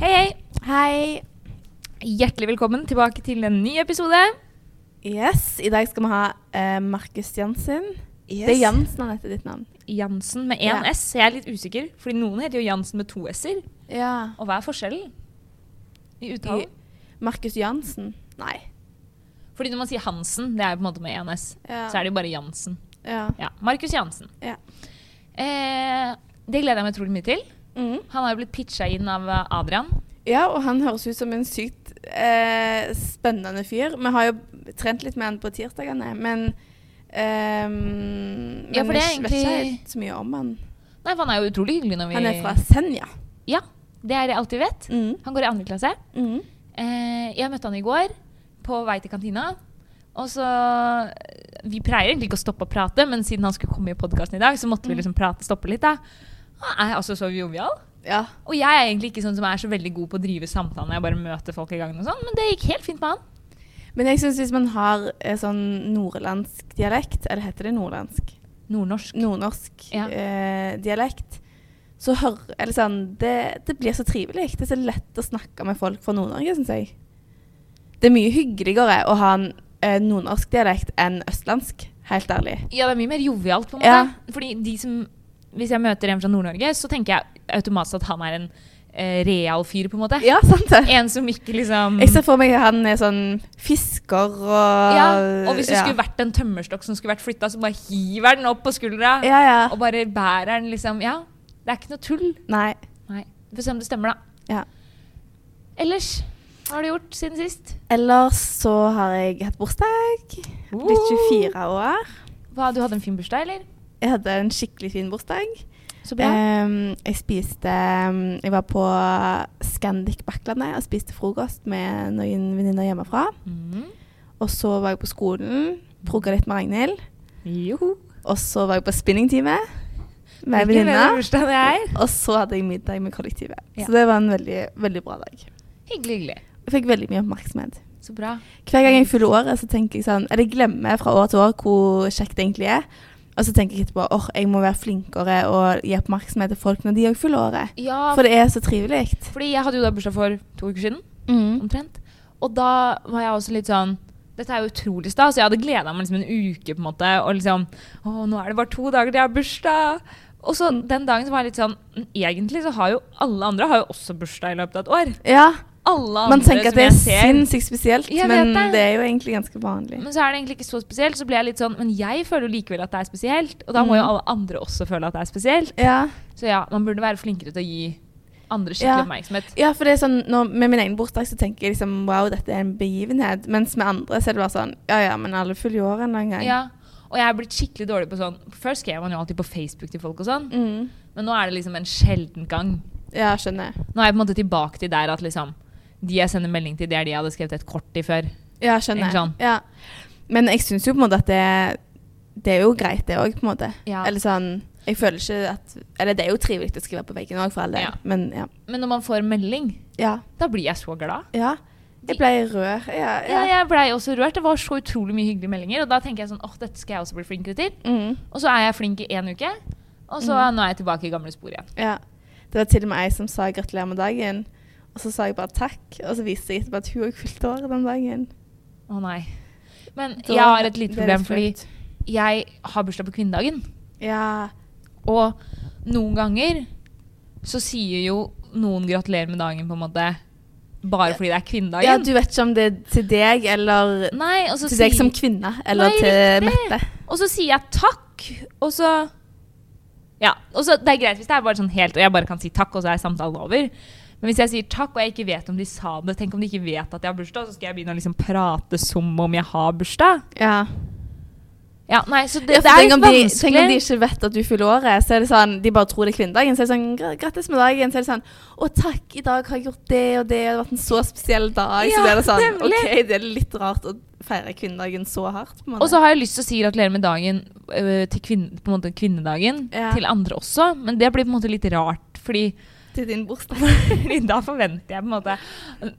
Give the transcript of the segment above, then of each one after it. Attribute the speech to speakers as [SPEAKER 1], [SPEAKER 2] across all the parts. [SPEAKER 1] Hei, hei.
[SPEAKER 2] Hei.
[SPEAKER 1] Hjertelig velkommen tilbake til en ny episode.
[SPEAKER 2] Yes, i dag skal vi ha eh, Markus Jansen. Det er Jansen han heter ditt navn.
[SPEAKER 1] Jansen med én
[SPEAKER 2] Ja.
[SPEAKER 1] S. Jeg er litt usikker, fordi noen heter jo Jansen med to S-er.
[SPEAKER 2] Ja.
[SPEAKER 1] Og hva er forskjellen i uttalen?
[SPEAKER 2] Markus Jansen? Nei.
[SPEAKER 1] Fordi når man sier Hansen, det er jo på en måte med én S,
[SPEAKER 2] Ja.
[SPEAKER 1] så er det jo bare Jansen.
[SPEAKER 2] Ja.
[SPEAKER 1] Ja, Markus Jansen.
[SPEAKER 2] Ja.
[SPEAKER 1] Eh, det gleder jeg meg utrolig mye til.
[SPEAKER 2] Mm.
[SPEAKER 1] Han har jo blitt pitcha inn av eh, Adrian.
[SPEAKER 2] ja, og han høres ut som en sykt eh, spennende fyr. Vi har jo trent litt med han på tirsdagene, men ehm,
[SPEAKER 1] Ja,
[SPEAKER 2] men
[SPEAKER 1] for det er
[SPEAKER 2] vi vet ikke
[SPEAKER 1] egentlig-
[SPEAKER 2] helt så mye om han.
[SPEAKER 1] Nei, for han er jo utrolig hyggelig når vi
[SPEAKER 2] Han er fra Senja.
[SPEAKER 1] Ja, det er det jeg alltid vet.
[SPEAKER 2] Mm.
[SPEAKER 1] Han går i andre klasse.
[SPEAKER 2] Mm.
[SPEAKER 1] Eh, jeg møtte han i går på vei til kantina. Og så eh, Vi pleier egentlig ikke å stoppe å prate, men siden han skulle komme i podkasten i dag, så
[SPEAKER 2] Mm.
[SPEAKER 1] måtte vi liksom prate, stoppe litt. da. Han er altså så jovial.
[SPEAKER 2] Ja.
[SPEAKER 1] Og jeg er egentlig ikke sånn som er så veldig god på å drive samtale når jeg bare møter folk i gangen og sånn, men det gikk helt fint med han.
[SPEAKER 2] Men jeg syns hvis man har eh, sånn nordlandsk dialekt, eller heter det nordlandsk?
[SPEAKER 1] Nordnorsk.
[SPEAKER 2] nordnorsk
[SPEAKER 1] Ja.
[SPEAKER 2] eh, dialekt, så hør, eller sånn, det, det blir så trivelig. Det er så lett å snakke med folk fra Nord-Norge, syns jeg. Det er mye hyggeligere å ha en eh, nordnorsk dialekt enn østlandsk, helt ærlig.
[SPEAKER 1] Ja, det er mye mer jovialt, på en måte.
[SPEAKER 2] Ja.
[SPEAKER 1] Fordi de som Hvis jeg møter en fra Nord-Norge, så tenker jeg automatisk at han er en eh, real fyr, på en måte.
[SPEAKER 2] Ja, sant det.
[SPEAKER 1] En som ikke liksom
[SPEAKER 2] Jeg ser for meg at han er sånn fisker og
[SPEAKER 1] Ja, og hvis det
[SPEAKER 2] ja.
[SPEAKER 1] skulle vært en tømmerstokk som skulle vært flytta, så bare hiver den opp på skuldra.
[SPEAKER 2] Ja, ja.
[SPEAKER 1] Og bare bærer den, liksom. Ja. Det er ikke noe tull.
[SPEAKER 2] Nei.
[SPEAKER 1] Nei. Vi får se om det stemmer, da.
[SPEAKER 2] Ja.
[SPEAKER 1] Ellers, hva har du gjort siden sist?
[SPEAKER 2] Ellers så har jeg hatt bursdag. Blitt 24 år.
[SPEAKER 1] Hva, du hadde en fin bursdag, eller?
[SPEAKER 2] Jeg hadde en skikkelig fin bursdag.
[SPEAKER 1] Så bra.
[SPEAKER 2] Ehm, jeg spiste ehm, Jeg var på Scandic Bakklandet og spiste frokost med noen venninner hjemmefra.
[SPEAKER 1] Mm.
[SPEAKER 2] Og så var jeg på skolen, progga litt med Ragnhild.
[SPEAKER 1] Joho.
[SPEAKER 2] Og så var jeg på spinningtime med
[SPEAKER 1] Hvilken bedre
[SPEAKER 2] venninna.
[SPEAKER 1] bursdag det er.
[SPEAKER 2] Og så hadde jeg middag med kollektivet.
[SPEAKER 1] Ja.
[SPEAKER 2] Så det var en veldig, veldig bra dag.
[SPEAKER 1] Hyggelig, hyggelig.
[SPEAKER 2] Jeg fikk veldig mye oppmerksomhet.
[SPEAKER 1] Så bra.
[SPEAKER 2] Hver gang jeg fyller året, så tenker jeg sånn Eller jeg glemmer fra år til år hvor kjekt det egentlig er. Og så tenker jeg etterpå åh, jeg må være flinkere og gi oppmerksomhet til folk når de òg fyller året.
[SPEAKER 1] Ja,
[SPEAKER 2] For det er så trivelig.
[SPEAKER 1] fordi jeg hadde jo da bursdag for to uker siden.
[SPEAKER 2] Mm.
[SPEAKER 1] omtrent. Og da var jeg også litt sånn dette er jo utrolig stas. Jeg hadde gleda meg liksom en uke. på en måte, Og liksom Å, nå er det bare to dager til jeg har bursdag. Og så den dagen så var jeg litt sånn «Mm, Egentlig så har jo alle andre har jo også bursdag i løpet av et år.
[SPEAKER 2] Ja,
[SPEAKER 1] Alle
[SPEAKER 2] Man
[SPEAKER 1] andre
[SPEAKER 2] tenker at
[SPEAKER 1] som
[SPEAKER 2] det er
[SPEAKER 1] jeg ser.
[SPEAKER 2] sinnssykt spesielt,
[SPEAKER 1] Jeg vet
[SPEAKER 2] men
[SPEAKER 1] det.
[SPEAKER 2] det. er jo egentlig ganske vanlig.
[SPEAKER 1] Men så er det egentlig ikke så spesielt. Så ble jeg litt sånn Men jeg føler jo likevel at det er spesielt. Og da må
[SPEAKER 2] Mm.
[SPEAKER 1] jo alle andre også føle at det er spesielt.
[SPEAKER 2] Ja.
[SPEAKER 1] Så ja, man burde være flinkere til å gi andre skikkelig
[SPEAKER 2] Ja.
[SPEAKER 1] oppmerksomhet.
[SPEAKER 2] ja, for det er sånn, når, med min egen bursdag så tenker jeg liksom wow, dette er en begivenhet. Mens med andre så er det bare sånn ja ja, men alle fyller jo år en eller annen gang.
[SPEAKER 1] Ja. Og jeg er blitt skikkelig dårlig på sånn Før skrev man jo alltid på Facebook til folk og sånn.
[SPEAKER 2] Mm.
[SPEAKER 1] Men nå er det liksom en sjelden gang.
[SPEAKER 2] ja skjønner. jeg.
[SPEAKER 1] Nå er jeg på en måte tilbake til der at liksom de jeg sender melding til, det er de jeg hadde skrevet et kort til før.
[SPEAKER 2] Ja, skjønner. jeg.
[SPEAKER 1] Ikke sant?
[SPEAKER 2] Ja. Men jeg syns jo på en måte at det, det er jo greit, det òg, på en måte.
[SPEAKER 1] Ja.
[SPEAKER 2] Eller sånn jeg føler ikke at Eller det er jo trivelig å skrive på veggen òg, for all del,
[SPEAKER 1] Ja.
[SPEAKER 2] men ja.
[SPEAKER 1] Men når man får melding,
[SPEAKER 2] ja.
[SPEAKER 1] da blir jeg så glad.
[SPEAKER 2] Ja. Jeg ble rør. Ja.
[SPEAKER 1] Ja,
[SPEAKER 2] ja.
[SPEAKER 1] jeg blei også rørt. Det var så utrolig mye hyggelige meldinger. Og da tenker jeg sånn åh, dette skal jeg også bli flinkere til.
[SPEAKER 2] Mm.
[SPEAKER 1] Og så er jeg flink i én uke, og så nå er jeg tilbake i gamle spor igjen.
[SPEAKER 2] Ja. Det var til og med ei som sa 'gratulerer med dagen', og så sa jeg bare takk. Og så viste jeg etterpå at hun òg fylte året den dagen.
[SPEAKER 1] Å nei. Men
[SPEAKER 2] Da-
[SPEAKER 1] jeg har et lite
[SPEAKER 2] det er
[SPEAKER 1] problem,
[SPEAKER 2] litt
[SPEAKER 1] fordi
[SPEAKER 2] flaut.
[SPEAKER 1] jeg har bursdag på kvinnedagen.
[SPEAKER 2] Ja.
[SPEAKER 1] Og noen ganger så sier jo noen gratulerer med dagen, på en måte, bare fordi det er kvinnedagen.
[SPEAKER 2] ja, du vet ikke om det er til deg eller
[SPEAKER 1] Nei, og så,
[SPEAKER 2] til deg
[SPEAKER 1] sier-
[SPEAKER 2] som kvinne, eller
[SPEAKER 1] Nei,
[SPEAKER 2] til
[SPEAKER 1] riktig.
[SPEAKER 2] Mette.
[SPEAKER 1] og så sier jeg takk, og så Ja, og så det er greit hvis det er bare sånn helt, og jeg bare kan si takk, og så er samtalen over. Men hvis jeg sier takk, og jeg ikke vet om de sa det, tenk om de ikke vet at jeg har bursdag, så skal jeg begynne å liksom prate som om jeg har bursdag.
[SPEAKER 2] Ja.
[SPEAKER 1] Ja, nei, så
[SPEAKER 2] Ja,
[SPEAKER 1] det,
[SPEAKER 2] for
[SPEAKER 1] det er
[SPEAKER 2] tenk,
[SPEAKER 1] litt
[SPEAKER 2] om de, tenk om de
[SPEAKER 1] vanskelig.
[SPEAKER 2] ikke vet at du fyller året, så er det sånn, de bare tror det er kvinnedagen. Så er det sånn «Gra- 'Grattis med dagen.' Så er det sånn 'Å, takk, i dag har jeg gjort det og det, og det har vært en så spesiell dag.'
[SPEAKER 1] Ja,
[SPEAKER 2] så blir det sånn
[SPEAKER 1] nemlig.
[SPEAKER 2] OK, det er litt rart å feire kvinnedagen så hardt. på en måte.
[SPEAKER 1] Og så har jeg lyst til å si gratulerer med dagen øh, til kvinne, på en måte kvinnedagen
[SPEAKER 2] Ja.
[SPEAKER 1] til andre også, men det blir på en måte litt rart, fordi,
[SPEAKER 2] til din bursdag.
[SPEAKER 1] fordi da forventer jeg på en måte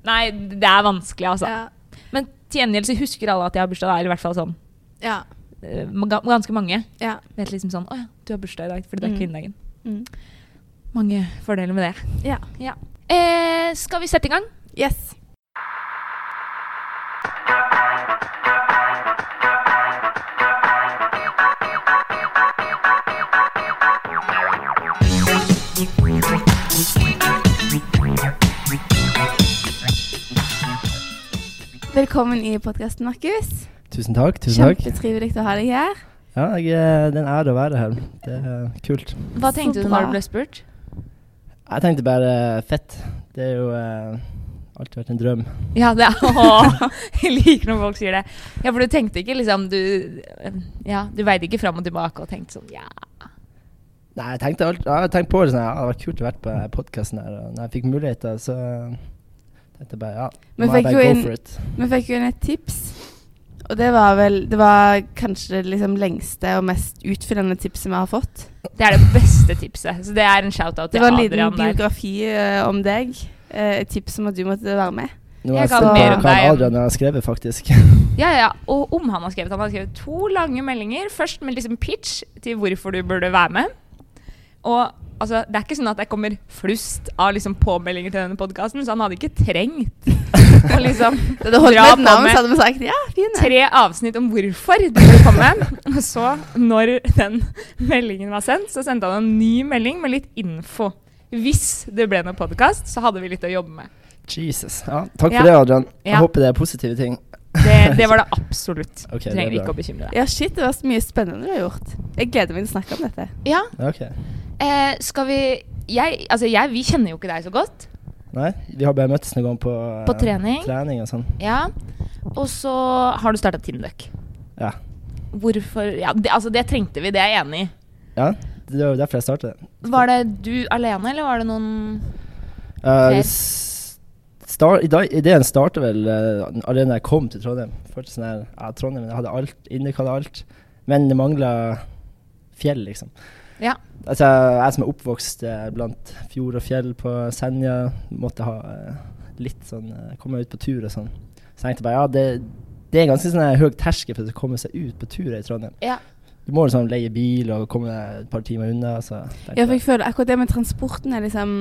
[SPEAKER 1] Nei, det er vanskelig, altså.
[SPEAKER 2] Ja.
[SPEAKER 1] Men til gjengjeld så husker alle at jeg har bursdag da, eller i hvert fall sånn
[SPEAKER 2] Ja.
[SPEAKER 1] eh, ga- ganske mange
[SPEAKER 2] ja.
[SPEAKER 1] vet liksom sånn Å ja, du har bursdag i dag fordi det er
[SPEAKER 2] Mm.
[SPEAKER 1] kvinnedagen.
[SPEAKER 2] Mm.
[SPEAKER 1] Mange fordeler med det.
[SPEAKER 2] ja.
[SPEAKER 1] Ja. Eh, skal vi sette i gang?
[SPEAKER 2] Yes. Velkommen i podkasten, Markus.
[SPEAKER 3] Tusen takk. tusen takk.
[SPEAKER 2] Kjempetrivelig å ha deg her.
[SPEAKER 3] Ja, jeg, eh, det er en ære å være her. Det er eh, kult.
[SPEAKER 1] Hva
[SPEAKER 2] Så
[SPEAKER 1] tenkte du
[SPEAKER 2] bra.
[SPEAKER 1] når du ble spurt?
[SPEAKER 3] Jeg tenkte bare eh, fett. Det er jo eh, alltid vært en drøm.
[SPEAKER 1] Ja, det er Åh, Jeg liker når folk sier det. Ja, for du tenkte ikke liksom Du, eh, ja, du veide ikke fram og tilbake og tenkte sånn Ja.
[SPEAKER 3] Nei, jeg tenkte alt, ja, jeg tenkte på det sånn, ja, det hadde vært kult å være på podkasten her. Og når jeg fikk muligheter, så tenkte jeg bare ja,
[SPEAKER 2] Men
[SPEAKER 3] må jeg
[SPEAKER 2] fikk
[SPEAKER 3] bare
[SPEAKER 2] jo
[SPEAKER 3] go
[SPEAKER 2] inn-
[SPEAKER 3] for it.
[SPEAKER 2] Vi fikk jo inn et tips, og det var vel Det var kanskje det liksom lengste og mest utfyllende tipset vi har fått.
[SPEAKER 1] Det er det beste tipset. Så det er en shout-out
[SPEAKER 2] Det
[SPEAKER 1] til
[SPEAKER 2] var en liten
[SPEAKER 1] Adrian der.
[SPEAKER 2] biografi eh, om deg. eh, Et tips om at du måtte være med.
[SPEAKER 1] Jeg
[SPEAKER 3] Nå har jeg
[SPEAKER 1] kan
[SPEAKER 3] sett
[SPEAKER 2] mer om
[SPEAKER 3] hva
[SPEAKER 1] deg.
[SPEAKER 3] Adrian har skrevet, faktisk.
[SPEAKER 1] Ja, ja. Og om han har skrevet. Han har skrevet to lange meldinger. Først med liksom pitch til hvorfor du burde være med. Og altså, det er ikke sånn at jeg kommer flust av liksom påmeldinger til denne podkasten, så han hadde ikke trengt å liksom
[SPEAKER 2] Det hadde holdt
[SPEAKER 1] dra
[SPEAKER 2] med et
[SPEAKER 1] på
[SPEAKER 2] navn,
[SPEAKER 1] med
[SPEAKER 2] så hadde vi sagt ja, fin.
[SPEAKER 1] tre avsnitt om hvorfor du burde komme. Og så, når den meldingen var sendt, så sendte han en ny melding med litt info. Hvis det ble noen podkast, så hadde vi litt å jobbe med.
[SPEAKER 3] Jesus. Ja, takk
[SPEAKER 1] Ja.
[SPEAKER 3] for det, Adrian.
[SPEAKER 1] Ja.
[SPEAKER 3] Jeg håper det er positive ting.
[SPEAKER 1] Det, det var det absolutt.
[SPEAKER 3] Ok,
[SPEAKER 1] Du
[SPEAKER 3] det er
[SPEAKER 1] trenger ikke
[SPEAKER 3] bra.
[SPEAKER 1] å bekymre deg.
[SPEAKER 2] Ja, shit, det var så mye spennende du har gjort. Jeg gleder meg til å snakke om dette.
[SPEAKER 1] Ja,
[SPEAKER 3] Ok.
[SPEAKER 1] Eh, skal vi jeg, altså jeg, Vi kjenner jo ikke deg så godt.
[SPEAKER 3] Nei, vi har bare møttes noen gang på, eh,
[SPEAKER 1] På trening.
[SPEAKER 3] trening og sånn.
[SPEAKER 1] Ja. Og så har du starta Tindøk.
[SPEAKER 3] Ja.
[SPEAKER 1] Hvorfor ja, det, Altså, det trengte vi, det er jeg enig i.
[SPEAKER 3] ja. Det var jo derfor jeg startet.
[SPEAKER 1] Var det du alene, eller var det noen
[SPEAKER 3] Eh,
[SPEAKER 1] Mer.
[SPEAKER 3] s- star, i dag, ideen starta vel eh, allerede da jeg kom til Trondheim. Følte sånn her, ja, Trondheim jeg hadde alt, Induk hadde alt, men det mangla fjell, liksom.
[SPEAKER 1] Ja.
[SPEAKER 3] Altså, jeg, jeg som er oppvokst eh, blant fjord og fjell på Senja, måtte ha eh, litt sånn eh, Komme meg ut på tur og sånn. Så jeg tenkte bare ja, det, det er ganske sånn her høy terskel for å komme seg ut på tur i Trondheim.
[SPEAKER 1] Ja.
[SPEAKER 3] Du må liksom leie bil og komme deg et par timer unna. Så tenkte
[SPEAKER 2] Ja, for jeg føler akkurat det med transporten er liksom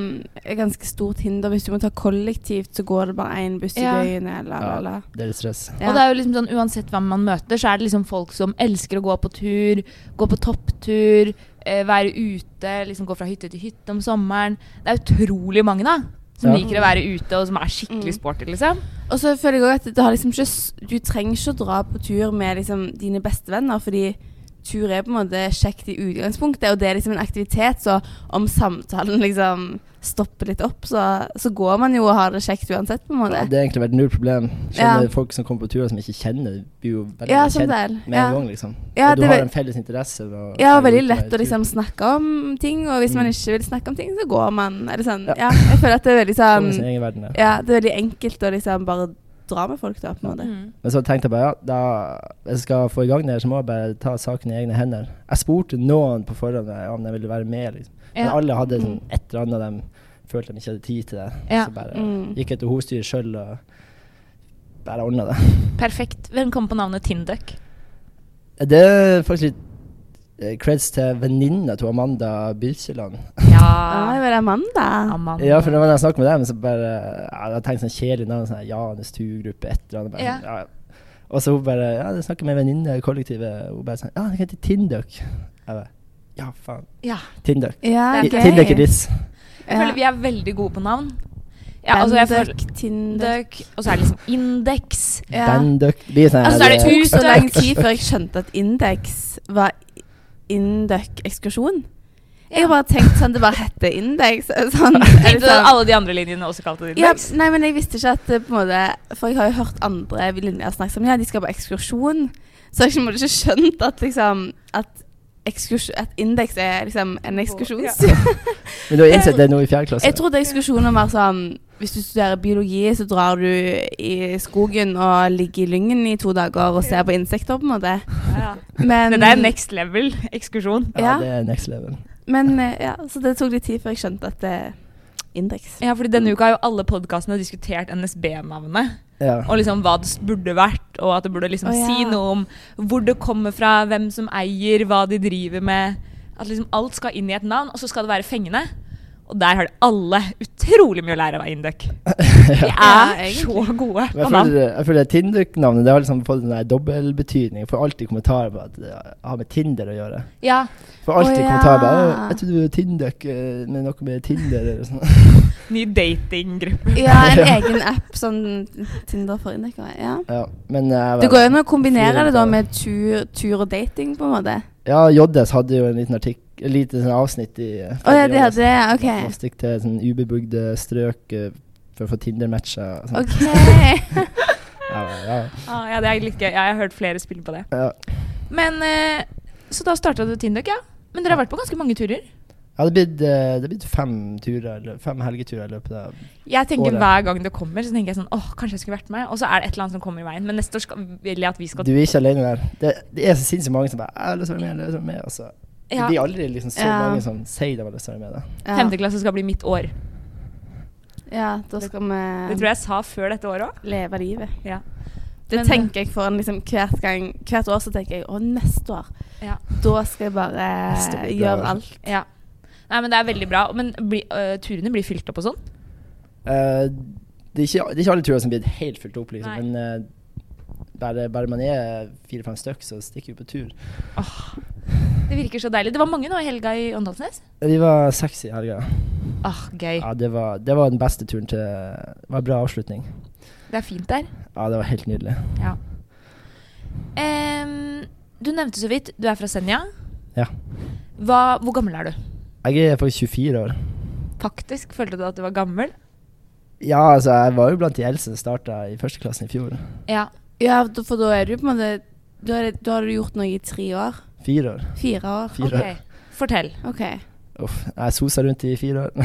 [SPEAKER 2] et ganske stort hinder. Hvis du må ta kollektivt, så går det bare én buss i
[SPEAKER 1] Ja.
[SPEAKER 2] døgnet, eller,
[SPEAKER 3] Ja.
[SPEAKER 2] eller.
[SPEAKER 3] det er litt stress.
[SPEAKER 2] Ja.
[SPEAKER 1] Og det er jo liksom sånn, Uansett hvem man møter, så er det liksom folk som elsker å gå på tur, gå på topptur, eh, være ute, liksom gå fra hytte til hytte om sommeren. Det er utrolig mange da, som
[SPEAKER 3] Ja.
[SPEAKER 1] liker å være ute og som er skikkelig
[SPEAKER 2] Mm.
[SPEAKER 1] sporty. liksom.
[SPEAKER 2] Og så føler jeg òg at det har liksom ikke, s- du trenger ikke å dra på tur med liksom dine bestevenner, fordi tur er på en måte kjekt i utgangspunktet, og det er liksom en aktivitet, så om samtalen liksom stopper litt opp, så, så går man jo og har det kjekt uansett, på en
[SPEAKER 3] Ja,
[SPEAKER 2] måte.
[SPEAKER 3] det har egentlig vært null problem. Skjønner
[SPEAKER 2] Ja.
[SPEAKER 3] Folk som kommer på turer som ikke kjenner, blir jo veldig
[SPEAKER 2] Ja, sånn
[SPEAKER 3] kjent
[SPEAKER 2] der.
[SPEAKER 3] med en
[SPEAKER 2] Ja.
[SPEAKER 3] gang, liksom.
[SPEAKER 2] Ja,
[SPEAKER 3] og du
[SPEAKER 2] det
[SPEAKER 3] har
[SPEAKER 2] er
[SPEAKER 3] en felles interesse. Med å,
[SPEAKER 2] ja, og
[SPEAKER 3] være
[SPEAKER 2] veldig
[SPEAKER 3] ute
[SPEAKER 2] lett å
[SPEAKER 3] på en
[SPEAKER 2] liksom snakke om ting, og hvis man
[SPEAKER 3] Mm.
[SPEAKER 2] ikke vil snakke om ting, så går man. Eller sånn.
[SPEAKER 3] Ja.
[SPEAKER 2] Ja, jeg føler at det er veldig
[SPEAKER 3] tur.
[SPEAKER 2] sånn
[SPEAKER 3] Komme i sin egen verden, ja.
[SPEAKER 2] Ja, det er veldig enkelt å liksom bare dra med folk, da, på en måte.
[SPEAKER 1] Mm.
[SPEAKER 3] Men så tenkte jeg bare ja, da, hvis jeg skal få i gang det, her, så må jeg bare ta saken i egne hender. Jeg spurte noen på forhånd eh, om de ville være med, liksom. Men
[SPEAKER 1] Ja.
[SPEAKER 3] alle hadde
[SPEAKER 2] Mm.
[SPEAKER 3] sånn, et eller annet de følte de ikke hadde tid til det.
[SPEAKER 1] Ja.
[SPEAKER 3] Så bare
[SPEAKER 2] Mm.
[SPEAKER 3] gikk jeg til hovedstyret sjøl og bare ordna det.
[SPEAKER 1] Perfekt. Hvem kom på navnet Tindøk?
[SPEAKER 3] Det er faktisk litt eh, creds til venninna til Amanda Byrkjeland.
[SPEAKER 2] Ja, det
[SPEAKER 1] Ja,
[SPEAKER 2] var det Amanda.
[SPEAKER 1] Amanda.
[SPEAKER 3] Ja, for når jeg snakket med dem, så bare ja, Jeg tenkte sånn kjedelig navn, sånn her, Janus Turgruppe, et eller annet. Bare,
[SPEAKER 1] Ja.
[SPEAKER 3] sånn, ja. ja. Og så hun bare Ja, jeg snakket med en venninne i kollektivet, hun bare sånn Ja, det heter Tindøk. Jeg bare Ja, faen.
[SPEAKER 1] Ja.
[SPEAKER 3] Tindøk.
[SPEAKER 2] Ja,
[SPEAKER 1] Det er
[SPEAKER 3] I-
[SPEAKER 1] gøy.
[SPEAKER 3] Tindøk i diss.
[SPEAKER 1] Jeg føler vi er veldig gode på navn. Ja, altså jeg føler
[SPEAKER 2] Bendøk, Tinder
[SPEAKER 1] Tindøk, og så er det liksom Indeks.
[SPEAKER 2] ja.
[SPEAKER 3] Bandøk. Det blir sånn
[SPEAKER 1] Altså,
[SPEAKER 3] her,
[SPEAKER 1] er det
[SPEAKER 3] eh,
[SPEAKER 2] tok så
[SPEAKER 1] utøkt?
[SPEAKER 2] lang tid før jeg skjønte at Index var Indøk-ekskursjon. Jeg har bare tenkt sånn, det bare heter Index. Sånn, er det
[SPEAKER 1] Tenkte
[SPEAKER 2] sånn.
[SPEAKER 1] alle de andre linjene også kalte det
[SPEAKER 2] Ja,
[SPEAKER 1] Indeks?
[SPEAKER 2] nei, men jeg visste ikke at det på en måte For jeg har jo hørt andre linjer snakke sammen. Ja, de skal på ekskursjon. Så jeg har ikke skjønt at liksom At, ekskurs- at Index er liksom en ekskursjons...
[SPEAKER 3] Men du har innsett det nå i fjerde klasse?
[SPEAKER 2] Jeg trodde ekskursjoner var sånn Hvis du studerer biologi, så drar du i skogen og ligger i lyngen i to dager og ser på insekter, på en måte.
[SPEAKER 1] Ja.
[SPEAKER 2] Men,
[SPEAKER 1] Det der er next level ekskursjon.
[SPEAKER 3] ja.
[SPEAKER 2] ja.
[SPEAKER 3] det er next level.
[SPEAKER 2] men eh, ja, så det tok litt tid før jeg skjønte at eh, det er indeks.
[SPEAKER 1] Ja, fordi Denne uka har jo alle podkastene diskutert NSB-navnet.
[SPEAKER 3] Ja.
[SPEAKER 1] Og liksom hva det s- burde vært, og at det burde liksom
[SPEAKER 2] Å, ja.
[SPEAKER 1] si noe om hvor det kommer fra, hvem som eier, hva de driver med. At liksom alt skal inn i et navn, og så skal det være fengende. Og Og der har de alle utrolig mye å lære av Induk. De
[SPEAKER 2] Ja,
[SPEAKER 1] er så gode.
[SPEAKER 3] Men jeg
[SPEAKER 1] på navn.
[SPEAKER 3] føler, jeg føler Tinder-navnet det har liksom fått en der dobbeltbetydning. Jeg får alltid kommentarer på at det har med Tinder å gjøre.
[SPEAKER 1] Ja,
[SPEAKER 3] Jeg får alltid
[SPEAKER 2] Å, ja.
[SPEAKER 3] kommentarer på «Å, jeg trodde du var Tindøk eh, med noe med Tinder eller sånn.
[SPEAKER 1] ny datinggruppe.
[SPEAKER 2] Ja, en egen app, sånn Tinder for indikere. Ja.
[SPEAKER 3] Ja, men eh, jeg
[SPEAKER 2] Det
[SPEAKER 3] var-
[SPEAKER 2] går jo an å kombinere det da
[SPEAKER 3] Fint, ja.
[SPEAKER 2] med tur, tur og dating, på en måte.
[SPEAKER 3] Ja, JS hadde jo en liten artikk, et lite sånn avsnitt i eh,
[SPEAKER 2] Å ja,
[SPEAKER 3] Fredrik
[SPEAKER 2] de
[SPEAKER 3] Jonas.
[SPEAKER 2] hadde OK.
[SPEAKER 3] Man stikker til sånn ubebygde strøk eh, for å få Tinder-matcher. Sånn.
[SPEAKER 2] OK.
[SPEAKER 3] Ja, ja,
[SPEAKER 1] Ah, ja, det er litt gøy. Ja, jeg har hørt flere spille på det.
[SPEAKER 3] ja.
[SPEAKER 1] Men eh, Så da starta du Tinduk, ja. Men dere har vært på ganske mange turer.
[SPEAKER 3] Ja, det er blitt, eh, det er blitt fem, turer, eller fem helgeturer i løpet av
[SPEAKER 1] Jeg tenker
[SPEAKER 3] Året.
[SPEAKER 1] Hver gang det kommer, så tenker jeg sånn åh, kanskje jeg skulle vært med. Og så er det et eller annet som kommer i veien. Men neste år skal, vil jeg at vi skal
[SPEAKER 3] Du er ikke alene der. Det, det er så sinnssykt mange som bare «Jeg har lyst til å være med, jeg har lyst til å være med. Og så Det
[SPEAKER 1] ja,
[SPEAKER 3] blir aldri liksom så
[SPEAKER 2] Ja.
[SPEAKER 3] mange som sier de har lyst til å være med. Da.
[SPEAKER 2] Ja.
[SPEAKER 1] Femte klasse skal bli mitt år.
[SPEAKER 2] ja, da skal
[SPEAKER 1] Det
[SPEAKER 2] vi
[SPEAKER 1] tror jeg jeg sa før dette året òg.
[SPEAKER 2] leve livet.
[SPEAKER 1] Ja.
[SPEAKER 2] Det
[SPEAKER 1] Men-
[SPEAKER 2] tenker jeg for en liksom hvert gang Hvert år så tenker jeg å, neste år.
[SPEAKER 1] Ja.
[SPEAKER 2] Da skal jeg bare eh,
[SPEAKER 3] Neste blir bra,
[SPEAKER 2] gjøre
[SPEAKER 3] altså.
[SPEAKER 2] alt.
[SPEAKER 1] Ja. Nei, men det er veldig bra. Men bli, øh, turene blir fylt opp og sånn?
[SPEAKER 3] Eh, det, er ikke, det er ikke alle turer som blir helt fylt opp, liksom.
[SPEAKER 1] Nei.
[SPEAKER 3] Men eh, bare, bare man er fire-fem stykk, så stikker vi på tur.
[SPEAKER 1] Det virker så deilig. Det var mange nå i helga i Åndalsnes.
[SPEAKER 3] Eh, Vi var seks i helga.
[SPEAKER 1] Ah, gøy.
[SPEAKER 3] Ja, det var, det var den beste turen til Det var en bra avslutning.
[SPEAKER 1] Det er fint der.
[SPEAKER 3] Ja, det var helt nydelig.
[SPEAKER 1] Ja. Em, du nevnte så vidt du er fra Senja.
[SPEAKER 3] Ja.
[SPEAKER 1] Hva, hvor gammel er du?
[SPEAKER 3] Jeg er faktisk 24 år.
[SPEAKER 1] Faktisk følte du at du var gammel.
[SPEAKER 3] Ja, altså, jeg var jo blant de eldste som starta i første klassen i fjor.
[SPEAKER 1] Ja.
[SPEAKER 2] Ja, da- for da er du på en måte Da, er det, da har du gjort noe i tre år.
[SPEAKER 3] Fire år.
[SPEAKER 2] Fire år.
[SPEAKER 3] Fire år.
[SPEAKER 1] Ok. Fortell.
[SPEAKER 2] OK.
[SPEAKER 3] Uff, jeg sosa rundt i fire år.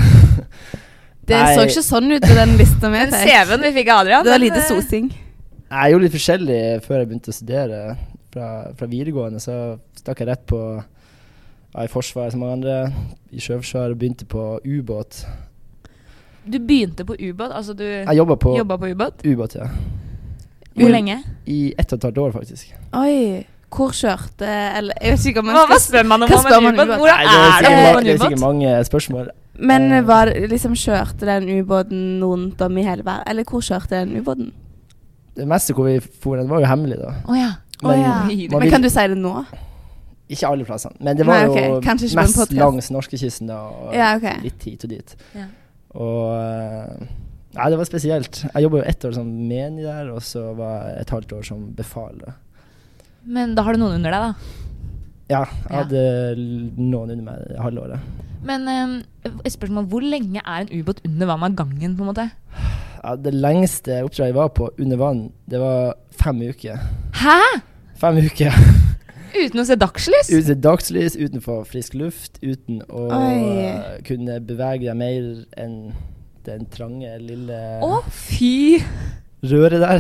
[SPEAKER 2] Det
[SPEAKER 3] Nei.
[SPEAKER 2] så ikke sånn ut i den lista vi
[SPEAKER 1] Den
[SPEAKER 2] fikk.
[SPEAKER 1] CV-en vi fikk av Adrian
[SPEAKER 2] Det var
[SPEAKER 1] den,
[SPEAKER 2] lite
[SPEAKER 1] eh,
[SPEAKER 2] sosing.
[SPEAKER 3] Jeg gjorde litt forskjellig før jeg begynte å studere. Fra, fra videregående så stakk jeg rett på ja, i Forsvaret som mange andre, i Sjøforsvaret og begynte på ubåt.
[SPEAKER 1] Du begynte på ubåt. Altså du
[SPEAKER 3] Jeg jobba på
[SPEAKER 1] jobba på ubåt.
[SPEAKER 3] ubåt, ja.
[SPEAKER 1] Hvor
[SPEAKER 3] U-
[SPEAKER 1] lenge?
[SPEAKER 3] I ett og et halvt år, faktisk.
[SPEAKER 2] Oi. Hvor kjørte Eller jeg vet ikke om
[SPEAKER 1] Hva,
[SPEAKER 2] man
[SPEAKER 1] hva spør man om
[SPEAKER 2] hva
[SPEAKER 1] om
[SPEAKER 2] spør
[SPEAKER 1] en
[SPEAKER 2] man om
[SPEAKER 1] ubåt?
[SPEAKER 2] ubåt?
[SPEAKER 1] Hvordan
[SPEAKER 3] Nei, det,
[SPEAKER 1] er
[SPEAKER 3] er
[SPEAKER 1] det å
[SPEAKER 3] sikkert, ma-
[SPEAKER 1] jobbe på
[SPEAKER 3] det er
[SPEAKER 1] en
[SPEAKER 3] sikkert
[SPEAKER 1] ubåt?
[SPEAKER 3] mange spørsmål.
[SPEAKER 2] Men
[SPEAKER 3] Eh,
[SPEAKER 2] var det liksom kjørte den ubåten rundt om i hele verden? Eller hvor kjørte den ubåten?
[SPEAKER 3] Det meste hvor vi for, den var jo hemmelig, da.
[SPEAKER 1] Å ja.
[SPEAKER 2] Å ja.
[SPEAKER 1] man
[SPEAKER 2] Men
[SPEAKER 3] vil-
[SPEAKER 2] kan du si det nå?
[SPEAKER 3] Ikke alle plassene, men det
[SPEAKER 2] Nei,
[SPEAKER 3] var jo
[SPEAKER 2] ok, kanskje ikke på en
[SPEAKER 3] mest
[SPEAKER 2] podcast.
[SPEAKER 3] langs norskekysten da, og
[SPEAKER 2] Ja, ok.
[SPEAKER 3] litt hit og dit.
[SPEAKER 1] Ja.
[SPEAKER 3] Og eh, Nei, det var spesielt. Jeg jobba jo ett år som menig der, og så var jeg et halvt år som befal. da.
[SPEAKER 1] Men da har du noen under deg, da.
[SPEAKER 3] Ja, jeg
[SPEAKER 1] Ja.
[SPEAKER 3] hadde l- noen under meg det halve året.
[SPEAKER 1] Men eh, et spørsmål, hvor lenge er en ubåt under vann av gangen, på en måte?
[SPEAKER 3] Ja, det lengste oppdraget jeg var på under vann, det var fem uker.
[SPEAKER 1] Hæ?!
[SPEAKER 3] Fem uker
[SPEAKER 1] Uten å se dagslys?
[SPEAKER 3] uten dagslys, uten å få frisk luft, uten å
[SPEAKER 2] Oi.
[SPEAKER 3] eh, kunne bevege deg mer enn den trange, lille
[SPEAKER 1] Å, fy!
[SPEAKER 3] røret der.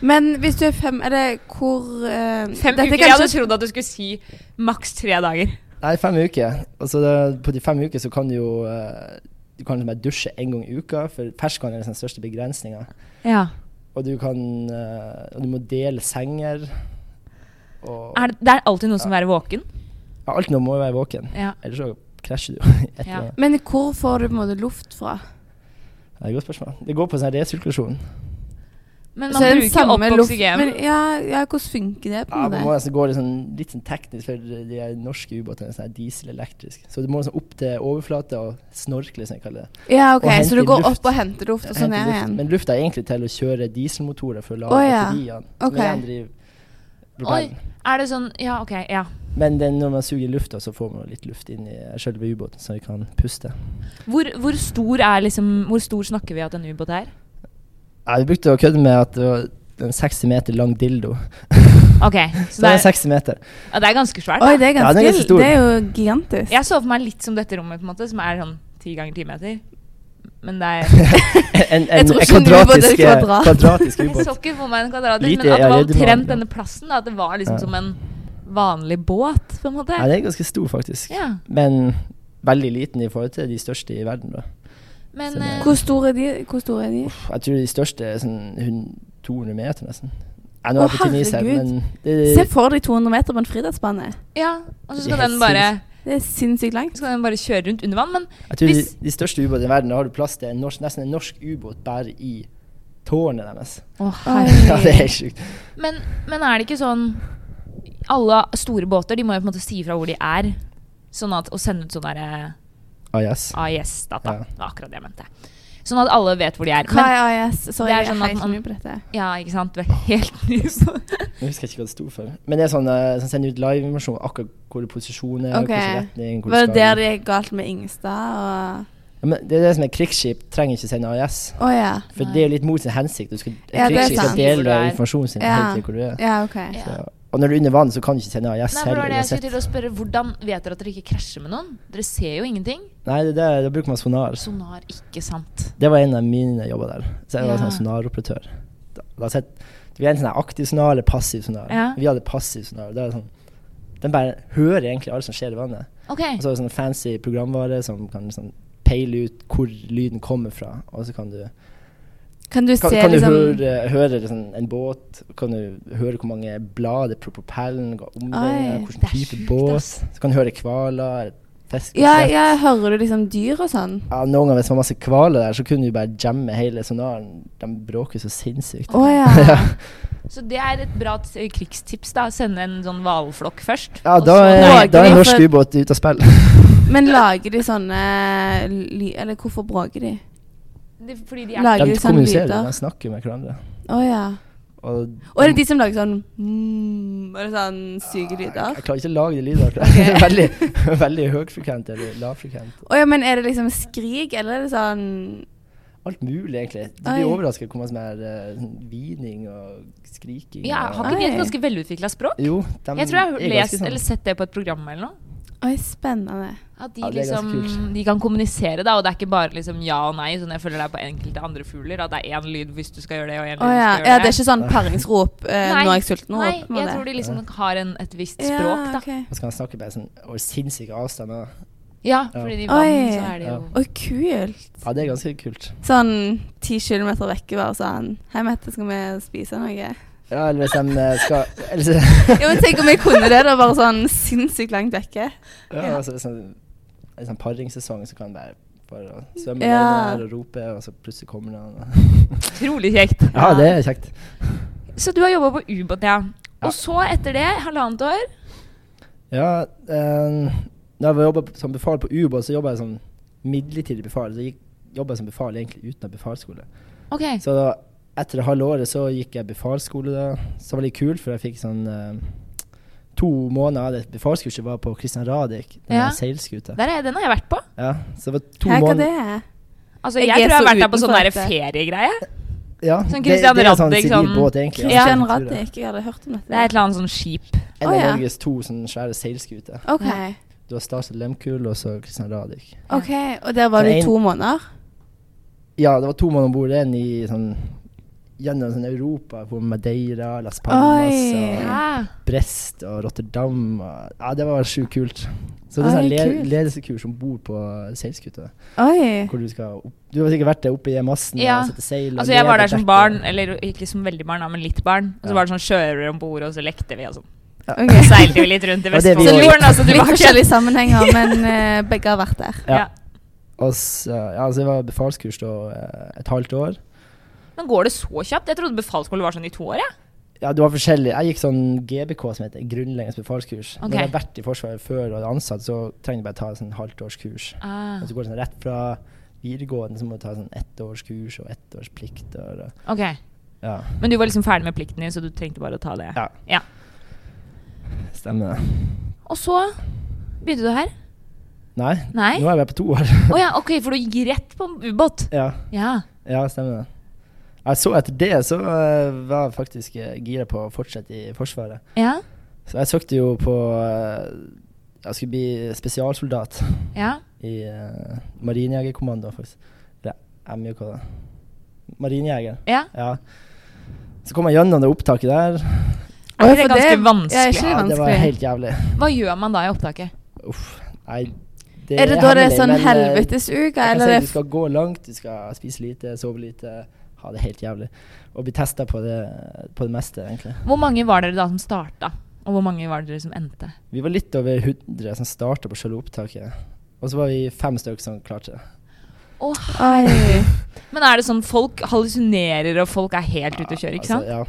[SPEAKER 2] Men hvis du er fem Er det hvor eh,
[SPEAKER 1] Fem
[SPEAKER 2] dette
[SPEAKER 1] uker.
[SPEAKER 2] er
[SPEAKER 1] Jeg
[SPEAKER 2] kanskje-
[SPEAKER 1] hadde trodd at du skulle si maks tre dager.
[SPEAKER 3] Nei, fem uker. Altså, det, på de fem uker så kan du jo eh, Du kan bare dusje én gang i uka, for perskan er liksom den største begrensninga.
[SPEAKER 1] Ja.
[SPEAKER 3] Og du kan eh, Og du må dele senger. Og
[SPEAKER 1] Er det, det er alltid noen som er våken.
[SPEAKER 3] ja, alt nå må jo være våken,
[SPEAKER 1] Ja.
[SPEAKER 3] ellers så krasjer du. Etter,
[SPEAKER 1] Ja.
[SPEAKER 3] ja.
[SPEAKER 2] Men hvor får du på en måte luft fra?
[SPEAKER 3] Det er et godt spørsmål. Det går på sånn resirkulasjon.
[SPEAKER 1] Men
[SPEAKER 2] Så
[SPEAKER 1] man
[SPEAKER 2] er den
[SPEAKER 1] bruker jo
[SPEAKER 2] samme
[SPEAKER 1] opp
[SPEAKER 2] luft-
[SPEAKER 1] oksygen.
[SPEAKER 2] Men, ja, ja, hvordan funker det? på
[SPEAKER 3] Ja,
[SPEAKER 2] en
[SPEAKER 3] man
[SPEAKER 2] måte?
[SPEAKER 3] må nesten gå litt sånn, litt sånn teknisk, for de er norske ubåtene er sånn her dieselelektrisk. Så du må liksom opp til overflata og snorkle, som jeg kaller det.
[SPEAKER 2] Ja,
[SPEAKER 3] Og
[SPEAKER 2] ok,
[SPEAKER 3] hente
[SPEAKER 2] så du går
[SPEAKER 3] luft.
[SPEAKER 2] opp og henter luft, og så
[SPEAKER 3] Hente
[SPEAKER 2] ned
[SPEAKER 3] luft.
[SPEAKER 2] igjen.
[SPEAKER 3] Men lufta er egentlig til å kjøre dieselmotorer for å lade
[SPEAKER 2] Å, ja.
[SPEAKER 3] turbinene.
[SPEAKER 2] Ok.
[SPEAKER 3] Som igjen driver
[SPEAKER 1] Oi,
[SPEAKER 3] propellen.
[SPEAKER 1] er det sånn Ja, OK. Ja.
[SPEAKER 3] Men den, når man suger lufta, så får man jo litt luft inn i selve ubåten, så vi kan puste.
[SPEAKER 1] Hvor, hvor stor er liksom Hvor stor snakker vi at en ubåt er?
[SPEAKER 3] Ja, vi brukte å kødde med at det var en 60 meter lang dildo.
[SPEAKER 1] OK, så det
[SPEAKER 3] Så det er
[SPEAKER 1] er,
[SPEAKER 3] 60 meter.
[SPEAKER 1] ja, det er ganske svært. Da.
[SPEAKER 2] Oi, det er
[SPEAKER 3] Ja, den
[SPEAKER 2] ganske,
[SPEAKER 3] er ganske stor.
[SPEAKER 2] Det er jo gigantisk.
[SPEAKER 1] Jeg så for meg litt som dette rommet, på en måte, som er sånn ti ganger ti meter. Men det er
[SPEAKER 3] En, en,
[SPEAKER 2] Jeg tror
[SPEAKER 3] en
[SPEAKER 2] ikke en ubåt er
[SPEAKER 3] kvadratisk, eh,
[SPEAKER 2] kvadrat.
[SPEAKER 3] kvadratisk
[SPEAKER 1] Jeg så
[SPEAKER 3] ubåt.
[SPEAKER 1] ikke for meg en kvadratmeter,
[SPEAKER 3] Lite
[SPEAKER 1] men at det var
[SPEAKER 3] allerede vanlig.
[SPEAKER 1] omtrent denne plassen. Da, at det var liksom
[SPEAKER 3] Ja.
[SPEAKER 1] som en vanlig båt, på en måte.
[SPEAKER 3] Ja, den er ganske stor, faktisk.
[SPEAKER 1] Ja,
[SPEAKER 3] Men veldig liten i forhold til de største i verden. Da.
[SPEAKER 1] men
[SPEAKER 3] Som er-
[SPEAKER 1] eh,
[SPEAKER 2] Hvor store er de? Hvor store er de?
[SPEAKER 3] Jeg tror de største er sånn hun- 200 meter, nesten. Ja, nå
[SPEAKER 2] Å,
[SPEAKER 3] er jeg på Tunis her,
[SPEAKER 2] herregud.
[SPEAKER 3] men
[SPEAKER 2] Se
[SPEAKER 3] det,
[SPEAKER 2] for deg 200 meter på en friidrettsbane.
[SPEAKER 1] Ja, og så
[SPEAKER 3] Det
[SPEAKER 1] skal
[SPEAKER 3] er
[SPEAKER 1] den
[SPEAKER 3] helt
[SPEAKER 1] bare
[SPEAKER 2] Det Det er sinnssykt langt.
[SPEAKER 1] Så kan den bare kjøre rundt under vann. Men
[SPEAKER 3] Jeg tror de,
[SPEAKER 1] Hvis-
[SPEAKER 3] de største ubåtene i verden da har du plass til en norsk, nesten en norsk ubåt bare i tårnet deres.
[SPEAKER 2] herregud.
[SPEAKER 3] ja, det er helt sjukt.
[SPEAKER 1] Men, men er det ikke sånn Alle store båter de må jo på en måte si fra hvor de er. Sånn at, Og sende ut sånn derre
[SPEAKER 3] Ah, yes.
[SPEAKER 1] AIS-data.
[SPEAKER 3] Ja.
[SPEAKER 1] Det var akkurat det jeg mente. Sånn at alle vet hvor de er.
[SPEAKER 2] Hva
[SPEAKER 1] Men,
[SPEAKER 2] er AIS? Sorry,
[SPEAKER 1] Det er
[SPEAKER 2] jeg
[SPEAKER 1] sånn
[SPEAKER 2] er
[SPEAKER 1] at
[SPEAKER 2] helt
[SPEAKER 1] man-
[SPEAKER 2] ny på dette.
[SPEAKER 1] ja, ikke sant? Du er helt ny på
[SPEAKER 3] Jeg husker ikke hva det sto for. Men det er sånn eh, som sender ut liveinformasjon akkurat hvor du posisjoner,
[SPEAKER 2] Ok.
[SPEAKER 3] hvilken retning, hvor du
[SPEAKER 2] Var det
[SPEAKER 3] skal.
[SPEAKER 2] der det gikk galt med Ingstad og
[SPEAKER 3] Ja, men det er det som er krigsskip, trenger ikke sende AIS.
[SPEAKER 2] Å ja.
[SPEAKER 3] For
[SPEAKER 1] Nei.
[SPEAKER 3] det er jo litt mot sin hensikt. Du skal, et
[SPEAKER 2] Ja, det er
[SPEAKER 3] krigsskip skal
[SPEAKER 2] sant.
[SPEAKER 1] Hvor
[SPEAKER 3] dele
[SPEAKER 1] du er.
[SPEAKER 3] informasjonen sin
[SPEAKER 2] Ja.
[SPEAKER 3] hele tiden hvor du er.
[SPEAKER 2] Ja, OK.
[SPEAKER 1] Ja.
[SPEAKER 3] Så, og når du er under vann, så kan du ikke sende AIS
[SPEAKER 1] Nei, for det
[SPEAKER 3] heller.
[SPEAKER 1] var det jeg skulle
[SPEAKER 3] uansett.
[SPEAKER 1] til å spørre Hvordan vet dere at dere ikke krasjer med noen? Dere ser jo ingenting.
[SPEAKER 3] Nei, det er der, da bruker man sonar.
[SPEAKER 1] Sonar, ikke sant.
[SPEAKER 3] Det var en av mine jobber der. Så jeg var
[SPEAKER 1] Ja.
[SPEAKER 3] sånn sonaroperatør. Da, da sett, vi hadde en sånn her aktiv sonar eller passiv sonar.
[SPEAKER 1] Ja.
[SPEAKER 3] Vi hadde passiv sonar. Det er sånn, den bare hører egentlig alt som skjer i vannet.
[SPEAKER 1] Ok.
[SPEAKER 3] Og så er det sånn fancy programvare som kan sånn peile ut hvor lyden kommer fra. Og så kan du,
[SPEAKER 2] Kan du
[SPEAKER 3] kan,
[SPEAKER 2] se
[SPEAKER 3] kan du
[SPEAKER 2] liksom
[SPEAKER 3] høre, høre liksom en båt, kan du høre hvor mange blad det er på propellen, hva omveier,
[SPEAKER 2] Oi,
[SPEAKER 1] det er
[SPEAKER 3] hvilken type
[SPEAKER 1] sjukt,
[SPEAKER 3] båt.
[SPEAKER 1] ass.
[SPEAKER 3] Så kan du høre hvaler, fisk
[SPEAKER 2] ja, ja, hører du liksom dyr og sånn?
[SPEAKER 3] Ja, noen ganger hvis det var masse kvaler der, så kunne du bare jamme hele sonaren. De bråker så sinnssykt.
[SPEAKER 2] Å ja.
[SPEAKER 3] Ja.
[SPEAKER 1] Så det er et bra t- eh, krigstips, da. Sende en sånn hvalflokk først.
[SPEAKER 3] Ja,
[SPEAKER 1] og
[SPEAKER 3] da
[SPEAKER 1] så-
[SPEAKER 3] er,
[SPEAKER 2] Bråker
[SPEAKER 3] da
[SPEAKER 2] de
[SPEAKER 3] er norsk
[SPEAKER 2] for-
[SPEAKER 3] ubåt ute av spill.
[SPEAKER 2] Men lager de sånne ly... Eller hvorfor bråker de?
[SPEAKER 1] det, Fordi de er
[SPEAKER 2] Lager
[SPEAKER 3] De
[SPEAKER 2] de sånne
[SPEAKER 3] kommuniserer,
[SPEAKER 2] lyder?
[SPEAKER 3] de snakker med hverandre.
[SPEAKER 2] Å ja.
[SPEAKER 3] Og,
[SPEAKER 2] Og er det de som lager sånn mm, Eller sånn syke lyder?
[SPEAKER 3] Jeg klarer ikke å lage de lydene. akkurat.
[SPEAKER 2] Ok.
[SPEAKER 3] Det er veldig, veldig høyfrekvent eller lavfrekvent.
[SPEAKER 2] Å ja, men er det liksom skrik, eller er det sånn
[SPEAKER 3] Alt mulig, egentlig. De
[SPEAKER 2] Oi.
[SPEAKER 3] blir overrasket hvor mye som er eh, sånn hvining og skriking.
[SPEAKER 1] Ja,
[SPEAKER 3] og-
[SPEAKER 1] Har ikke de et
[SPEAKER 2] Oi.
[SPEAKER 1] ganske velutvikla språk?
[SPEAKER 3] Jo, de
[SPEAKER 1] Jeg tror jeg
[SPEAKER 3] er
[SPEAKER 1] har
[SPEAKER 3] ganske
[SPEAKER 1] lest
[SPEAKER 3] sånn.
[SPEAKER 1] eller sett det på et program eller noe.
[SPEAKER 2] Oi, spennende.
[SPEAKER 1] At de,
[SPEAKER 3] Ja, det er ganske
[SPEAKER 1] liksom,
[SPEAKER 3] kult.
[SPEAKER 1] de kan kommunisere, da, og det er ikke bare liksom ja og nei, sånn jeg føler det er på enkelte andre fugler. At det er én lyd hvis du skal gjøre det, og én lyd hvis du
[SPEAKER 2] Å ja.
[SPEAKER 1] skal gjøre
[SPEAKER 2] ja. Det er ikke sånn paringsrop eh, 'Nå er jeg sulten'-rop?
[SPEAKER 1] Nei, jeg tror de liksom har en, et visst språk, da.
[SPEAKER 3] Og så kan de snakke bare sånn over sinnssyke avstander.
[SPEAKER 1] Ja, fordi de
[SPEAKER 2] Ja.
[SPEAKER 1] vann,
[SPEAKER 2] Oi.
[SPEAKER 1] så er det jo
[SPEAKER 2] Å, kult.
[SPEAKER 3] Ja, det er ganske kult.
[SPEAKER 2] Sånn ti kilometer vekke bare sånn Hei, Mette, skal vi spise noe?
[SPEAKER 3] Ja, eller hvis de eh, skal eller, så-
[SPEAKER 2] Ja, men Tenk om jeg kunne det, da. Bare sånn sinnssykt langt vekke.
[SPEAKER 3] Ja, altså, sånn, en sånn paringssesong så kan det være bare å svømme
[SPEAKER 2] Ja.
[SPEAKER 3] ned der og rope, og så plutselig kommer noen.
[SPEAKER 1] utrolig kjekt.
[SPEAKER 3] Ja, det er kjekt.
[SPEAKER 1] Så du har jobba på ubåt, ja.
[SPEAKER 3] Ja.
[SPEAKER 1] Og så etter det, halvannet år
[SPEAKER 3] Ja, eh, da jeg jobba som befal på ubåt, så jobba jeg som midlertidig befal. Så gikk- jobba jeg som befal egentlig uten befalsskole.
[SPEAKER 1] Ok.
[SPEAKER 3] Så da, etter det halve året så gikk jeg befalsskole da. Så det var litt kult, for jeg fikk sånn eh, To måneder av det befalskurset var på Christian Radich, den
[SPEAKER 1] Ja.
[SPEAKER 3] der seilskuta.
[SPEAKER 1] Der er, den har jeg vært på.
[SPEAKER 3] Ja, så det var to
[SPEAKER 2] Hei, hva
[SPEAKER 3] måneder
[SPEAKER 2] det er?
[SPEAKER 1] Altså, jeg, tror
[SPEAKER 2] Jeg er
[SPEAKER 1] jeg har
[SPEAKER 2] så
[SPEAKER 1] vært der på sånn
[SPEAKER 2] utenfor
[SPEAKER 1] der
[SPEAKER 2] dette.
[SPEAKER 1] feriegreie.
[SPEAKER 3] ja,
[SPEAKER 1] Sånn Christian
[SPEAKER 3] det, det er sånn
[SPEAKER 1] Radich,
[SPEAKER 3] sivil
[SPEAKER 1] sånn-
[SPEAKER 3] båt, egentlig. ja,
[SPEAKER 2] Christian
[SPEAKER 3] sånn kultur, ja.
[SPEAKER 2] Radich, jeg hadde hørt om dette.
[SPEAKER 1] Det er et eller annet sånn skip.
[SPEAKER 3] En av
[SPEAKER 2] Å, ja.
[SPEAKER 3] Norges to sånne svære seilskuter.
[SPEAKER 2] OK.
[SPEAKER 3] Du har Stars Lemkuhl og så Christian Radich.
[SPEAKER 2] ok, Og der var du i
[SPEAKER 3] Det er en-
[SPEAKER 2] to måneder?
[SPEAKER 3] Ja, det var to mann om bord. En i sånn gjennom sånn Europa, hvor Madeira, Las Palmas
[SPEAKER 2] Oi.
[SPEAKER 3] og
[SPEAKER 1] Ja.
[SPEAKER 3] Brest og Rotterdam. Og, ja, det var sjukt kult. Så det
[SPEAKER 2] Oi,
[SPEAKER 3] er sånn le
[SPEAKER 2] kult.
[SPEAKER 3] ledelsekurs om bord på seilskuta.
[SPEAKER 2] Oi.
[SPEAKER 3] Hvor du skal opp Du har sikkert vært der oppe i massen
[SPEAKER 1] Ja.
[SPEAKER 3] og sette seil. og
[SPEAKER 1] Altså, jeg var
[SPEAKER 3] lede
[SPEAKER 1] der som
[SPEAKER 3] dekket.
[SPEAKER 1] barn, eller ikke som veldig barn, da, men litt barn. Og så
[SPEAKER 3] Ja.
[SPEAKER 1] var det sånn sjørøvere om bord, og så lekte vi og sånn.
[SPEAKER 2] ok.
[SPEAKER 1] Så seilte vi litt rundt i
[SPEAKER 3] Og det vi
[SPEAKER 2] Så
[SPEAKER 1] Vestfoldfjorden,
[SPEAKER 2] litt,
[SPEAKER 1] altså
[SPEAKER 2] litt
[SPEAKER 1] tilbake.
[SPEAKER 2] forskjellige sammenhenger, men eh, begge har vært der.
[SPEAKER 1] Ja.
[SPEAKER 3] Og så, ja, så jeg var befalskurs da eh, et halvt år.
[SPEAKER 1] Men går det så kjapt? Jeg trodde befalsskole var sånn i to år, jeg.
[SPEAKER 3] Ja, du var forskjellig. Jeg gikk sånn GBK, som heter grunnleggende befalskurs.
[SPEAKER 1] Ok.
[SPEAKER 3] Når du har vært i Forsvaret før og er ansatt, så trenger du bare ta sånn halvtårskurs.
[SPEAKER 1] Ah.
[SPEAKER 3] Og så går det sånn rett fra videregående, så må du ta sånn ettårskurs og ettårsplikter. Og,
[SPEAKER 1] Ok.
[SPEAKER 3] ja,
[SPEAKER 1] Men du var liksom ferdig med plikten din, så du trengte bare å ta det.
[SPEAKER 3] Ja. stemmer det.
[SPEAKER 1] Og så begynte du her.
[SPEAKER 3] Nei,
[SPEAKER 1] Nei?
[SPEAKER 3] nå
[SPEAKER 1] Å
[SPEAKER 3] er jeg på to år.
[SPEAKER 1] ja, ok, for du gikk rett på ubåt.
[SPEAKER 3] ja,
[SPEAKER 1] Ja.
[SPEAKER 3] ja, stemmer det. Ja, så etter det så eh, var jeg faktisk uh, gira på å fortsette i Forsvaret.
[SPEAKER 1] Ja.
[SPEAKER 3] Så jeg søkte jo på eh, Jeg skulle bli spesialsoldat
[SPEAKER 1] Ja.
[SPEAKER 3] i uh, Marinejegerkommandoen, faktisk. Eller MJK, da. Marinejeger.
[SPEAKER 1] ja.
[SPEAKER 3] Ja. Så kom jeg gjennom det opptaket der.
[SPEAKER 1] Er
[SPEAKER 2] Oi,
[SPEAKER 1] ikke det
[SPEAKER 2] for det-
[SPEAKER 1] ganske
[SPEAKER 2] Ja,
[SPEAKER 1] vanskelig?
[SPEAKER 2] ikke det
[SPEAKER 3] Ja, det var
[SPEAKER 2] vanskelig?
[SPEAKER 3] helt jævlig.
[SPEAKER 1] Hva gjør man da i opptaket?
[SPEAKER 3] Uff, nei
[SPEAKER 2] Er det da det er
[SPEAKER 3] hemmelig,
[SPEAKER 2] sånn
[SPEAKER 3] men, eh,
[SPEAKER 2] helvetesuke,
[SPEAKER 3] jeg kan
[SPEAKER 2] eller
[SPEAKER 3] si
[SPEAKER 2] er
[SPEAKER 3] at Du
[SPEAKER 2] det
[SPEAKER 3] skal gå langt, du skal spise lite, sove lite, ha det helt jævlig. Og bli testa på, det- på det meste, egentlig.
[SPEAKER 1] Hvor mange var dere da som starta? Og hvor mange var dere som endte?
[SPEAKER 3] Vi var litt over 100 som starta på selve opptaket. Og så var vi fem stykker som klarte det.
[SPEAKER 1] Å,
[SPEAKER 2] Oi.
[SPEAKER 1] Men er det sånn folk hallusinerer, og folk er helt ute å kjøre, ikke sant?
[SPEAKER 3] Altså, ja.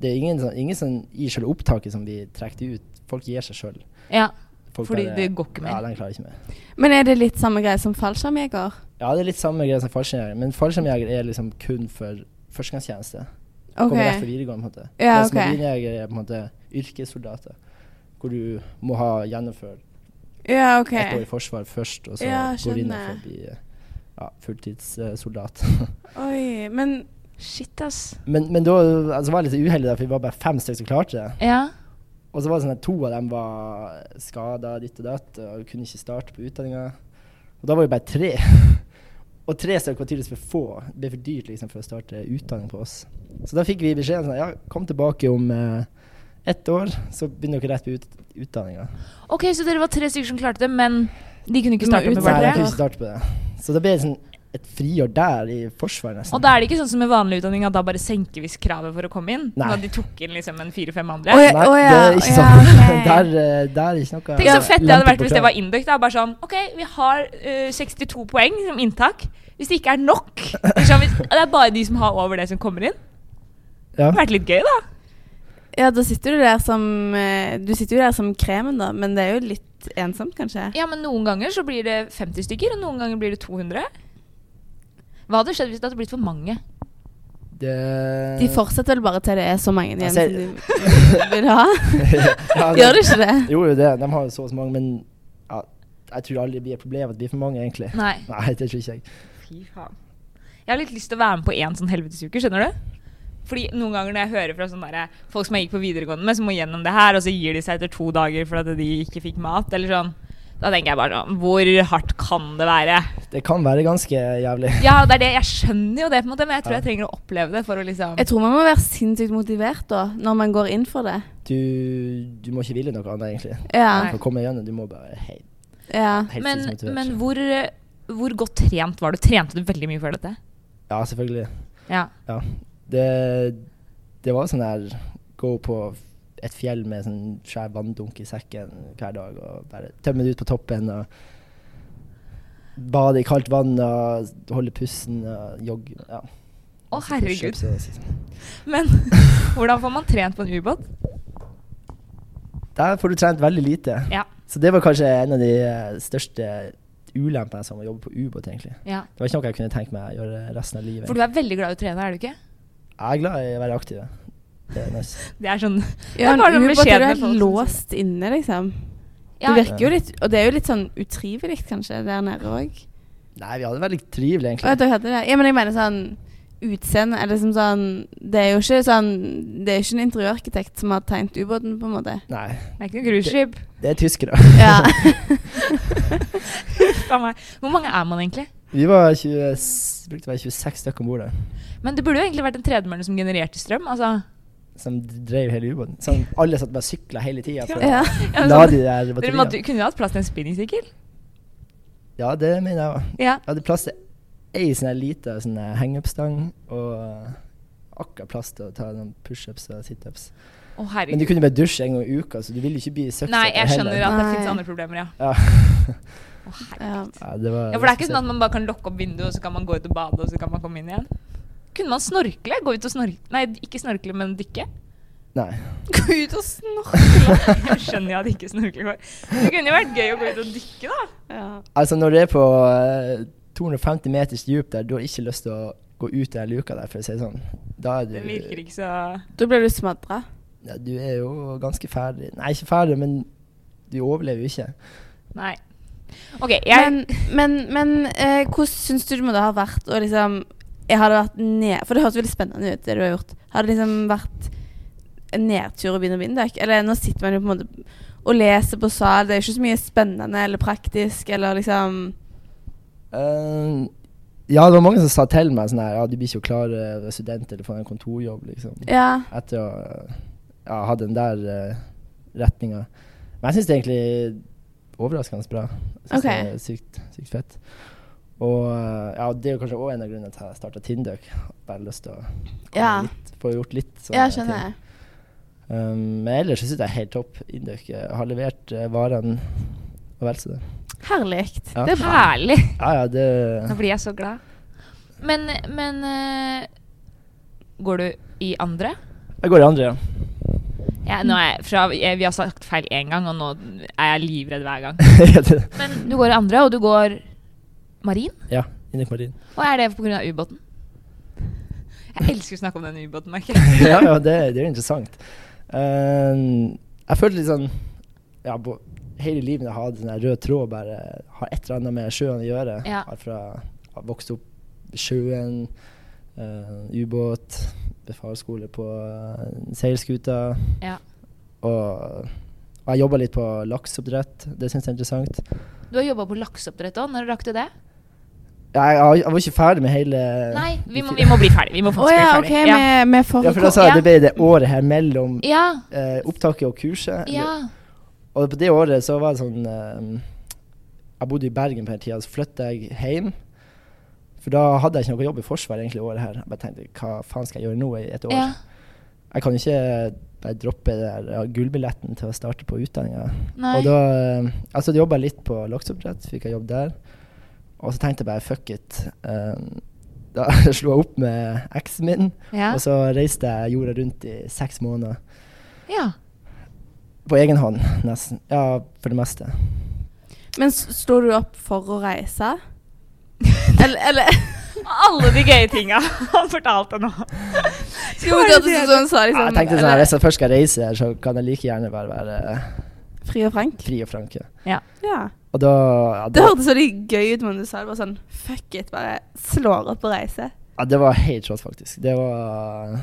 [SPEAKER 3] Det er ingen, sånn- ingen sånn i selve opptaket som blir trukket ut. Folk gir seg sjøl.
[SPEAKER 1] Ja. Fordi det går ikke mer.
[SPEAKER 3] Ja, den klarer ikke mer.
[SPEAKER 2] Men er det litt samme greie som fallskjermjeger?
[SPEAKER 3] Ja, det er litt samme greie som fallskjermjeger, men fallskjermjeger er liksom kun for førstegangstjeneste.
[SPEAKER 2] Ok.
[SPEAKER 3] Kommer rett fra videregående, på en måte.
[SPEAKER 2] Ja,
[SPEAKER 3] Mens
[SPEAKER 2] ok.
[SPEAKER 3] marinjeger er på en måte yrkessoldater, hvor du må ha gjennomført
[SPEAKER 2] Ja, ok.
[SPEAKER 3] ett år i forsvar først, og så
[SPEAKER 2] Ja,
[SPEAKER 3] går du inn
[SPEAKER 2] skjønner.
[SPEAKER 3] for å bli ja, fulltidssoldat.
[SPEAKER 2] Oi, men
[SPEAKER 1] Shit, ass.
[SPEAKER 3] men, men da altså, var jeg litt uheldig, da, for vi var bare fem stykker som klarte det.
[SPEAKER 1] Ja.
[SPEAKER 3] Og så var det sånn at to av dem var skada ditt og datt og kunne ikke starte på utdanninga. Og da var vi bare tre. Og tre stykker var tydeligvis for få. Det ble for dyrt liksom, for å starte utdanning på oss. Så da fikk vi beskjeden sånn ja, kom tilbake om eh, ett år, så begynner dere rett på ut utdanninga.
[SPEAKER 1] Ok, så dere var tre stykker som klarte det, men de kunne ikke
[SPEAKER 2] Du må
[SPEAKER 1] starte
[SPEAKER 2] ut-
[SPEAKER 1] med
[SPEAKER 3] Nei, jeg
[SPEAKER 1] hverandre?
[SPEAKER 3] kunne ikke starte på det. Så da ble det sånn et friår der i Forsvaret, nesten.
[SPEAKER 1] Og da er det ikke sånn som med vanlig utdanning, at da bare senker vi kravet for å komme inn?
[SPEAKER 3] Nei.
[SPEAKER 1] Da de tok inn liksom en fire-fem andre?
[SPEAKER 2] Oi,
[SPEAKER 3] Nei,
[SPEAKER 2] å
[SPEAKER 3] det
[SPEAKER 2] ja,
[SPEAKER 3] er ikke
[SPEAKER 2] å ja,
[SPEAKER 3] sånn.
[SPEAKER 2] ok.
[SPEAKER 3] der, eh, der er ikke noe
[SPEAKER 1] Tenk så fett det hadde
[SPEAKER 3] lempe
[SPEAKER 1] vært
[SPEAKER 3] på
[SPEAKER 1] hvis det
[SPEAKER 3] krav.
[SPEAKER 1] var Induc. da, Bare sånn OK, vi har eh, 62 poeng som inntak. Hvis det ikke er nok liksom, hvis, Det er bare de som har over det, som kommer inn. Det
[SPEAKER 3] Ja.
[SPEAKER 1] hadde vært litt gøy, da.
[SPEAKER 2] Ja, da sitter du der som eh, Du sitter jo der som kremen, da, men det er jo litt ensomt, kanskje.
[SPEAKER 1] Ja, men noen ganger så blir det 50 stykker, og noen ganger blir det 200. Hva hadde skjedd hvis det hadde blitt for mange?
[SPEAKER 3] Det-
[SPEAKER 2] De fortsetter vel bare til det er så mange igjen
[SPEAKER 3] Altså,
[SPEAKER 2] som de vil ha?
[SPEAKER 3] Ja,
[SPEAKER 2] Gjør du ikke det?
[SPEAKER 3] Jo, jo, det. De har jo så og så mange, men ja, jeg tror aldri det blir et problem at det blir for mange, egentlig.
[SPEAKER 1] Nei.
[SPEAKER 3] Nei, det tror ikke jeg.
[SPEAKER 1] Fy faen. Jeg har litt lyst til å være med på én sånn helvetesuke, skjønner du? Fordi noen ganger når jeg hører fra sånne der, folk som jeg gikk på videregående med, som må gjennom det her, og så gir de seg etter to dager for at de ikke fikk mat, eller sånn. Da tenker jeg bare sånn Hvor hardt kan det være?
[SPEAKER 3] Det kan være ganske jævlig.
[SPEAKER 1] Ja, det er det. Jeg skjønner jo det, på en måte, men jeg tror
[SPEAKER 3] Ja.
[SPEAKER 1] jeg trenger å oppleve det for å liksom
[SPEAKER 2] Jeg tror man må være sinnssykt motivert da, når man går inn for det.
[SPEAKER 3] Du, du må ikke ville noe annet, egentlig.
[SPEAKER 2] Ja.
[SPEAKER 1] Nei.
[SPEAKER 3] For å komme gjennom, du må bare være helt,
[SPEAKER 2] ja.
[SPEAKER 3] helt
[SPEAKER 1] Men,
[SPEAKER 3] sinnsmotivert.
[SPEAKER 1] men hvor, hvor godt trent var du? Trente du veldig mye før dette?
[SPEAKER 3] Ja, selvfølgelig.
[SPEAKER 1] Ja.
[SPEAKER 3] Ja. Det, det var sånn der gå på et fjell med sånn svær vanndunk i sekken hver dag og bare tømme det ut på toppen og bade i kaldt vann og holde pusten og jogge. Ja.
[SPEAKER 1] Å,
[SPEAKER 3] Masse
[SPEAKER 1] herregud.
[SPEAKER 3] pushups og sånn.
[SPEAKER 1] Men hvordan får man trent på en ubåt?
[SPEAKER 3] Der får du trent veldig lite.
[SPEAKER 1] Ja.
[SPEAKER 3] Så det var kanskje en av de eh, største ulempene som å jobbe på ubåt, egentlig.
[SPEAKER 1] ja.
[SPEAKER 3] Det var ikke noe jeg kunne tenkt meg å gjøre resten av livet.
[SPEAKER 1] For du er veldig glad i å trene, er du ikke?
[SPEAKER 3] Jeg er glad i å være aktiv. ja. Det er nice.
[SPEAKER 1] Det er sånn Det
[SPEAKER 2] ja
[SPEAKER 1] er bare
[SPEAKER 2] en
[SPEAKER 1] noen
[SPEAKER 2] ubåt er
[SPEAKER 1] beskjedne
[SPEAKER 2] du
[SPEAKER 1] folk som
[SPEAKER 2] helt låst inne, liksom.
[SPEAKER 1] ja,
[SPEAKER 2] Det virker jo litt, og det er jo litt sånn utrivelig, kanskje, der nede òg.
[SPEAKER 3] Nei, vi hadde det veldig trivelig,
[SPEAKER 2] Å, ja,
[SPEAKER 3] egentlig.
[SPEAKER 2] dere hadde det. Ja, men jeg mener sånn utseende er liksom sånn Det er jo ikke sånn Det er jo ikke en interiørarkitekt som har tegnet ubåten, på en måte.
[SPEAKER 3] Nei,
[SPEAKER 1] Det er ikke noe cruiseskip.
[SPEAKER 3] det er tyskere.
[SPEAKER 2] Ja.
[SPEAKER 1] Faen meg. Hvor mange er man egentlig?
[SPEAKER 3] Vi var 20, s- brukte å være 26 stykker om bord der,
[SPEAKER 1] Men det burde jo egentlig vært en tredemølle som genererte strøm. Altså,
[SPEAKER 3] som drev hele ubåten. Sånn, alle satt bare og sykla hele tida.
[SPEAKER 2] ja.
[SPEAKER 1] Ja, men
[SPEAKER 3] La
[SPEAKER 1] sånn-
[SPEAKER 3] de der
[SPEAKER 1] dere måtte,
[SPEAKER 3] batteriene.
[SPEAKER 1] kunne jo hatt plass til en spinningsykkel.
[SPEAKER 3] Ja, det mener jeg òg.
[SPEAKER 1] Ja.
[SPEAKER 3] Jeg hadde plass til ei sånn her lita sånn her hang-up-stang, og eh, akkurat plass til å ta noen pushups og situps.
[SPEAKER 1] Å,
[SPEAKER 3] Men du
[SPEAKER 1] herregud.
[SPEAKER 3] kunne bare dusje en gang i uka, så du ville ikke bli søppel.
[SPEAKER 1] Nei, jeg skjønner at det
[SPEAKER 2] Nei.
[SPEAKER 1] fins andre problemer, ja.
[SPEAKER 3] Ja.
[SPEAKER 1] Å, herregud.
[SPEAKER 2] ja.
[SPEAKER 3] ja, det var
[SPEAKER 1] ja. For det er ikke sånn at man bare kan lukke opp vinduet, og så kan man gå ut og bade, og så kan man komme inn igjen. Kunne man snorkle? Gå ut og snorkle Nei, ikke snorkle, men dykke.
[SPEAKER 3] Nei.
[SPEAKER 2] Gå ut og snorke.
[SPEAKER 1] Jeg skjønner jo at ikke snorkle går. Det kunne jo vært gøy å gå ut og dykke, da.
[SPEAKER 2] Ja.
[SPEAKER 3] Altså, når du er på eh, 250 meters dyp der, du har ikke lyst til å gå ut den luka der, for å si det sånn. Da er du
[SPEAKER 1] Det virker ikke så
[SPEAKER 2] Da blir du smadra.
[SPEAKER 3] Ja, du er jo ganske ferdig. Nei, ikke ferdig, men du overlever jo ikke.
[SPEAKER 1] Nei. OK, jeg
[SPEAKER 2] Men, men, men eh, hvordan syns du det må da ha vært å liksom jeg hadde vært ned, For det høres veldig spennende ut, det du har gjort. Har det liksom vært en nedtur å begynne å bindøk? Eller nå sitter man jo på en måte og leser på sal, det er jo ikke så mye spennende eller praktisk eller liksom
[SPEAKER 3] Eh, ja, det var mange som sa til meg sånn her Ja, du blir ikke å klare student eller få en kontorjobb, liksom.
[SPEAKER 2] Ja.
[SPEAKER 3] Etter å eh, ja, ha den der uh, retninga. Men jeg syns det er egentlig overraskende bra. Jeg synes
[SPEAKER 2] Ok.
[SPEAKER 3] Det er sykt, sykt fett. Og eh, ja, det er jo kanskje òg en av grunnene til at jeg starta Tindøk. Bare lyst til å komme
[SPEAKER 2] Ja.
[SPEAKER 3] litt, få gjort litt. sånne
[SPEAKER 2] Ja, skjønner jeg.
[SPEAKER 3] ting. Um, men ellers så syns jeg det er helt topp. Indøk eh, har levert eh, varene og vel så det.
[SPEAKER 2] Herlig.
[SPEAKER 3] Ja.
[SPEAKER 2] Det er bra.
[SPEAKER 1] Herlig!
[SPEAKER 3] Ja, ja, det
[SPEAKER 1] Nå blir jeg så glad. Men, men eh, Går du i andre?
[SPEAKER 3] Jeg går i andre, ja.
[SPEAKER 1] Ja, nå er jeg fra, jeg, vi har sagt feil én gang, og nå er jeg livredd hver gang.
[SPEAKER 3] Ja, det-
[SPEAKER 1] Men du går i andre, og du går marin?
[SPEAKER 3] ja. Indøk marin.
[SPEAKER 1] Og er det pga. ubåten? Jeg elsker å snakke om den ubåten, merker
[SPEAKER 3] ja, ja, det, det er jo interessant. Um, jeg følte litt sånn ja, bo, Hele livet jeg hadde den der rød tråd, bare har et eller annet med sjøen å gjøre.
[SPEAKER 1] Ja.
[SPEAKER 3] Har fra har vokst opp ved sjøen, eh, ubåt, befalsskole på eh, seilskuta.
[SPEAKER 1] Ja.
[SPEAKER 3] Og, og jeg jobba litt på lakseoppdrett. Det syns jeg er interessant.
[SPEAKER 1] Du har jobba på lakseoppdrett òg. Når rakk du det?
[SPEAKER 3] Jeg, jeg, jeg var ikke ferdig med hele
[SPEAKER 1] Nei, vi må, vi må bli ferdig. Vi må
[SPEAKER 2] Å
[SPEAKER 1] faktisk
[SPEAKER 2] ja,
[SPEAKER 1] bli
[SPEAKER 2] OK.
[SPEAKER 1] ferdig.
[SPEAKER 2] Vi vi får
[SPEAKER 3] Ja, for da sa
[SPEAKER 1] Ja.
[SPEAKER 3] jeg det ble det året her mellom
[SPEAKER 1] Ja.
[SPEAKER 3] eh, opptaket og kurset.
[SPEAKER 1] Ja.
[SPEAKER 3] Og på det året så var det sånn eh, Jeg bodde i Bergen på den tida, så flytta jeg hjem. For da hadde jeg ikke noe jobb i Forsvaret egentlig året her. Jeg bare tenkte hva faen skal jeg gjøre nå i et år?
[SPEAKER 1] ja.
[SPEAKER 3] Jeg kan jo ikke bare droppe det der, ja, gullbilletten til å starte på utdanninga.
[SPEAKER 1] Nei.
[SPEAKER 3] Og da eh, Altså, jobba litt på lakseoppdrett, fikk jeg jobb der. Og så tenkte jeg bare fuck it. Eh, da slo jeg opp med eksen min,
[SPEAKER 1] Ja.
[SPEAKER 3] og så reiste jeg jorda rundt i seks måneder.
[SPEAKER 1] ja.
[SPEAKER 3] På egen hånd, nesten. Ja, for det meste.
[SPEAKER 2] Men s- sto du opp for å reise? Eller, eller
[SPEAKER 1] Alle de gøye tinga han fortalte nå.
[SPEAKER 2] Jo, men det hørtes ut som han sa liksom
[SPEAKER 3] jeg tenkte sånn, her,
[SPEAKER 2] eller,
[SPEAKER 3] Hvis jeg først skal reise, her, så kan jeg like gjerne bare være eh,
[SPEAKER 2] Fri og frank.
[SPEAKER 3] fri og frank. ja.
[SPEAKER 2] Ja.
[SPEAKER 3] Og da, ja,
[SPEAKER 2] Det
[SPEAKER 3] da
[SPEAKER 2] hørtes veldig gøy ut, men du sa det bare sånn Fuck it, bare slår opp og reiser.
[SPEAKER 3] ja, Det var helt rått, faktisk. Det var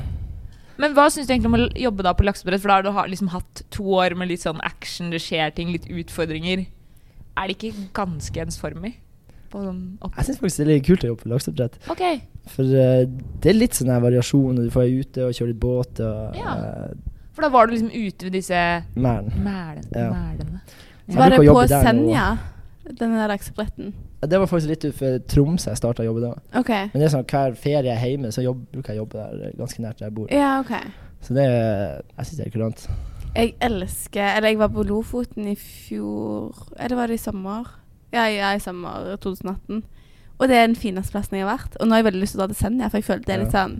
[SPEAKER 1] Men hva syns du egentlig om å jobbe da på lakseoppdrett? For da har du ha- liksom hatt to år med litt sånn action, det skjer ting, litt utfordringer. Er det ikke ganske ensformig? På sånn opp...
[SPEAKER 3] Jeg syns faktisk det er litt kult å jobbe på lakseoppdrett.
[SPEAKER 1] OK.
[SPEAKER 3] For eh, det er litt sånn her variasjon. og Du får være ute og kjøre litt båt og
[SPEAKER 1] Ja.
[SPEAKER 3] eh,
[SPEAKER 1] For da var du liksom ute ved disse
[SPEAKER 3] mæren.
[SPEAKER 1] mælen-
[SPEAKER 3] Ja.
[SPEAKER 1] mælene.
[SPEAKER 3] Så jeg
[SPEAKER 2] Var
[SPEAKER 3] bruker
[SPEAKER 2] det
[SPEAKER 3] å
[SPEAKER 2] på
[SPEAKER 3] jobbe der nå.
[SPEAKER 2] Senja, den der laksebretten?
[SPEAKER 3] Ja, Det var faktisk litt utenfor Tromsø jeg starta å jobbe da.
[SPEAKER 2] OK.
[SPEAKER 3] Men det er sånn, hver ferie jeg er hjemme, så jobb, bruker jeg å jobbe der eh, ganske nært der jeg bor.
[SPEAKER 2] Ja, OK.
[SPEAKER 3] Så det er- jeg syns det er kurant.
[SPEAKER 2] Jeg elsker Eller jeg var på Lofoten i fjor Eller var det i sommer? Ja, ja i sommer 2018. Og det er den fineste plassen jeg har vært. Og nå har jeg veldig lyst til å dra til Senja, for jeg føler det er litt
[SPEAKER 3] Ja.
[SPEAKER 2] sånn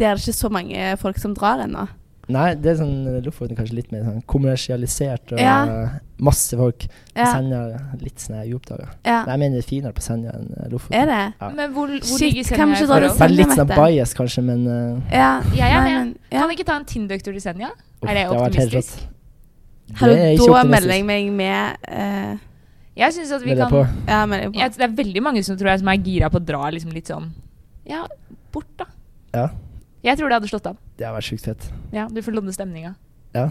[SPEAKER 2] Det er ikke så mange folk som drar ennå.
[SPEAKER 3] Nei, det er sånn eh, Lofoten er kanskje litt mer sånn kommersialisert og
[SPEAKER 2] Ja.
[SPEAKER 3] eh, masse folk.
[SPEAKER 2] Ja,
[SPEAKER 3] Senja litt sånn her uoppdaga.
[SPEAKER 2] ja.
[SPEAKER 3] Nei, Jeg mener det er finere på Senja enn eh, Lofoten.
[SPEAKER 2] Er det?
[SPEAKER 3] Ja.
[SPEAKER 1] Men hvor, hvor
[SPEAKER 2] Shit,
[SPEAKER 1] ligger
[SPEAKER 2] kan
[SPEAKER 1] Senja
[SPEAKER 2] vi ikke
[SPEAKER 1] i
[SPEAKER 2] dra
[SPEAKER 1] forhold?
[SPEAKER 2] til Senja,
[SPEAKER 3] Vær litt sånn
[SPEAKER 2] vet jeg.
[SPEAKER 3] bias, kanskje, men eh,
[SPEAKER 2] Ja.
[SPEAKER 1] Jeg er
[SPEAKER 2] Nei,
[SPEAKER 1] med.
[SPEAKER 2] men, ja.
[SPEAKER 1] Kan vi ikke ta en Tinder-tur til Senja?
[SPEAKER 3] uff,
[SPEAKER 1] Er det
[SPEAKER 3] har vært helt
[SPEAKER 1] optimistisk?
[SPEAKER 3] rått.
[SPEAKER 2] Hallo,
[SPEAKER 3] Det er ikke
[SPEAKER 2] da
[SPEAKER 3] optimistisk.
[SPEAKER 2] melder jeg meg med. eh,
[SPEAKER 1] Jeg synes at vi
[SPEAKER 3] Melder
[SPEAKER 1] kan
[SPEAKER 3] jeg på.
[SPEAKER 2] ja, melder jeg på.
[SPEAKER 1] jeg, Det er veldig mange som tror jeg som er gira på å dra liksom litt sånn Ja, bort, da.
[SPEAKER 3] Ja.
[SPEAKER 1] Jeg tror det hadde slått av.
[SPEAKER 3] Det har vært sjukt fett.
[SPEAKER 1] Ja, Du får lodde stemninga.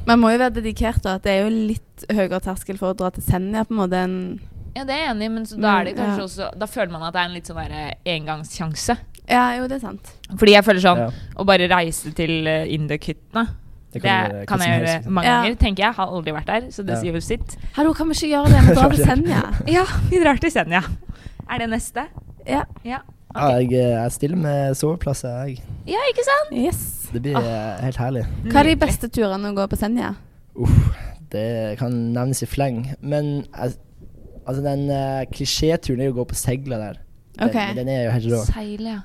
[SPEAKER 2] Man må jo være dedikert, da. Det er jo litt høyere terskel for å dra til Senja på en måte enn
[SPEAKER 1] Ja, det er jeg enig i, men så da er det
[SPEAKER 2] Mm,
[SPEAKER 1] kanskje
[SPEAKER 2] ja.
[SPEAKER 1] også Da føler man at det er en litt sånn derre engangssjanse.
[SPEAKER 2] Ja, jo, det er sant.
[SPEAKER 1] Fordi jeg føler sånn
[SPEAKER 3] Ja,
[SPEAKER 1] Å bare reise til eh, Indøk-hyttene, det kan,
[SPEAKER 3] være hva som
[SPEAKER 1] jeg
[SPEAKER 3] helst.
[SPEAKER 1] gjøre mange
[SPEAKER 2] Ja.
[SPEAKER 1] ganger, tenker jeg. Har aldri vært der, så det
[SPEAKER 3] Ja.
[SPEAKER 1] sier jo sitt.
[SPEAKER 2] Hallo, kan vi ikke gjøre det? Vi drar til
[SPEAKER 3] Ja.
[SPEAKER 2] Senja.
[SPEAKER 1] Ja, vi drar til Senja. Er det neste?
[SPEAKER 2] Ja.
[SPEAKER 1] Ja,
[SPEAKER 3] Ja, jeg, eh, jeg stiller med soveplasser, jeg.
[SPEAKER 1] ja ikke sant?
[SPEAKER 2] Yes.
[SPEAKER 3] Det blir eh, helt herlig.
[SPEAKER 2] Hva er de beste turene å gå på Senja?
[SPEAKER 3] Uff, det kan nevnes i fleng. Men eh, altså, den eh, klisjéturen er jo å gå på segla der. Den,
[SPEAKER 2] Ok.
[SPEAKER 3] den er jo helt rå.
[SPEAKER 1] Seile, ja.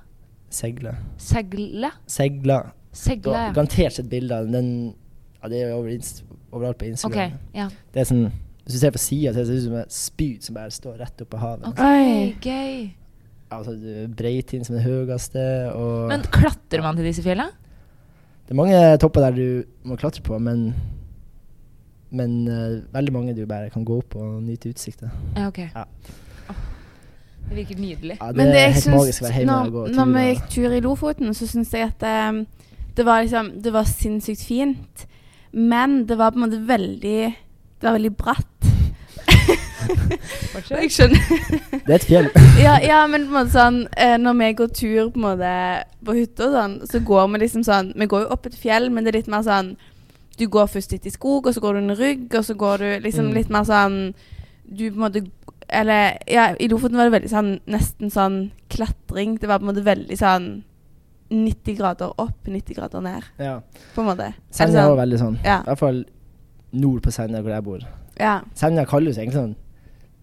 [SPEAKER 3] Segla.
[SPEAKER 1] Segle?
[SPEAKER 3] Segla. Du
[SPEAKER 1] Segle,
[SPEAKER 3] har
[SPEAKER 1] ja.
[SPEAKER 3] garantert sett bilder av den. den. Ja, det er jo over inst overalt på Instagram.
[SPEAKER 1] Ok, ja.
[SPEAKER 3] Det er sånn Hvis du ser på sida, ser det ut som et spyd som bare står rett oppe på havet.
[SPEAKER 1] Ok,
[SPEAKER 2] Oi.
[SPEAKER 1] gøy.
[SPEAKER 3] Altså, du- Breitind som er det høyeste, og
[SPEAKER 1] Men klatrer man til disse fjellene?
[SPEAKER 3] Det er mange topper der du må klatre på, men men eh, veldig mange du bare kan gå opp og nyte utsikten.
[SPEAKER 1] Ja, ok.
[SPEAKER 3] Ja.
[SPEAKER 1] Åh, Det virker nydelig.
[SPEAKER 3] Ja, det
[SPEAKER 2] Men det
[SPEAKER 3] er
[SPEAKER 2] jeg
[SPEAKER 3] helt
[SPEAKER 2] syns-
[SPEAKER 3] magisk å være hjemme
[SPEAKER 2] når,
[SPEAKER 3] og gå
[SPEAKER 2] Når vi
[SPEAKER 3] turer.
[SPEAKER 2] gikk tur i Lofoten, så syns jeg at eh, det var liksom Det var sinnssykt fint, men det var på en måte veldig Det var veldig bratt.
[SPEAKER 1] Fortsett.
[SPEAKER 2] Jeg skjønner.
[SPEAKER 3] Det er et fjell.
[SPEAKER 2] Ja, ja, men på en måte sånn eh, Når vi går tur på en måte på hytta og sånn, så går vi liksom sånn Vi går jo opp et fjell, men det er litt mer sånn Du går først litt i skog, og så går du en rygg, og så går du liksom
[SPEAKER 3] Mm.
[SPEAKER 2] litt mer sånn Du på en måte Eller ja, i Lofoten var det veldig sånn nesten sånn klatring. Det var på en måte veldig sånn 90 grader opp, 90 grader ned,
[SPEAKER 3] Ja.
[SPEAKER 2] på en måte. Er det
[SPEAKER 3] Senja er
[SPEAKER 2] sånn?
[SPEAKER 3] jo veldig sånn.
[SPEAKER 2] Ja.
[SPEAKER 3] I hvert fall nord på Senja, hvor jeg bor.
[SPEAKER 2] ja.
[SPEAKER 3] Senja kalles egentlig sånn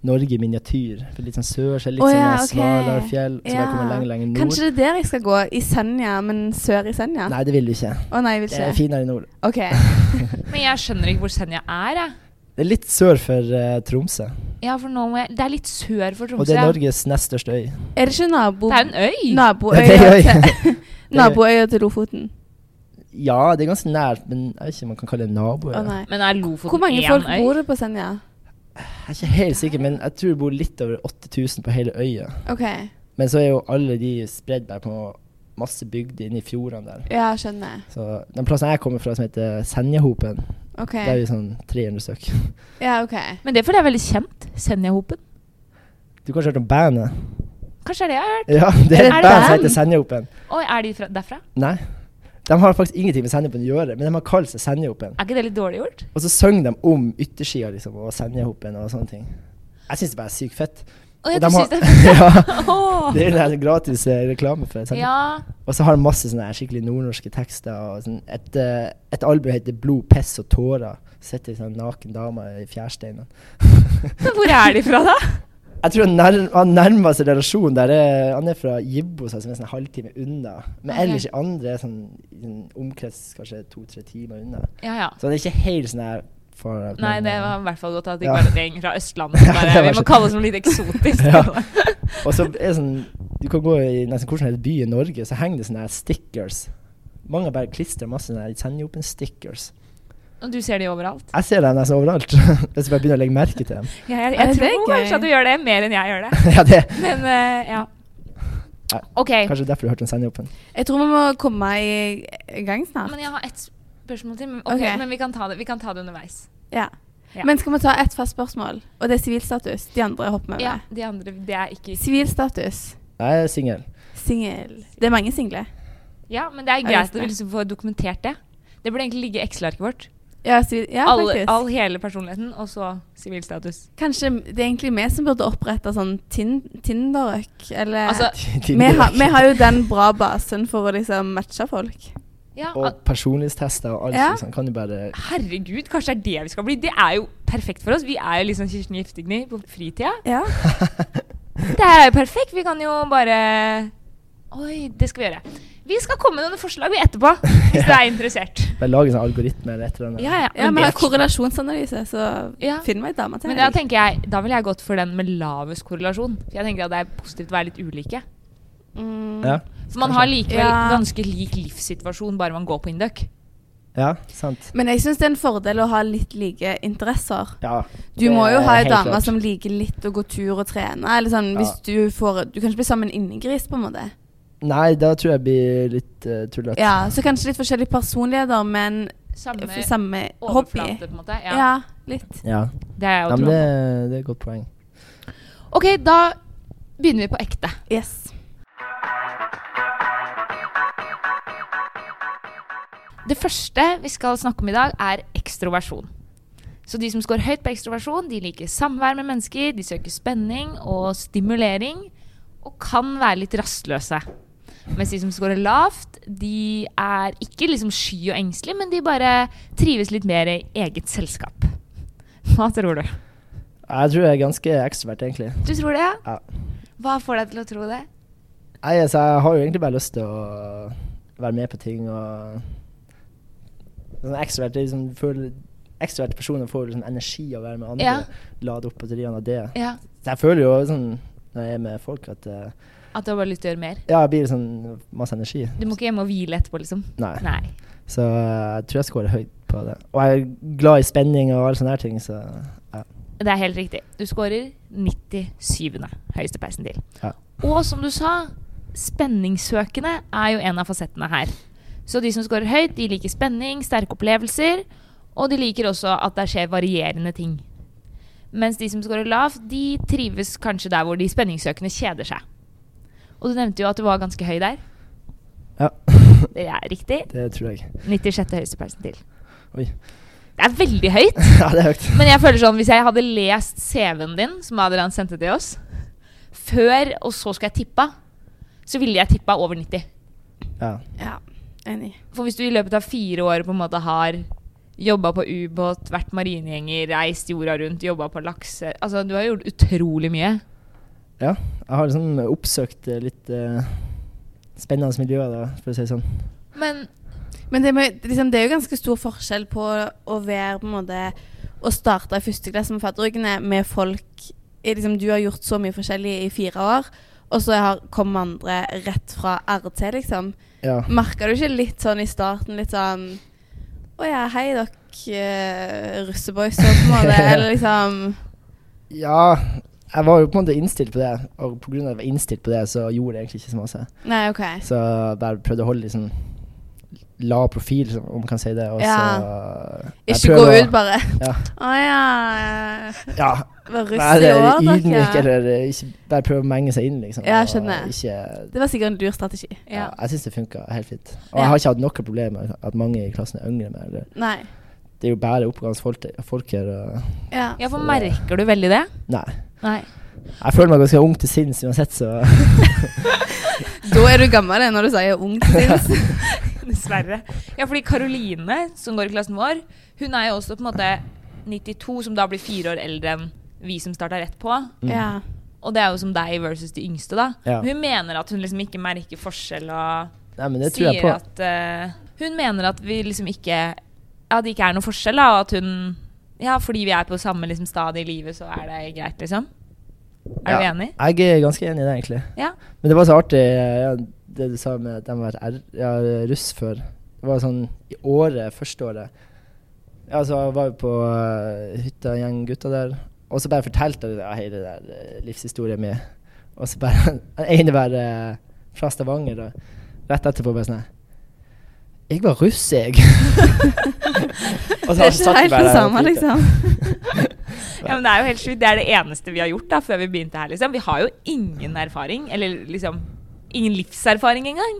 [SPEAKER 3] Norge i miniatyr. For litt sånn sør, så er det litt
[SPEAKER 2] Å
[SPEAKER 3] sånn
[SPEAKER 2] ja,
[SPEAKER 3] eh,
[SPEAKER 2] ok.
[SPEAKER 3] smalere fjell. Så
[SPEAKER 2] Ja.
[SPEAKER 3] jeg kommer lenger, lenger nord.
[SPEAKER 2] Kanskje det er der jeg skal gå? I Senja, men sør i Senja?
[SPEAKER 3] Nei, det vil du ikke.
[SPEAKER 2] Å nei, jeg vil
[SPEAKER 3] Det er
[SPEAKER 2] ikke.
[SPEAKER 3] finere i nord.
[SPEAKER 2] OK.
[SPEAKER 1] Men jeg skjønner ikke hvor Senja er, jeg.
[SPEAKER 3] Det er litt sør for eh, Tromsø.
[SPEAKER 1] Ja, for nå må jeg Det er litt sør for
[SPEAKER 3] Og
[SPEAKER 1] Tromsø.
[SPEAKER 3] det er
[SPEAKER 1] ja.
[SPEAKER 3] Norges nest største øy.
[SPEAKER 2] Er det ikke nabo...
[SPEAKER 1] Det er en øy!
[SPEAKER 2] naboøya til
[SPEAKER 3] Det er øy.
[SPEAKER 2] Naboøya til Lofoten?
[SPEAKER 3] Ja, det er ganske nært, men jeg vet ikke om man kan kalle det
[SPEAKER 2] Å
[SPEAKER 3] naboer.
[SPEAKER 2] nei.
[SPEAKER 1] Men er Lofoten
[SPEAKER 2] Hvor mange
[SPEAKER 1] én
[SPEAKER 2] folk
[SPEAKER 1] øy?
[SPEAKER 2] bor det på Senja?
[SPEAKER 3] Jeg er ikke helt sikker, men jeg tror det bor litt over 8000 på hele øya.
[SPEAKER 2] OK.
[SPEAKER 3] Men så er jo alle de spredd bare på masse bygder inne i fjordene der.
[SPEAKER 2] Ja, skjønner.
[SPEAKER 3] Så den plassen jeg kommer fra, som heter Senjahopen,
[SPEAKER 2] OK.
[SPEAKER 3] der er vi sånn 300 stykk.
[SPEAKER 2] Ja, OK.
[SPEAKER 1] Men det føler jeg er veldig kjent. Senjahopen.
[SPEAKER 3] Du har kanskje hørt om bandet?
[SPEAKER 1] Kanskje er det jeg har hørt.
[SPEAKER 3] Ja, det er
[SPEAKER 1] Er
[SPEAKER 3] et
[SPEAKER 1] det
[SPEAKER 3] band som
[SPEAKER 1] band?
[SPEAKER 3] heter Senjahopen.
[SPEAKER 1] Oi, er de fra, derfra?
[SPEAKER 3] Nei. De har faktisk ingenting med Senjahopen å gjøre, men de har kalt seg Senjahopen.
[SPEAKER 1] Er ikke det litt dårlig gjort?
[SPEAKER 3] Og så synger de om yttersida, liksom, og Senjahopen og sånne ting. Jeg syns det bare er sykt fett.
[SPEAKER 1] Å, ja,
[SPEAKER 3] Og
[SPEAKER 1] du
[SPEAKER 3] de
[SPEAKER 1] syns det
[SPEAKER 3] har- ja,
[SPEAKER 1] Åh.
[SPEAKER 3] det er jo den gratis eh, reklame for Senja.
[SPEAKER 1] Ja.
[SPEAKER 3] Og så har han masse sånne her skikkelig nordnorske tekster. Og sånn. et, eh, et album heter 'Blod, piss og tårer'. Sitter ei sånn naken dame i fjærsteinene.
[SPEAKER 1] Men hvor er de fra, da?
[SPEAKER 3] Jeg tror han, nær, han nærmer seg relasjonen der. Er, han er fra Gibbo, så som er sånn en halvtime unna. Men
[SPEAKER 1] Ok.
[SPEAKER 3] ellers i andre er sånn i en omkrets kanskje to-tre timer unna.
[SPEAKER 1] Ja, ja.
[SPEAKER 3] Så det er ikke helt sånn her far out,
[SPEAKER 1] Nei,
[SPEAKER 3] men,
[SPEAKER 1] det
[SPEAKER 3] eh,
[SPEAKER 1] var i hvert fall godt at det
[SPEAKER 3] Ja.
[SPEAKER 1] ikke var en gjeng fra Østlandet. som
[SPEAKER 3] Ja,
[SPEAKER 1] Bare,
[SPEAKER 3] det var
[SPEAKER 1] vi må
[SPEAKER 3] så-
[SPEAKER 1] kalle oss noe litt eksotisk.
[SPEAKER 3] Ja. Og så er det sånn Du kan gå i nesten hvor som helst by i Norge, så henger det sånne her stickers. Mange bare klistrer masse sånne her Senjopen-stickers.
[SPEAKER 1] Og du ser de overalt.
[SPEAKER 3] Jeg ser dem nesten overalt, hvis jeg bare begynner å legge merke til dem.
[SPEAKER 1] Ja, jeg
[SPEAKER 2] Ja,
[SPEAKER 1] jeg
[SPEAKER 2] det er
[SPEAKER 1] tror
[SPEAKER 2] gøy.
[SPEAKER 1] kanskje at du gjør det mer enn jeg gjør det.
[SPEAKER 3] ja, det er
[SPEAKER 1] Men eh, ja.
[SPEAKER 3] Ja,
[SPEAKER 1] OK.
[SPEAKER 3] kanskje derfor du hørte om Senjopen.
[SPEAKER 2] Jeg tror vi må komme i i gang snart.
[SPEAKER 1] Men jeg har ett spørsmål til. Men,
[SPEAKER 2] Ok.
[SPEAKER 1] ok, men vi, kan ta det, vi kan ta det underveis.
[SPEAKER 2] Ja.
[SPEAKER 1] Ja.
[SPEAKER 2] Men skal vi ta ett fast spørsmål? Og det er sivilstatus. De andre hopper vi over.
[SPEAKER 1] Ja, de andre Det er ikke
[SPEAKER 2] Sivilstatus.
[SPEAKER 3] Jeg er singel.
[SPEAKER 2] Singel. Det er mange single.
[SPEAKER 1] Ja, men det er
[SPEAKER 2] Jeg
[SPEAKER 1] greit
[SPEAKER 2] visste
[SPEAKER 1] at vi
[SPEAKER 2] det.
[SPEAKER 1] liksom får dokumentert det. Det burde egentlig ligge i Excel-arket vårt.
[SPEAKER 2] Ja, sivil, ja
[SPEAKER 1] all,
[SPEAKER 2] faktisk.
[SPEAKER 1] all hele personligheten, og så sivilstatus.
[SPEAKER 2] Kanskje det er egentlig vi som burde opprette sånn tin Tinder-øk, eller
[SPEAKER 1] Altså,
[SPEAKER 2] vi, har- vi har jo den bra basen for å liksom matche folk.
[SPEAKER 1] ja,
[SPEAKER 3] Og
[SPEAKER 1] al-
[SPEAKER 3] personlighetstester og alt
[SPEAKER 2] Ja.
[SPEAKER 3] sånt. Kan du bare
[SPEAKER 1] herregud, kanskje det er det vi skal bli. Det er jo perfekt for oss. Vi er jo liksom Kirsten Giftigny på fritida.
[SPEAKER 2] Ja.
[SPEAKER 1] Det er jo perfekt. Vi kan jo bare Oi, det skal vi gjøre. Vi skal komme med noen forslag vi etterpå, hvis du er interessert.
[SPEAKER 3] bare lage sånn algoritme eller et eller annet?
[SPEAKER 1] Ja, ja.
[SPEAKER 2] ja
[SPEAKER 1] Men
[SPEAKER 2] vi har
[SPEAKER 1] det,
[SPEAKER 2] korrelasjonsanalyse, så
[SPEAKER 1] Ja.
[SPEAKER 2] finn meg ei dame til.
[SPEAKER 1] men da tenker jeg, da ville jeg gått for den med lavest korrelasjon. For jeg tenker at det er positivt å være litt ulike.
[SPEAKER 2] Mm.
[SPEAKER 3] Ja.
[SPEAKER 1] For man har
[SPEAKER 3] Kanskje.
[SPEAKER 1] likevel
[SPEAKER 2] Ja.
[SPEAKER 1] ganske lik livssituasjon bare man går på Induc.
[SPEAKER 3] Ja, sant.
[SPEAKER 2] Men jeg syns det er en fordel å ha litt like interesser.
[SPEAKER 3] Ja,
[SPEAKER 2] Du
[SPEAKER 3] det
[SPEAKER 2] må jo
[SPEAKER 3] er
[SPEAKER 2] ha ei
[SPEAKER 3] helt
[SPEAKER 2] dame
[SPEAKER 3] klart.
[SPEAKER 2] som liker litt å gå tur og trene. Eller sånn, hvis du får Du kan ikke bli sammen med en innegris, på en måte.
[SPEAKER 3] Nei, da tror jeg blir litt uh, tullete.
[SPEAKER 2] Ja, så kanskje litt forskjellige personligheter, men
[SPEAKER 1] Samme
[SPEAKER 2] f- samme hobby.
[SPEAKER 1] overflate, på en måte.
[SPEAKER 2] Ja.
[SPEAKER 1] Ja,
[SPEAKER 2] litt.
[SPEAKER 3] Ja.
[SPEAKER 1] Det er jeg jo
[SPEAKER 3] Nei, men
[SPEAKER 1] tro.
[SPEAKER 3] det, det er et godt poeng.
[SPEAKER 1] Ok, da begynner vi på ekte.
[SPEAKER 2] Yes.
[SPEAKER 1] Det første vi skal snakke om i dag, er ekstroversjon. Så de som scorer høyt på ekstroversjon, de liker samvær med mennesker, de søker spenning og stimulering, og kan være litt rastløse. Mens de som scorer lavt, de er ikke liksom sky og engstelige, men de bare trives litt mer i eget selskap. Hva tror du?
[SPEAKER 3] Jeg tror jeg er ganske ekstrovert, egentlig.
[SPEAKER 1] Du tror det, ja?
[SPEAKER 3] Ja.
[SPEAKER 1] Hva får deg til å tro det?
[SPEAKER 3] Nei, altså, jeg har jo egentlig bare lyst til å være med på ting og sånn ekstrovert, det er liksom, føler- Ekstroverte personer får liksom energi av å være med andre.
[SPEAKER 1] Ja.
[SPEAKER 3] Lade opp batteriene av det.
[SPEAKER 1] Ja,
[SPEAKER 3] Så jeg føler jo sånn når jeg er med folk, at eh,
[SPEAKER 1] At du har bare lyst til å gjøre mer?
[SPEAKER 3] ja, jeg blir sånn masse energi.
[SPEAKER 1] Du må ikke hjem og hvile etterpå, liksom?
[SPEAKER 3] Nei.
[SPEAKER 1] Nei.
[SPEAKER 3] Så eh, jeg tror jeg scorer høyt på det. Og jeg er glad i spenning og alle sånne her ting, så ja.
[SPEAKER 1] Det er helt riktig. Du scorer 97. høyeste persentil.
[SPEAKER 3] Ja.
[SPEAKER 1] Og som du sa, spenningssøkende er jo en av fasettene her. Så de som scorer høyt, de liker spenning, sterke opplevelser, og de liker også at det skjer varierende ting. Mens de som scorer lavt, de trives kanskje der hvor de spenningssøkende kjeder seg. Og du nevnte jo at du var ganske høy der.
[SPEAKER 3] ja.
[SPEAKER 1] Det er riktig.
[SPEAKER 3] Det tror jeg.
[SPEAKER 1] 96. høyeste persentil.
[SPEAKER 3] Oi.
[SPEAKER 1] Det er veldig høyt.
[SPEAKER 3] ja, det er høyt.
[SPEAKER 1] Men jeg føler sånn, hvis jeg hadde lest CV-en din, som Adrian sendte til oss, før, og så skulle jeg tippa, så ville jeg tippa over 90.
[SPEAKER 3] Ja.
[SPEAKER 2] Ja, enig.
[SPEAKER 1] For hvis du i løpet av fire år på en måte har jobba på ubåt, vært marinegjenger, reist jorda rundt, jobba på lakse Altså, du har gjort utrolig mye.
[SPEAKER 3] ja. Jeg har liksom oppsøkt eh, litt eh, spennende miljøer, da, for å si det sånn.
[SPEAKER 1] Men
[SPEAKER 2] Men det, med, liksom, det er jo ganske stor forskjell på å være på en måte Å starte i første klasse med fadderukene med folk i liksom, Du har gjort så mye forskjellig i fire år, og så har- kommer andre rett fra RT, liksom.
[SPEAKER 3] Ja.
[SPEAKER 2] Merka du ikke litt sånn i starten, litt sånn Å ja, hei dere eh, russeboys, så på en måte. Eller liksom
[SPEAKER 3] ja. Jeg var jo på en måte innstilt på det, og pga. at jeg var innstilt på det, så gjorde jeg egentlig ikke så masse.
[SPEAKER 2] Nei, OK.
[SPEAKER 3] Så jeg bare prøvde å holde liksom La profil, som- om man kan si det, og
[SPEAKER 2] Ja.
[SPEAKER 3] så jeg
[SPEAKER 2] Ikke gå
[SPEAKER 3] prøver å-
[SPEAKER 2] ut, bare.
[SPEAKER 3] Ja.
[SPEAKER 2] Å ja.
[SPEAKER 3] Ja,
[SPEAKER 2] Var russ i
[SPEAKER 3] være
[SPEAKER 2] år,
[SPEAKER 3] ydmyk
[SPEAKER 2] dere.
[SPEAKER 3] eller eh, ikke bare prøve å menge seg inn, liksom.
[SPEAKER 2] Ja,
[SPEAKER 3] og
[SPEAKER 2] skjønner.
[SPEAKER 3] Ikke
[SPEAKER 2] Det var sikkert en lur strategi.
[SPEAKER 1] ja.
[SPEAKER 3] Ja, jeg syns det funka helt fint. Og
[SPEAKER 2] Ja.
[SPEAKER 3] jeg har ikke hatt noe problem med at mange i klassen er yngre. Med, det.
[SPEAKER 2] Nei.
[SPEAKER 3] det er jo bare oppegående folk, folk her. Og
[SPEAKER 2] Ja.
[SPEAKER 1] ja, for merker du veldig det?
[SPEAKER 3] nei.
[SPEAKER 1] Nei.
[SPEAKER 3] Jeg føler meg ganske ung til sinns uansett, så
[SPEAKER 2] Da er du gammel det, når du sier ung sinns.
[SPEAKER 1] Dessverre. Ja, fordi Karoline, som går i klassen vår, hun er jo også på en måte 92, som da blir fire år eldre enn vi som starta rett på.
[SPEAKER 3] Mm.
[SPEAKER 2] Ja.
[SPEAKER 1] Og det er jo som deg versus de yngste, da.
[SPEAKER 3] Ja.
[SPEAKER 1] Hun mener at hun liksom ikke merker forskjell og
[SPEAKER 3] Nei, men det tror
[SPEAKER 1] sier
[SPEAKER 3] jeg på.
[SPEAKER 1] at eh, Hun mener at vi liksom ikke Ja, det ikke er noen forskjell, da, og at hun Ja, fordi vi er på samme liksom, stadie i livet, så er det greit, liksom. Er du
[SPEAKER 3] Ja.
[SPEAKER 1] enig?
[SPEAKER 3] Jeg er ganske enig i det, egentlig.
[SPEAKER 1] Ja.
[SPEAKER 3] Men det var så artig ja, det du sa med at de har vært R, ja, russ før. Det var sånn i året, første året Ja, så var vi på eh, hytta, en gjeng gutter der. Og så bare fortalte jeg ja, hele det der eh, livshistorien min. Og så bare Den ene bare eh, fra Stavanger, og rett etterpå bare sånn her, Jeg var russ, jeg. Og så
[SPEAKER 2] Det er
[SPEAKER 3] satt
[SPEAKER 2] ikke
[SPEAKER 3] vi
[SPEAKER 2] helt
[SPEAKER 3] bare
[SPEAKER 2] det
[SPEAKER 3] der og
[SPEAKER 2] samme,
[SPEAKER 3] tenkte,
[SPEAKER 2] liksom.
[SPEAKER 1] Ja, men Det er jo helt sjukt. Det er det eneste vi har gjort da, før vi begynte her. liksom. Vi har jo ingen erfaring, eller liksom ingen livserfaring engang.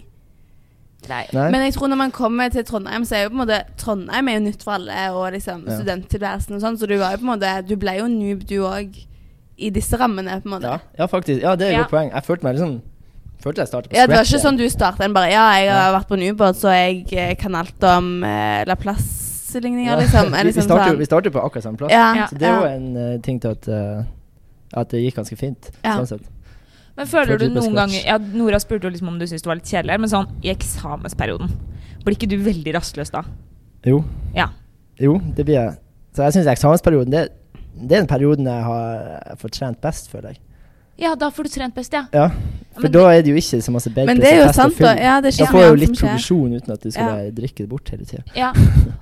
[SPEAKER 1] Nei.
[SPEAKER 3] Nei?
[SPEAKER 2] Men jeg tror når man kommer til Trondheim, så er jo på en måte Trondheim er jo nytt for alle, og liksom
[SPEAKER 3] Ja.
[SPEAKER 2] studenttilværelsen og sånn, så du var jo på en måte Du ble jo noob, du òg, i disse rammene, på en måte.
[SPEAKER 3] ja, ja, faktisk. Ja, det er et
[SPEAKER 1] Ja.
[SPEAKER 3] godt poeng. Jeg følte meg liksom Følte jeg startet på
[SPEAKER 2] Ja, det var ikke
[SPEAKER 3] scratch
[SPEAKER 2] sånn
[SPEAKER 3] igjen.
[SPEAKER 2] du starta en bare Ja, jeg har
[SPEAKER 3] Ja.
[SPEAKER 2] vært på en ubåt, så jeg eh, kan alt om eh, Laplace-ligninger,
[SPEAKER 3] Ja.
[SPEAKER 2] liksom.
[SPEAKER 3] Vi-
[SPEAKER 2] Er liksom
[SPEAKER 3] vi, starter, jo-
[SPEAKER 2] sånn.
[SPEAKER 3] vi starter på akkurat samme plass.
[SPEAKER 2] Ja,
[SPEAKER 1] Ja.
[SPEAKER 3] Så det er jo
[SPEAKER 2] ja.
[SPEAKER 3] en eh, ting til at, eh, at det gikk ganske fint.
[SPEAKER 2] Ja.
[SPEAKER 3] Sånn sett.
[SPEAKER 1] Men føler du
[SPEAKER 3] Før du ble
[SPEAKER 1] noen ganger
[SPEAKER 3] scratch.
[SPEAKER 1] ja, Nora spurte jo liksom om du syntes det var litt kjedelig, her, men sånn i eksamensperioden, blir ikke du veldig rastløs da?
[SPEAKER 3] Jo.
[SPEAKER 1] Ja.
[SPEAKER 3] Jo, det blir jeg. Så jeg syns eksamensperioden det, det er den perioden jeg har eh, fått trent best, føler jeg.
[SPEAKER 1] Ja, da får du trent best, ja.
[SPEAKER 3] Ja, For
[SPEAKER 1] men
[SPEAKER 3] da er det jo ikke så masse bedre
[SPEAKER 2] Men det er jo sant, da. Ja, det
[SPEAKER 3] Da
[SPEAKER 2] skjer
[SPEAKER 3] får
[SPEAKER 2] mye
[SPEAKER 3] jeg jo
[SPEAKER 2] annet
[SPEAKER 3] litt
[SPEAKER 2] som skjer.
[SPEAKER 3] progresjon uten at du skal
[SPEAKER 2] Ja.
[SPEAKER 3] bare drikke det bort hele tida.
[SPEAKER 1] Ja.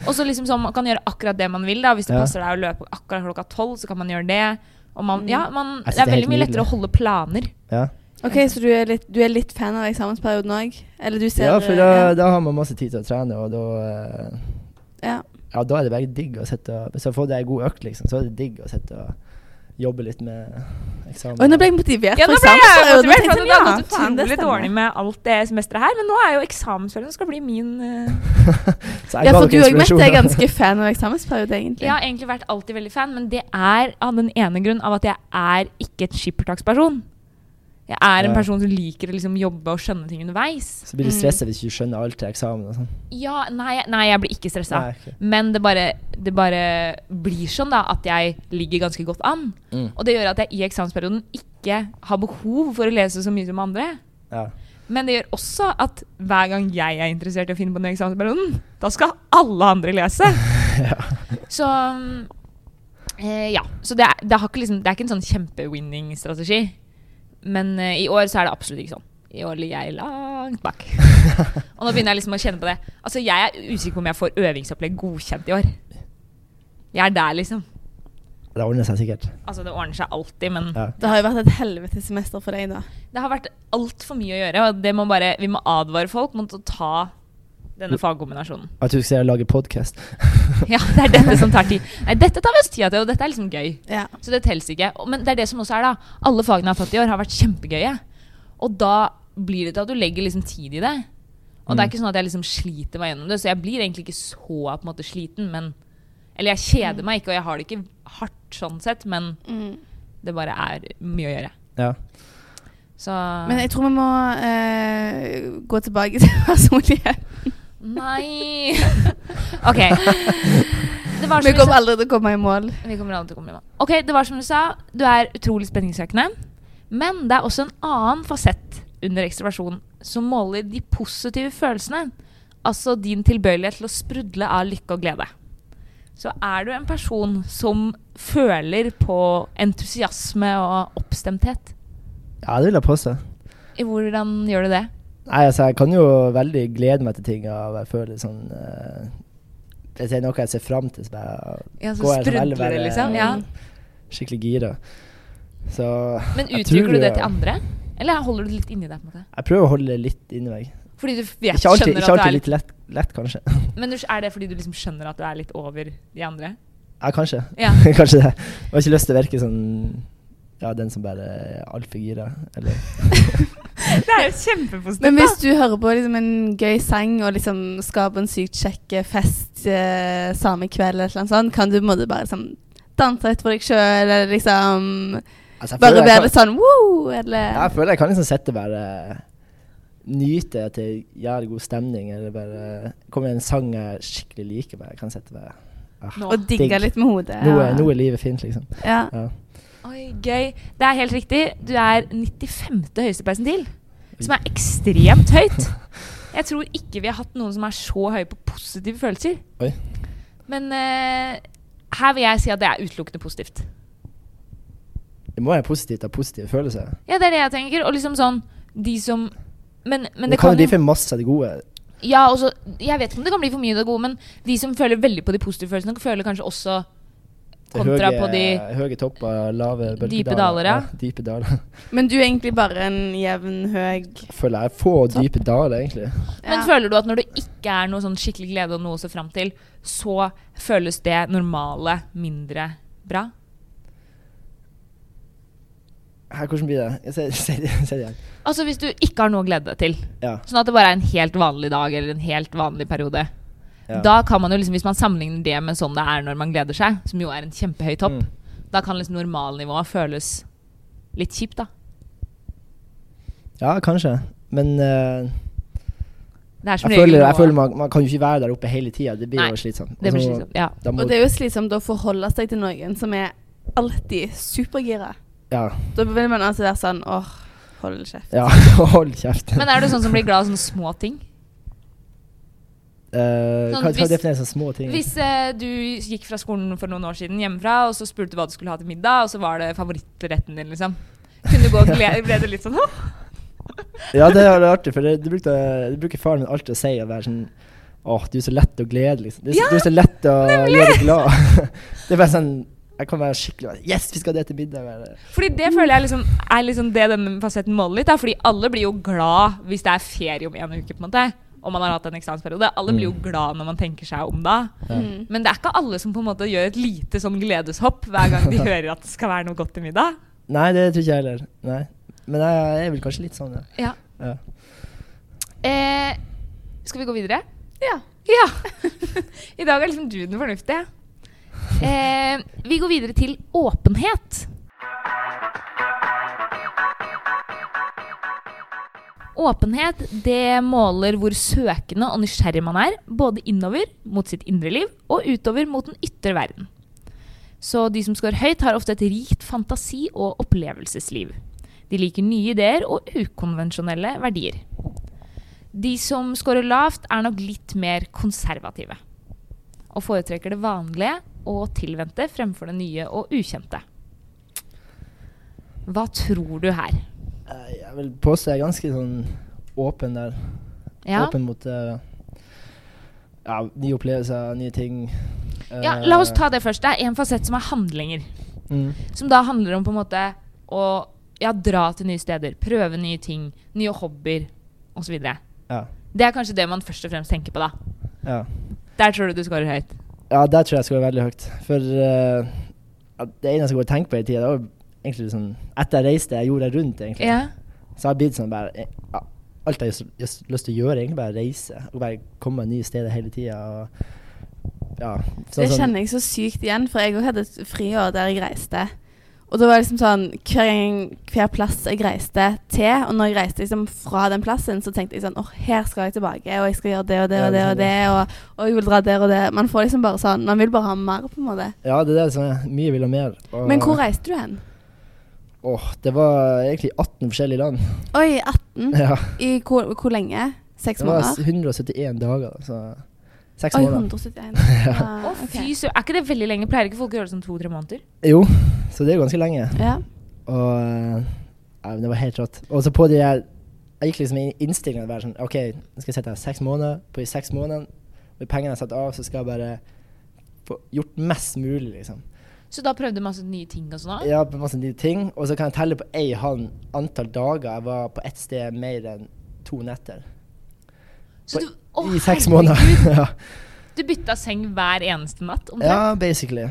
[SPEAKER 1] Og så liksom sånn, man kan gjøre akkurat det man vil, da. Hvis det
[SPEAKER 3] Ja.
[SPEAKER 1] passer deg å løpe akkurat klokka tolv, så kan man gjøre det. Og man,
[SPEAKER 2] Mm.
[SPEAKER 1] ja, man,
[SPEAKER 3] Jeg synes
[SPEAKER 1] det er
[SPEAKER 3] det er helt
[SPEAKER 1] veldig mye lettere
[SPEAKER 3] nydelig.
[SPEAKER 1] å holde planer.
[SPEAKER 3] Ja,
[SPEAKER 2] OK, så du er litt, du er litt fan av eksamensperioden òg? Eller du ser
[SPEAKER 3] ja for
[SPEAKER 2] ja.
[SPEAKER 3] da, da har man masse tid til å trene, og da eh,
[SPEAKER 2] Ja.
[SPEAKER 3] ja, da er det veldig digg å sitte og Hvis jeg får deg ei god økt, liksom, så er det digg å sitte og jobbe litt med eksamen.
[SPEAKER 2] Oi, nå ble jeg motivert
[SPEAKER 1] Ja, nå
[SPEAKER 2] for
[SPEAKER 1] ble jeg motivert,
[SPEAKER 2] eksamensperioden.
[SPEAKER 1] for
[SPEAKER 2] tenkte
[SPEAKER 1] det har
[SPEAKER 2] sånn,
[SPEAKER 1] gått
[SPEAKER 2] ja, faen, det
[SPEAKER 1] utrolig
[SPEAKER 2] stemmer.
[SPEAKER 1] dårlig med alt det semesteret her, men nå er jo eksamensperioden skal bli min eh,
[SPEAKER 3] Så
[SPEAKER 2] Ja,
[SPEAKER 3] ga
[SPEAKER 2] for
[SPEAKER 3] dere
[SPEAKER 2] du òg, Mette,
[SPEAKER 3] inspirasjon.
[SPEAKER 2] er ganske fan av eksamensperiode, egentlig.
[SPEAKER 1] Jeg har egentlig vært alltid veldig fan, men det er av den ene grunn av at jeg er ikke et skippertaksperson. Jeg er en
[SPEAKER 3] Ja.
[SPEAKER 1] person som liker å liksom jobbe og skjønne ting underveis.
[SPEAKER 3] Så blir du stressa hvis du ikke skjønner alt til eksamen og sånn.
[SPEAKER 1] Ja, nei, nei jeg blir ikke stressa.
[SPEAKER 3] Nei, ok.
[SPEAKER 1] Men det bare, det bare blir sånn da at jeg ligger ganske godt an.
[SPEAKER 3] Mm.
[SPEAKER 1] Og det gjør at jeg i eksamensperioden ikke har behov for å lese så mye som andre.
[SPEAKER 3] Ja.
[SPEAKER 1] Men det gjør også at hver gang jeg er interessert i å finne på den eksamensperioden, da skal alle andre lese. Så mm, eh, ja. Så det er, det, har ikke liksom, det er ikke en sånn kjempe-winning-strategi. Men eh, i år så er det absolutt ikke sånn. I år ligger jeg langt bak. Og nå begynner jeg liksom å kjenne på det. Altså, jeg er usikker på om jeg får øvingsopplegg godkjent i år. Jeg er der, liksom.
[SPEAKER 3] Det ordner seg sikkert.
[SPEAKER 1] Altså, det ordner seg alltid, men
[SPEAKER 3] Ja.
[SPEAKER 2] Det har jo vært et helvetes semester for deg, da.
[SPEAKER 1] Det har vært altfor mye å gjøre, og det må bare, vi må advare folk mot å ta denne fagkombinasjonen.
[SPEAKER 3] At du skal lage podkast.
[SPEAKER 1] Ja, det er dette som tar tid. Nei, dette tar vi oss tida til, og dette er liksom gøy.
[SPEAKER 2] Ja.
[SPEAKER 1] Så det telles ikke. Og- Men det er det som også er, da. Alle fagene jeg har tatt i år, har vært kjempegøye. Og da blir det til at du legger liksom tid i det. Og det er
[SPEAKER 3] Mm.
[SPEAKER 1] ikke sånn at jeg liksom sliter meg gjennom det, så jeg blir egentlig ikke så på en måte sliten, men Eller jeg kjeder meg ikke, og jeg har det ikke hardt sånn sett, men
[SPEAKER 2] Mm.
[SPEAKER 1] det bare er mye å gjøre.
[SPEAKER 3] Ja.
[SPEAKER 1] Så
[SPEAKER 2] Men jeg tror vi må eh, gå tilbake til personlighet.
[SPEAKER 1] Nei! OK. Det var som
[SPEAKER 2] Vi
[SPEAKER 1] du
[SPEAKER 2] kommer
[SPEAKER 1] sa-
[SPEAKER 2] aldri til å komme i mål.
[SPEAKER 1] Vi kommer aldri til å komme i mål. Ok, det var som du sa, du er utrolig spenningssøkende. Men det er også en annen fasett under ekstroversjon som måler de positive følelsene. Altså din tilbøyelighet til å sprudle av lykke og glede. Så er du en person som føler på entusiasme og oppstemthet.
[SPEAKER 3] Ja, det vil jeg påstå.
[SPEAKER 1] I hvordan gjør du det?
[SPEAKER 3] Nei, altså, jeg kan jo veldig glede meg til ting og jeg føler sånn eh, Hvis det er noe jeg ser fram til, så bare
[SPEAKER 1] Ja, så
[SPEAKER 3] går jeg sånn
[SPEAKER 1] sprudler
[SPEAKER 3] veldig,
[SPEAKER 1] det,
[SPEAKER 3] veldig,
[SPEAKER 1] liksom. Ja.
[SPEAKER 3] skikkelig gira. Så
[SPEAKER 1] Men
[SPEAKER 3] jeg tror
[SPEAKER 1] uttrykker du
[SPEAKER 3] jo-
[SPEAKER 1] det til andre? Eller holder du det litt inni deg? på en måte?
[SPEAKER 3] Jeg prøver å holde det litt inni meg.
[SPEAKER 1] Fordi du vet,
[SPEAKER 3] Ikke alltid,
[SPEAKER 1] skjønner
[SPEAKER 3] ikke
[SPEAKER 1] at du
[SPEAKER 3] alltid
[SPEAKER 1] er
[SPEAKER 3] litt lett, lett kanskje.
[SPEAKER 1] Men du- er det fordi du liksom skjønner at du er litt over de andre?
[SPEAKER 3] Ja, kanskje.
[SPEAKER 1] Ja.
[SPEAKER 3] kanskje det. Jeg har ikke lyst til å virke sånn Ja, den som bare er altfor gira. Eller
[SPEAKER 1] Det er jo kjempepositivt.
[SPEAKER 2] Men hvis du hører på liksom en gøy sang og liksom skal på en sykt kjekk fest eh, samme kveld, eller noe sånt, kan du på en måte bare liksom, danse litt for deg sjøl, eller liksom
[SPEAKER 3] Altså, jeg
[SPEAKER 2] Bare
[SPEAKER 3] føler jeg
[SPEAKER 2] være
[SPEAKER 3] kan-
[SPEAKER 2] litt sånn wow, eller
[SPEAKER 3] Ja, Jeg føler jeg kan liksom sitte bare Nyte at det gjør god stemning, eller bare Kommer en sang jeg skikkelig liker, bare jeg kan sitte bare
[SPEAKER 1] Nå.
[SPEAKER 2] Og digge
[SPEAKER 3] digg.
[SPEAKER 2] litt med hodet.
[SPEAKER 3] nå er, nå er livet fint, liksom.
[SPEAKER 2] Ja.
[SPEAKER 3] Ja.
[SPEAKER 1] Oi, gøy. Det er helt riktig. Du er 95. høyeste persentil, som er ekstremt høyt. Jeg tror ikke vi har hatt noen som er så høy på positive følelser.
[SPEAKER 3] Oi.
[SPEAKER 1] Men eh, her vil jeg si at det er utelukkende positivt.
[SPEAKER 3] Det må være positivt av positive følelser.
[SPEAKER 1] Ja, det er det jeg tenker. Og liksom sånn De som Men, men
[SPEAKER 3] det,
[SPEAKER 1] det,
[SPEAKER 3] kan jo bli
[SPEAKER 1] jo-
[SPEAKER 3] for masse av det gode.
[SPEAKER 1] Ja, også, jeg vet ikke om det kan bli for mye av det gode, men de som føler veldig på de positive følelsene, føler kanskje også
[SPEAKER 3] Det
[SPEAKER 1] kontra
[SPEAKER 3] høye,
[SPEAKER 1] på de
[SPEAKER 3] høye topper, lave bølgedaler.
[SPEAKER 1] Dype daler, ja.
[SPEAKER 3] dype daler.
[SPEAKER 2] Men du er egentlig bare en jevn, høy ja.
[SPEAKER 3] Føler jeg få dype daler, egentlig.
[SPEAKER 1] Men føler du at når det ikke er noe sånn skikkelig glede og noe å se fram til, så føles det normale mindre bra?
[SPEAKER 3] Her, hvordan blir det? Se se det se det igjen.
[SPEAKER 1] Altså hvis du ikke har noe å glede deg til,
[SPEAKER 3] Ja.
[SPEAKER 1] sånn at det bare er en helt vanlig dag eller en helt vanlig periode,
[SPEAKER 3] ja.
[SPEAKER 1] da kan man jo liksom, hvis man sammenligner det med sånn det er når man gleder seg, som jo er en kjempehøy topp,
[SPEAKER 3] Mm.
[SPEAKER 1] da kan liksom normalnivået føles litt kjipt, da.
[SPEAKER 3] ja, kanskje. Men eh,
[SPEAKER 1] Det er som
[SPEAKER 3] jeg
[SPEAKER 1] regel
[SPEAKER 3] føler, jeg
[SPEAKER 1] nivået.
[SPEAKER 3] føler man, altså- man kan jo ikke være der oppe hele tida. Det blir
[SPEAKER 1] Nei,
[SPEAKER 3] jo slitsomt.
[SPEAKER 1] Det blir
[SPEAKER 3] Og så-
[SPEAKER 1] slitsomt. Ja.
[SPEAKER 3] Da må,
[SPEAKER 2] Og det er jo slitsomt å forholde seg til noen som er alltid supergira.
[SPEAKER 3] ja,
[SPEAKER 2] Da vil man altså være sånn åh, hold kjeft.
[SPEAKER 3] ja, hold kjeft.
[SPEAKER 1] Men er du sånn som blir glad av sånne små ting?
[SPEAKER 3] Eh,
[SPEAKER 1] Sånn,
[SPEAKER 3] hva hva
[SPEAKER 1] hvis-
[SPEAKER 3] defineres som små ting?
[SPEAKER 1] Hvis eh, du gikk fra skolen for noen år siden hjemmefra, og så spurte du hva du skulle ha til middag, og så var det favorittretten din, liksom. Kunne du gå og glede, ble det litt sånn «Åh!»
[SPEAKER 3] Ja, det er artig, for det, det, brukte, det bruker faren min alltid å si. Å være sånn Åh, du er så lett å glede, liksom. Du, er så-
[SPEAKER 1] Ja,
[SPEAKER 3] du er så lett å
[SPEAKER 1] nemlig!
[SPEAKER 3] gjøre glad. det er bare sånn Jeg kan være skikkelig bare, Yes, vi skal ha det til middag. Bare.
[SPEAKER 1] Fordi det føler jeg liksom er liksom det denne fasetten måler litt, da. Fordi alle blir jo glad hvis det er ferie om en uke, på en måte. Og man har hatt en eksamensperiode. Alle blir jo glad når man tenker seg om da.
[SPEAKER 2] Mm.
[SPEAKER 1] Men det er ikke alle som på en måte gjør et lite sånn gledeshopp hver gang de hører at det skal være noe godt til middag.
[SPEAKER 3] Nei, det tror ikke jeg heller. Nei. Men jeg, jeg er vel kanskje litt sånn, ja.
[SPEAKER 1] Ja.
[SPEAKER 3] ja.
[SPEAKER 1] Eh, skal vi gå videre?
[SPEAKER 2] Ja.
[SPEAKER 1] Ja. I dag er liksom du den fornuftige. Eh, vi går videre til åpenhet. Åpenhet det måler hvor søkende og nysgjerrig man er, både innover mot sitt indre liv og utover mot den ytre verden. Så de som scorer høyt, har ofte et rikt fantasi- og opplevelsesliv. De liker nye ideer og ukonvensjonelle verdier. De som scorer lavt, er nok litt mer konservative. Og foretrekker det vanlige og tilvendte fremfor det nye og ukjente. Hva tror du her?
[SPEAKER 3] Jeg, jeg vil påstå jeg er ganske sånn åpen der.
[SPEAKER 1] Ja,
[SPEAKER 3] Åpen mot eh, ja, nye opplevelser, nye ting.
[SPEAKER 1] ja
[SPEAKER 3] Eh,
[SPEAKER 1] La oss ta det først. Det er en fasett som er handlinger.
[SPEAKER 3] mm.
[SPEAKER 1] Som da handler om på en måte å ja, dra til nye steder, prøve nye ting, nye hobbyer osv. Det
[SPEAKER 3] Ja.
[SPEAKER 1] er kanskje det man først og fremst tenker på, da.
[SPEAKER 3] ja.
[SPEAKER 1] Der tror du du scorer høyt.
[SPEAKER 3] Ja, der tror jeg jeg skal være veldig høyt. For eh, at det eneste jeg går og tenker på hele tida, det var jo egentlig sånn Etter jeg reiste jorda rundt, egentlig, så har jeg blitt sånn bare eh, ja, Alt jeg har lyst- lyst- lyst til å gjøre, er egentlig bare reise. Og bare komme meg nye steder hele tida. Ja,
[SPEAKER 2] Det
[SPEAKER 3] sånn som- sånn-
[SPEAKER 2] kjenner jeg så sykt igjen, for jeg òg hadde et friår der jeg reiste. Og da var det liksom sånn hver, gang, hver plass jeg reiste til, og når jeg reiste liksom fra den plassen, så tenkte jeg sånn åh, her skal jeg tilbake, og jeg skal gjøre det og det
[SPEAKER 3] Ja,
[SPEAKER 2] og det og
[SPEAKER 3] det
[SPEAKER 2] det, og, og jeg vil dra der og det. Man får liksom bare sånn Man vil bare ha mer, på en måte.
[SPEAKER 3] Ja, det er det som er. Mye vil ha mer. Og-
[SPEAKER 2] Men hvor reiste du hen?
[SPEAKER 3] Åh, det var egentlig 18 forskjellige land.
[SPEAKER 2] Oi, 18.
[SPEAKER 3] Ja.
[SPEAKER 2] I hvor, hvor lenge? Seks
[SPEAKER 3] Det var
[SPEAKER 2] måneder?
[SPEAKER 3] 171 dager, så seks
[SPEAKER 2] Oi,
[SPEAKER 3] måneder.
[SPEAKER 2] 171.
[SPEAKER 3] Ja.
[SPEAKER 1] Å,
[SPEAKER 2] Ah, ok.
[SPEAKER 1] fy søren. Er ikke det veldig lenge? Pleier ikke folk å gjøre det sånn to-tre måneder?
[SPEAKER 3] Jo, så det er jo ganske lenge.
[SPEAKER 2] Ja.
[SPEAKER 3] Og eh, ja, men det var helt rått. Og så på de her Jeg gikk liksom i innstillingen og var sånn OK, nå skal jeg sitte her seks måneder. På de seks månedene, og de pengene jeg har satt av, så skal jeg bare få gjort mest mulig, liksom.
[SPEAKER 1] Så da prøvde du masse nye ting og sånn? da?
[SPEAKER 3] Ja, på masse nye ting. Og så kan jeg telle på ei hånd antall dager jeg var på ett sted mer enn to netter.
[SPEAKER 1] Så du, å,
[SPEAKER 3] I seks
[SPEAKER 1] herregud.
[SPEAKER 3] måneder. ja.
[SPEAKER 1] Du bytta seng hver eneste natt? omtrent?
[SPEAKER 3] Ja, basically.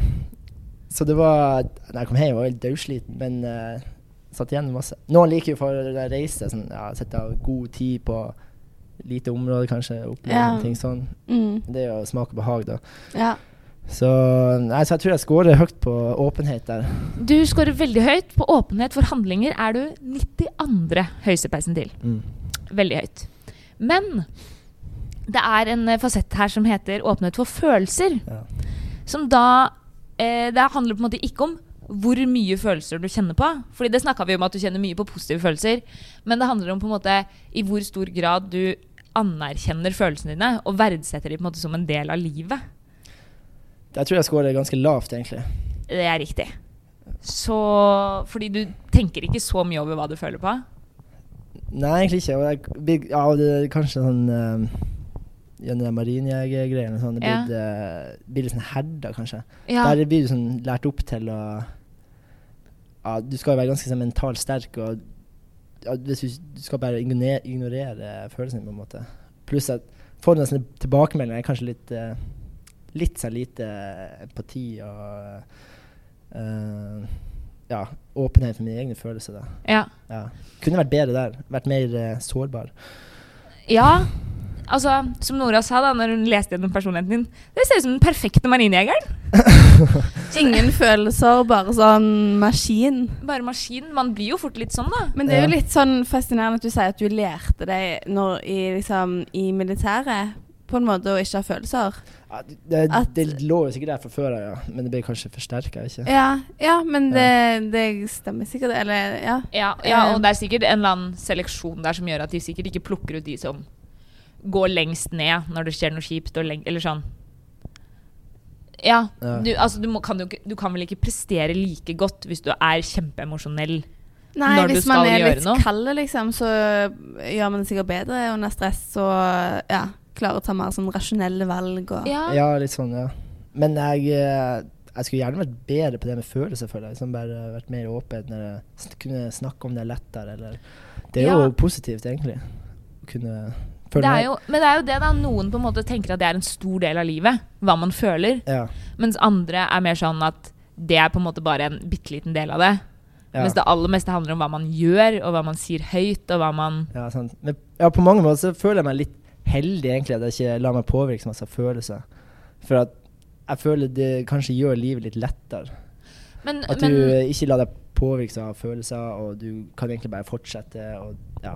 [SPEAKER 3] Så det var Når jeg kom hjem, var jeg helt dødsliten, men eh, satt igjen med masse. Noen liker jo for å reise, sånn, ja, sette av god tid på lite område, kanskje. Opp med
[SPEAKER 2] Ja.
[SPEAKER 3] ting sånn.
[SPEAKER 2] Mm.
[SPEAKER 3] Det er jo smak og behag, da.
[SPEAKER 2] ja.
[SPEAKER 3] Så, nei, så jeg tror jeg scorer høyt på åpenhet der.
[SPEAKER 1] Du scorer veldig høyt. På åpenhet for handlinger er du 92. høyeste persentil.
[SPEAKER 3] Mm.
[SPEAKER 1] Veldig høyt. Men det er en eh, fasett her som heter åpenhet for følelser.
[SPEAKER 3] Ja.
[SPEAKER 1] Som da eh, Det handler på en måte ikke om hvor mye følelser du kjenner på. Fordi det snakka vi om at du kjenner mye på positive følelser. Men det handler om på en måte i hvor stor grad du anerkjenner følelsene dine og verdsetter dem på en måte som en del av livet.
[SPEAKER 3] Jeg tror jeg scorer ganske lavt, egentlig.
[SPEAKER 1] Det er riktig. Så Fordi du tenker ikke så mye over hva du føler på.
[SPEAKER 3] Nei, egentlig ikke. Og jeg, blir- ja, og det er kanskje sånn um, Gjennom de marinjegergreiene og sånn. Det
[SPEAKER 1] Ja.
[SPEAKER 3] blir, eh, blir litt sånn herda, kanskje.
[SPEAKER 1] Ja.
[SPEAKER 3] Der blir du sånn lært opp til å ja, Du skal jo være ganske sånn, mentalt sterk, og ja, hvis du, du skal bare ignorere, ignorere følelsene på en måte. Pluss at får du en sånn tilbakemelding, er kanskje litt eh, Litt sånn lite empati og eh, Ja, åpenhet for mine egne følelser, da.
[SPEAKER 1] ja.
[SPEAKER 3] Ja. Kunne vært bedre der. Vært mer eh, sårbar.
[SPEAKER 1] ja. Altså, som Nora sa da når hun leste gjennom personligheten din Det ser ut som den perfekte marinejegeren.
[SPEAKER 2] Ingen følelser, bare sånn maskin.
[SPEAKER 1] Bare maskin. Man blir jo fort litt sånn, da.
[SPEAKER 2] Men det er jo
[SPEAKER 3] Ja.
[SPEAKER 2] litt sånn fascinerende at du sier at du lærte deg når i, liksom, i militæret, på en måte, å ikke ha følelser.
[SPEAKER 3] Ja, det,
[SPEAKER 2] At-
[SPEAKER 3] det lå jo sikkert der fra før av, ja. Men det ble kanskje forsterka, ikke
[SPEAKER 2] Ja, ja men det, det stemmer sikkert. Eller ja.
[SPEAKER 1] Ja, ja, og det er sikkert en eller annen seleksjon der som gjør at de sikkert ikke plukker ut de som går lengst ned når det skjer noe kjipt, og leng eller sånn. Ja.
[SPEAKER 3] Ja.
[SPEAKER 1] Du, altså, du, må, kan jo, ikke- du kan vel ikke prestere like godt hvis du er kjempeemosjonell.
[SPEAKER 2] Nei,
[SPEAKER 1] Når du
[SPEAKER 2] hvis man
[SPEAKER 1] skal
[SPEAKER 2] er
[SPEAKER 1] gjøre
[SPEAKER 2] litt
[SPEAKER 1] noe.
[SPEAKER 2] kald, liksom, så gjør man det sikkert bedre under stress og ja, klarer å ta mer sånn rasjonelle valg og
[SPEAKER 3] Ja, litt sånn, ja. Men jeg, eh, jeg skulle gjerne vært bedre på det med følelser, føler jeg. Liksom bare vært mer åpen, eller sn- kunne snakke om det lettere, eller Det er
[SPEAKER 1] Ja.
[SPEAKER 3] jo positivt, egentlig. Å kunne føle
[SPEAKER 1] Det er
[SPEAKER 3] meg-
[SPEAKER 1] jo, men det er jo det da noen på en måte tenker at det er en stor del av livet, hva man føler,
[SPEAKER 3] Ja.
[SPEAKER 1] mens andre er mer sånn at det er på en måte bare en bitte liten del av det.
[SPEAKER 3] ja.
[SPEAKER 1] Mens det aller meste handler om hva man gjør, og hva man sier høyt, og hva man
[SPEAKER 3] ja, sant. Men ja, på mange måter så føler jeg meg litt heldig, egentlig, at jeg ikke lar meg påvirke så masse av følelser. For at jeg føler det kanskje gjør livet litt lettere.
[SPEAKER 1] Men,
[SPEAKER 3] At
[SPEAKER 1] men
[SPEAKER 3] du eh, ikke lar deg påvirke av følelser, og du kan egentlig bare fortsette og ja.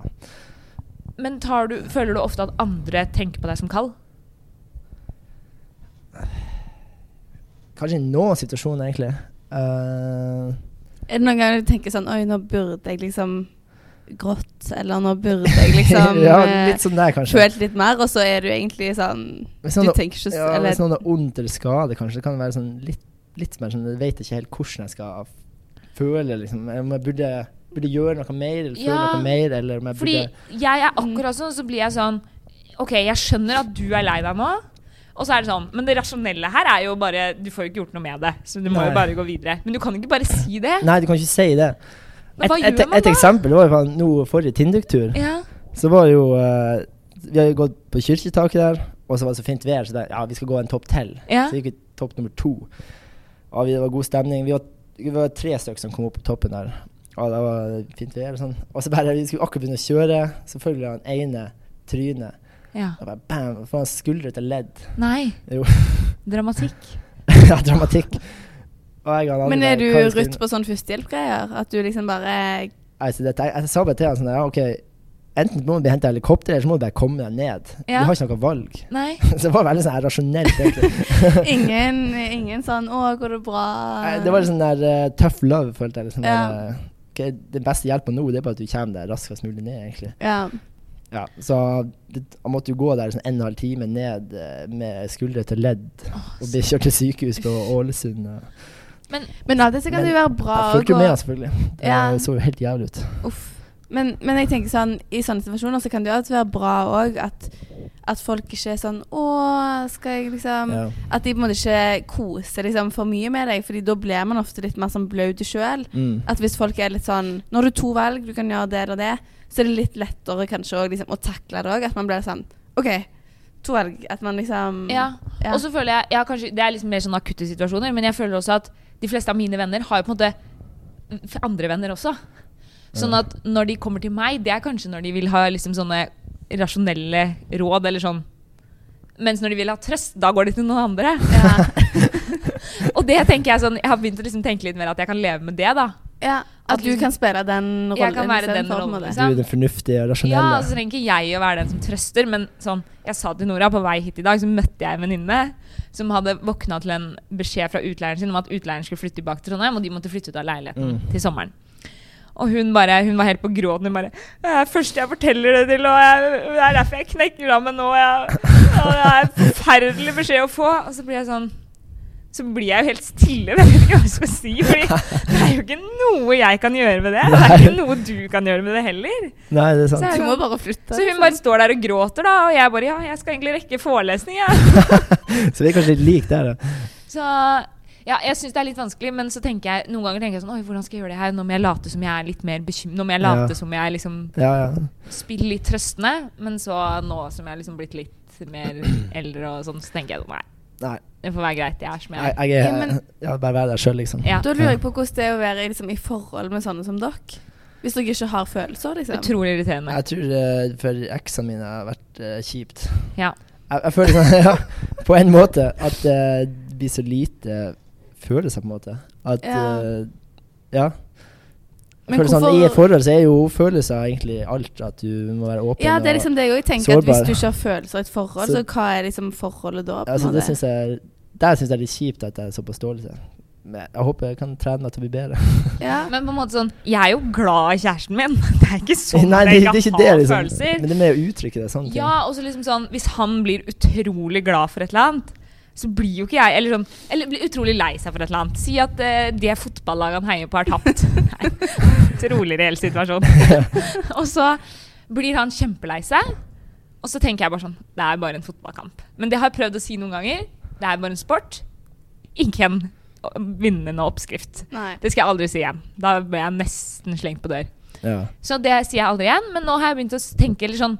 [SPEAKER 1] Men tar du, føler du ofte at andre tenker på deg som kald?
[SPEAKER 3] Kanskje i noen situasjoner, egentlig. Eh,
[SPEAKER 2] Er det noen ganger du tenker sånn Oi, nå burde jeg liksom grått, eller nå burde jeg liksom
[SPEAKER 3] ja,
[SPEAKER 2] eh,
[SPEAKER 3] litt sånn der, kanskje.
[SPEAKER 2] følt litt mer, og så er du egentlig sånn
[SPEAKER 3] Hvis
[SPEAKER 2] Du
[SPEAKER 3] noen,
[SPEAKER 2] tenker ikke
[SPEAKER 3] ja,
[SPEAKER 2] så eller,
[SPEAKER 3] hvis noen har ondt eller skade, kanskje, det kan være sånn litt, litt mer sånn Jeg vet ikke helt hvordan jeg skal føle, liksom. Om jeg burde, burde gjøre noe mer, eller føle
[SPEAKER 1] Ja.
[SPEAKER 3] noe mer, eller om jeg
[SPEAKER 1] Fordi
[SPEAKER 3] burde
[SPEAKER 1] jeg er akkurat sånn, så blir jeg sånn Ok, jeg skjønner at du er lei deg nå. Og så er det sånn, Men det rasjonelle her er jo bare Du får jo ikke gjort noe med det. Så du må
[SPEAKER 3] Nei.
[SPEAKER 1] jo bare gå videre. Men du kan ikke bare si det.
[SPEAKER 3] Nei, du kan ikke si det.
[SPEAKER 1] Men hva
[SPEAKER 3] et,
[SPEAKER 1] gjør man
[SPEAKER 3] et
[SPEAKER 1] da?
[SPEAKER 3] eksempel var jo på nå forrige Tinduk-tur.
[SPEAKER 1] Ja.
[SPEAKER 3] Så var det jo eh, Vi har jo gått på kirketaket der, og så var det så fint vær, så det, ja, vi skal gå en topp til.
[SPEAKER 1] Ja.
[SPEAKER 3] Så gikk vi topp nummer to. Og vi, det var god stemning. Vi var, vi var tre stykker som kom opp på toppen der. Og det var fint vær og sånn. Og så bare, vi skulle akkurat begynne å kjøre. Selvfølgelig han ene trynet.
[SPEAKER 1] ja.
[SPEAKER 3] Og bare bam! Faen, skuldre til ledd.
[SPEAKER 1] Nei.
[SPEAKER 3] Jo.
[SPEAKER 1] Dramatikk.
[SPEAKER 3] ja, dramatikk. Og jeg og han andre
[SPEAKER 2] Men er du
[SPEAKER 3] der, hva vi skal
[SPEAKER 2] rutt på sånn førstehjelp-greier? At du liksom bare
[SPEAKER 3] Nei, så dette, jeg, jeg sa bare til han sånn ja, OK, enten må du bli henta i helikopter, eller så må du bare komme deg ned.
[SPEAKER 1] Ja.
[SPEAKER 3] Du har ikke noe valg.
[SPEAKER 1] Nei.
[SPEAKER 3] Så det var veldig sånn her rasjonelt, egentlig.
[SPEAKER 2] Ingen, ingen sånn 'Å, går det bra?'
[SPEAKER 3] Nei, det var litt sånn der eh, tough love, følte jeg. Liksom,
[SPEAKER 2] Ja.
[SPEAKER 3] der, eh, ok, den beste hjelpa nå, det er bare at du kommer deg raskest mulig ned, egentlig.
[SPEAKER 2] Ja.
[SPEAKER 3] Ja, så det, han måtte jo gå der sånn en og en halv time ned eh, med skuldre til ledd og bli kjørt til sykehus på Ålesund. og-
[SPEAKER 2] Men av det så kan
[SPEAKER 3] Men-
[SPEAKER 2] det jo være bra
[SPEAKER 3] Jeg
[SPEAKER 2] å
[SPEAKER 3] fulgte jo
[SPEAKER 2] gå
[SPEAKER 3] med, altså. selvfølgelig. Det
[SPEAKER 2] Ja.
[SPEAKER 3] så jo helt jævlig ut.
[SPEAKER 2] Uff. Men, men jeg tenker sånn, i sånne situasjoner så kan det jo alltid være bra òg at, at folk ikke er sånn 'Å, skal jeg
[SPEAKER 1] Um,
[SPEAKER 2] liksom
[SPEAKER 3] Ja.
[SPEAKER 1] altså,
[SPEAKER 2] At de på en måte ikke koser liksom, for mye med deg, Fordi da blir man ofte litt mer sånn blaut sjøl.
[SPEAKER 3] Mm.
[SPEAKER 2] At hvis folk er litt sånn Nå har du to valg, du kan gjøre det eller det. Så er det litt lettere kanskje også, liksom, å takle det òg. At man blir sånn OK, to valg. At man liksom
[SPEAKER 1] Ja.
[SPEAKER 2] Ja.
[SPEAKER 1] Og så føler jeg, jeg har kanskje, Det er liksom mer sånn akutte situasjoner, men jeg føler også at de fleste av mine venner har jo på en måte andre venner også. Sånn at når de kommer til meg, det er kanskje når de vil ha liksom sånne rasjonelle råd eller sånn. Mens når de vil ha trøst, da går de til noen andre.
[SPEAKER 2] Ja.
[SPEAKER 1] Og det tenker jeg sånn, jeg har begynt å liksom tenke litt mer at jeg kan leve med det, da.
[SPEAKER 2] ja. At,
[SPEAKER 1] At
[SPEAKER 2] du
[SPEAKER 1] liksom-
[SPEAKER 2] kan spille den rollen.
[SPEAKER 1] Jeg kan være den
[SPEAKER 2] istedenfor, på en
[SPEAKER 1] rollen,
[SPEAKER 2] måte.
[SPEAKER 1] liksom.
[SPEAKER 3] Du er den fornuftige og rasjonelle.
[SPEAKER 1] Ja, altså trenger ikke jeg å være den som trøster, men sånn, jeg sa til Nora på vei hit i dag, så møtte jeg en venninne som hadde våkna til en beskjed fra utleieren sin om at utleieren skulle flytte tilbake til Trondheim, og de måtte flytte ut av leiligheten
[SPEAKER 3] Mm.
[SPEAKER 1] til sommeren. Og hun, bare, hun var helt på gråten. Hun bare 'Det er første jeg forteller det til, og jeg, det er derfor jeg knekker sammen nå.' Jeg, og 'Det er en forferdelig beskjed å få.' Og så blir jeg sånn Så blir jeg jo helt stille. men Jeg vet ikke hva jeg skal si. Fordi det er jo ikke noe jeg kan gjøre med det. Det er ikke noe du kan gjøre med det heller.
[SPEAKER 3] Nei, det er sant.
[SPEAKER 1] Så
[SPEAKER 2] Du må bare flytte.
[SPEAKER 1] Så hun bare står der og gråter, da, og jeg bare Ja, jeg skal egentlig rekke forelesning, jeg.
[SPEAKER 3] Så vi er kanskje litt like der, da.
[SPEAKER 1] Så ja, jeg syns det er litt vanskelig, men så tenker jeg noen ganger tenker jeg sånn Oi, hvordan skal jeg gjøre det her? Nå må jeg late som jeg er litt mer bekymret. Nå må jeg late
[SPEAKER 3] Ja.
[SPEAKER 1] som jeg liksom
[SPEAKER 3] Ja, ja.
[SPEAKER 1] spiller litt trøstende, men så nå som jeg er liksom blitt litt mer eldre og sånn, så tenker jeg sånn Nei,
[SPEAKER 3] Nei,
[SPEAKER 1] det får være greit, jeg er som jeg
[SPEAKER 3] jeg,
[SPEAKER 1] er.
[SPEAKER 3] jeg er
[SPEAKER 2] Ja, men-
[SPEAKER 3] ja, Bare være der sjøl, liksom.
[SPEAKER 1] Ja.
[SPEAKER 2] Da lurer jeg på hvordan det er å være liksom, i forhold med sånne som dere. Hvis dere ikke har følelser, liksom.
[SPEAKER 1] Utrolig irriterende.
[SPEAKER 3] Jeg tror eh, for eksene mine har vært eh, kjipt.
[SPEAKER 1] Ja.
[SPEAKER 3] Jeg, jeg føler sånn, ja, på en måte at eh, det blir så lite følelser, på en måte. At
[SPEAKER 2] Ja.
[SPEAKER 3] eh, Ja.
[SPEAKER 2] Men
[SPEAKER 3] Jeg føler sånn, I et
[SPEAKER 2] hvorfor-
[SPEAKER 3] forhold så er jo følelser egentlig alt. At du må være åpen.
[SPEAKER 2] Ja, det er liksom det jeg òg tenker. At
[SPEAKER 3] Sårbar.
[SPEAKER 2] hvis du ikke har følelser i et forhold, så,
[SPEAKER 3] Så-
[SPEAKER 2] hva er liksom forholdet da?
[SPEAKER 3] og,
[SPEAKER 2] På en
[SPEAKER 3] altså, det
[SPEAKER 2] måte?
[SPEAKER 3] synes jeg, der syns jeg det er litt kjipt at jeg er såpass dårlig. til. Men jeg håper jeg kan trene meg til å bli bedre.
[SPEAKER 2] ja.
[SPEAKER 1] Men på en måte sånn Jeg er jo glad i kjæresten min. Det er ikke sånn
[SPEAKER 3] Nei,
[SPEAKER 1] at
[SPEAKER 3] det,
[SPEAKER 1] jeg
[SPEAKER 3] det er
[SPEAKER 1] ikke
[SPEAKER 3] ikke
[SPEAKER 1] har
[SPEAKER 3] det, liksom.
[SPEAKER 1] følelser.
[SPEAKER 3] Men det er med å uttrykke det. Sånne ting.
[SPEAKER 1] Ja, og så liksom sånn Hvis han blir utrolig glad for et eller annet, så blir jo ikke jeg Eller, sånn, eller blir utrolig lei seg for et eller annet. Si at eh, det fotballaget han heier på, har tapt. Nei, utrolig reell situasjon. og så blir han kjempelei seg, og så tenker jeg bare sånn Det er bare en fotballkamp. Men det har jeg prøvd å si noen ganger. Det er bare en sport. Ingen vinnende oppskrift.
[SPEAKER 2] Nei.
[SPEAKER 1] Det skal jeg aldri si igjen. Da ble jeg nesten slengt på dør.
[SPEAKER 3] Ja.
[SPEAKER 1] Så det sier jeg aldri igjen, men nå har jeg begynt å s- tenke eller sånn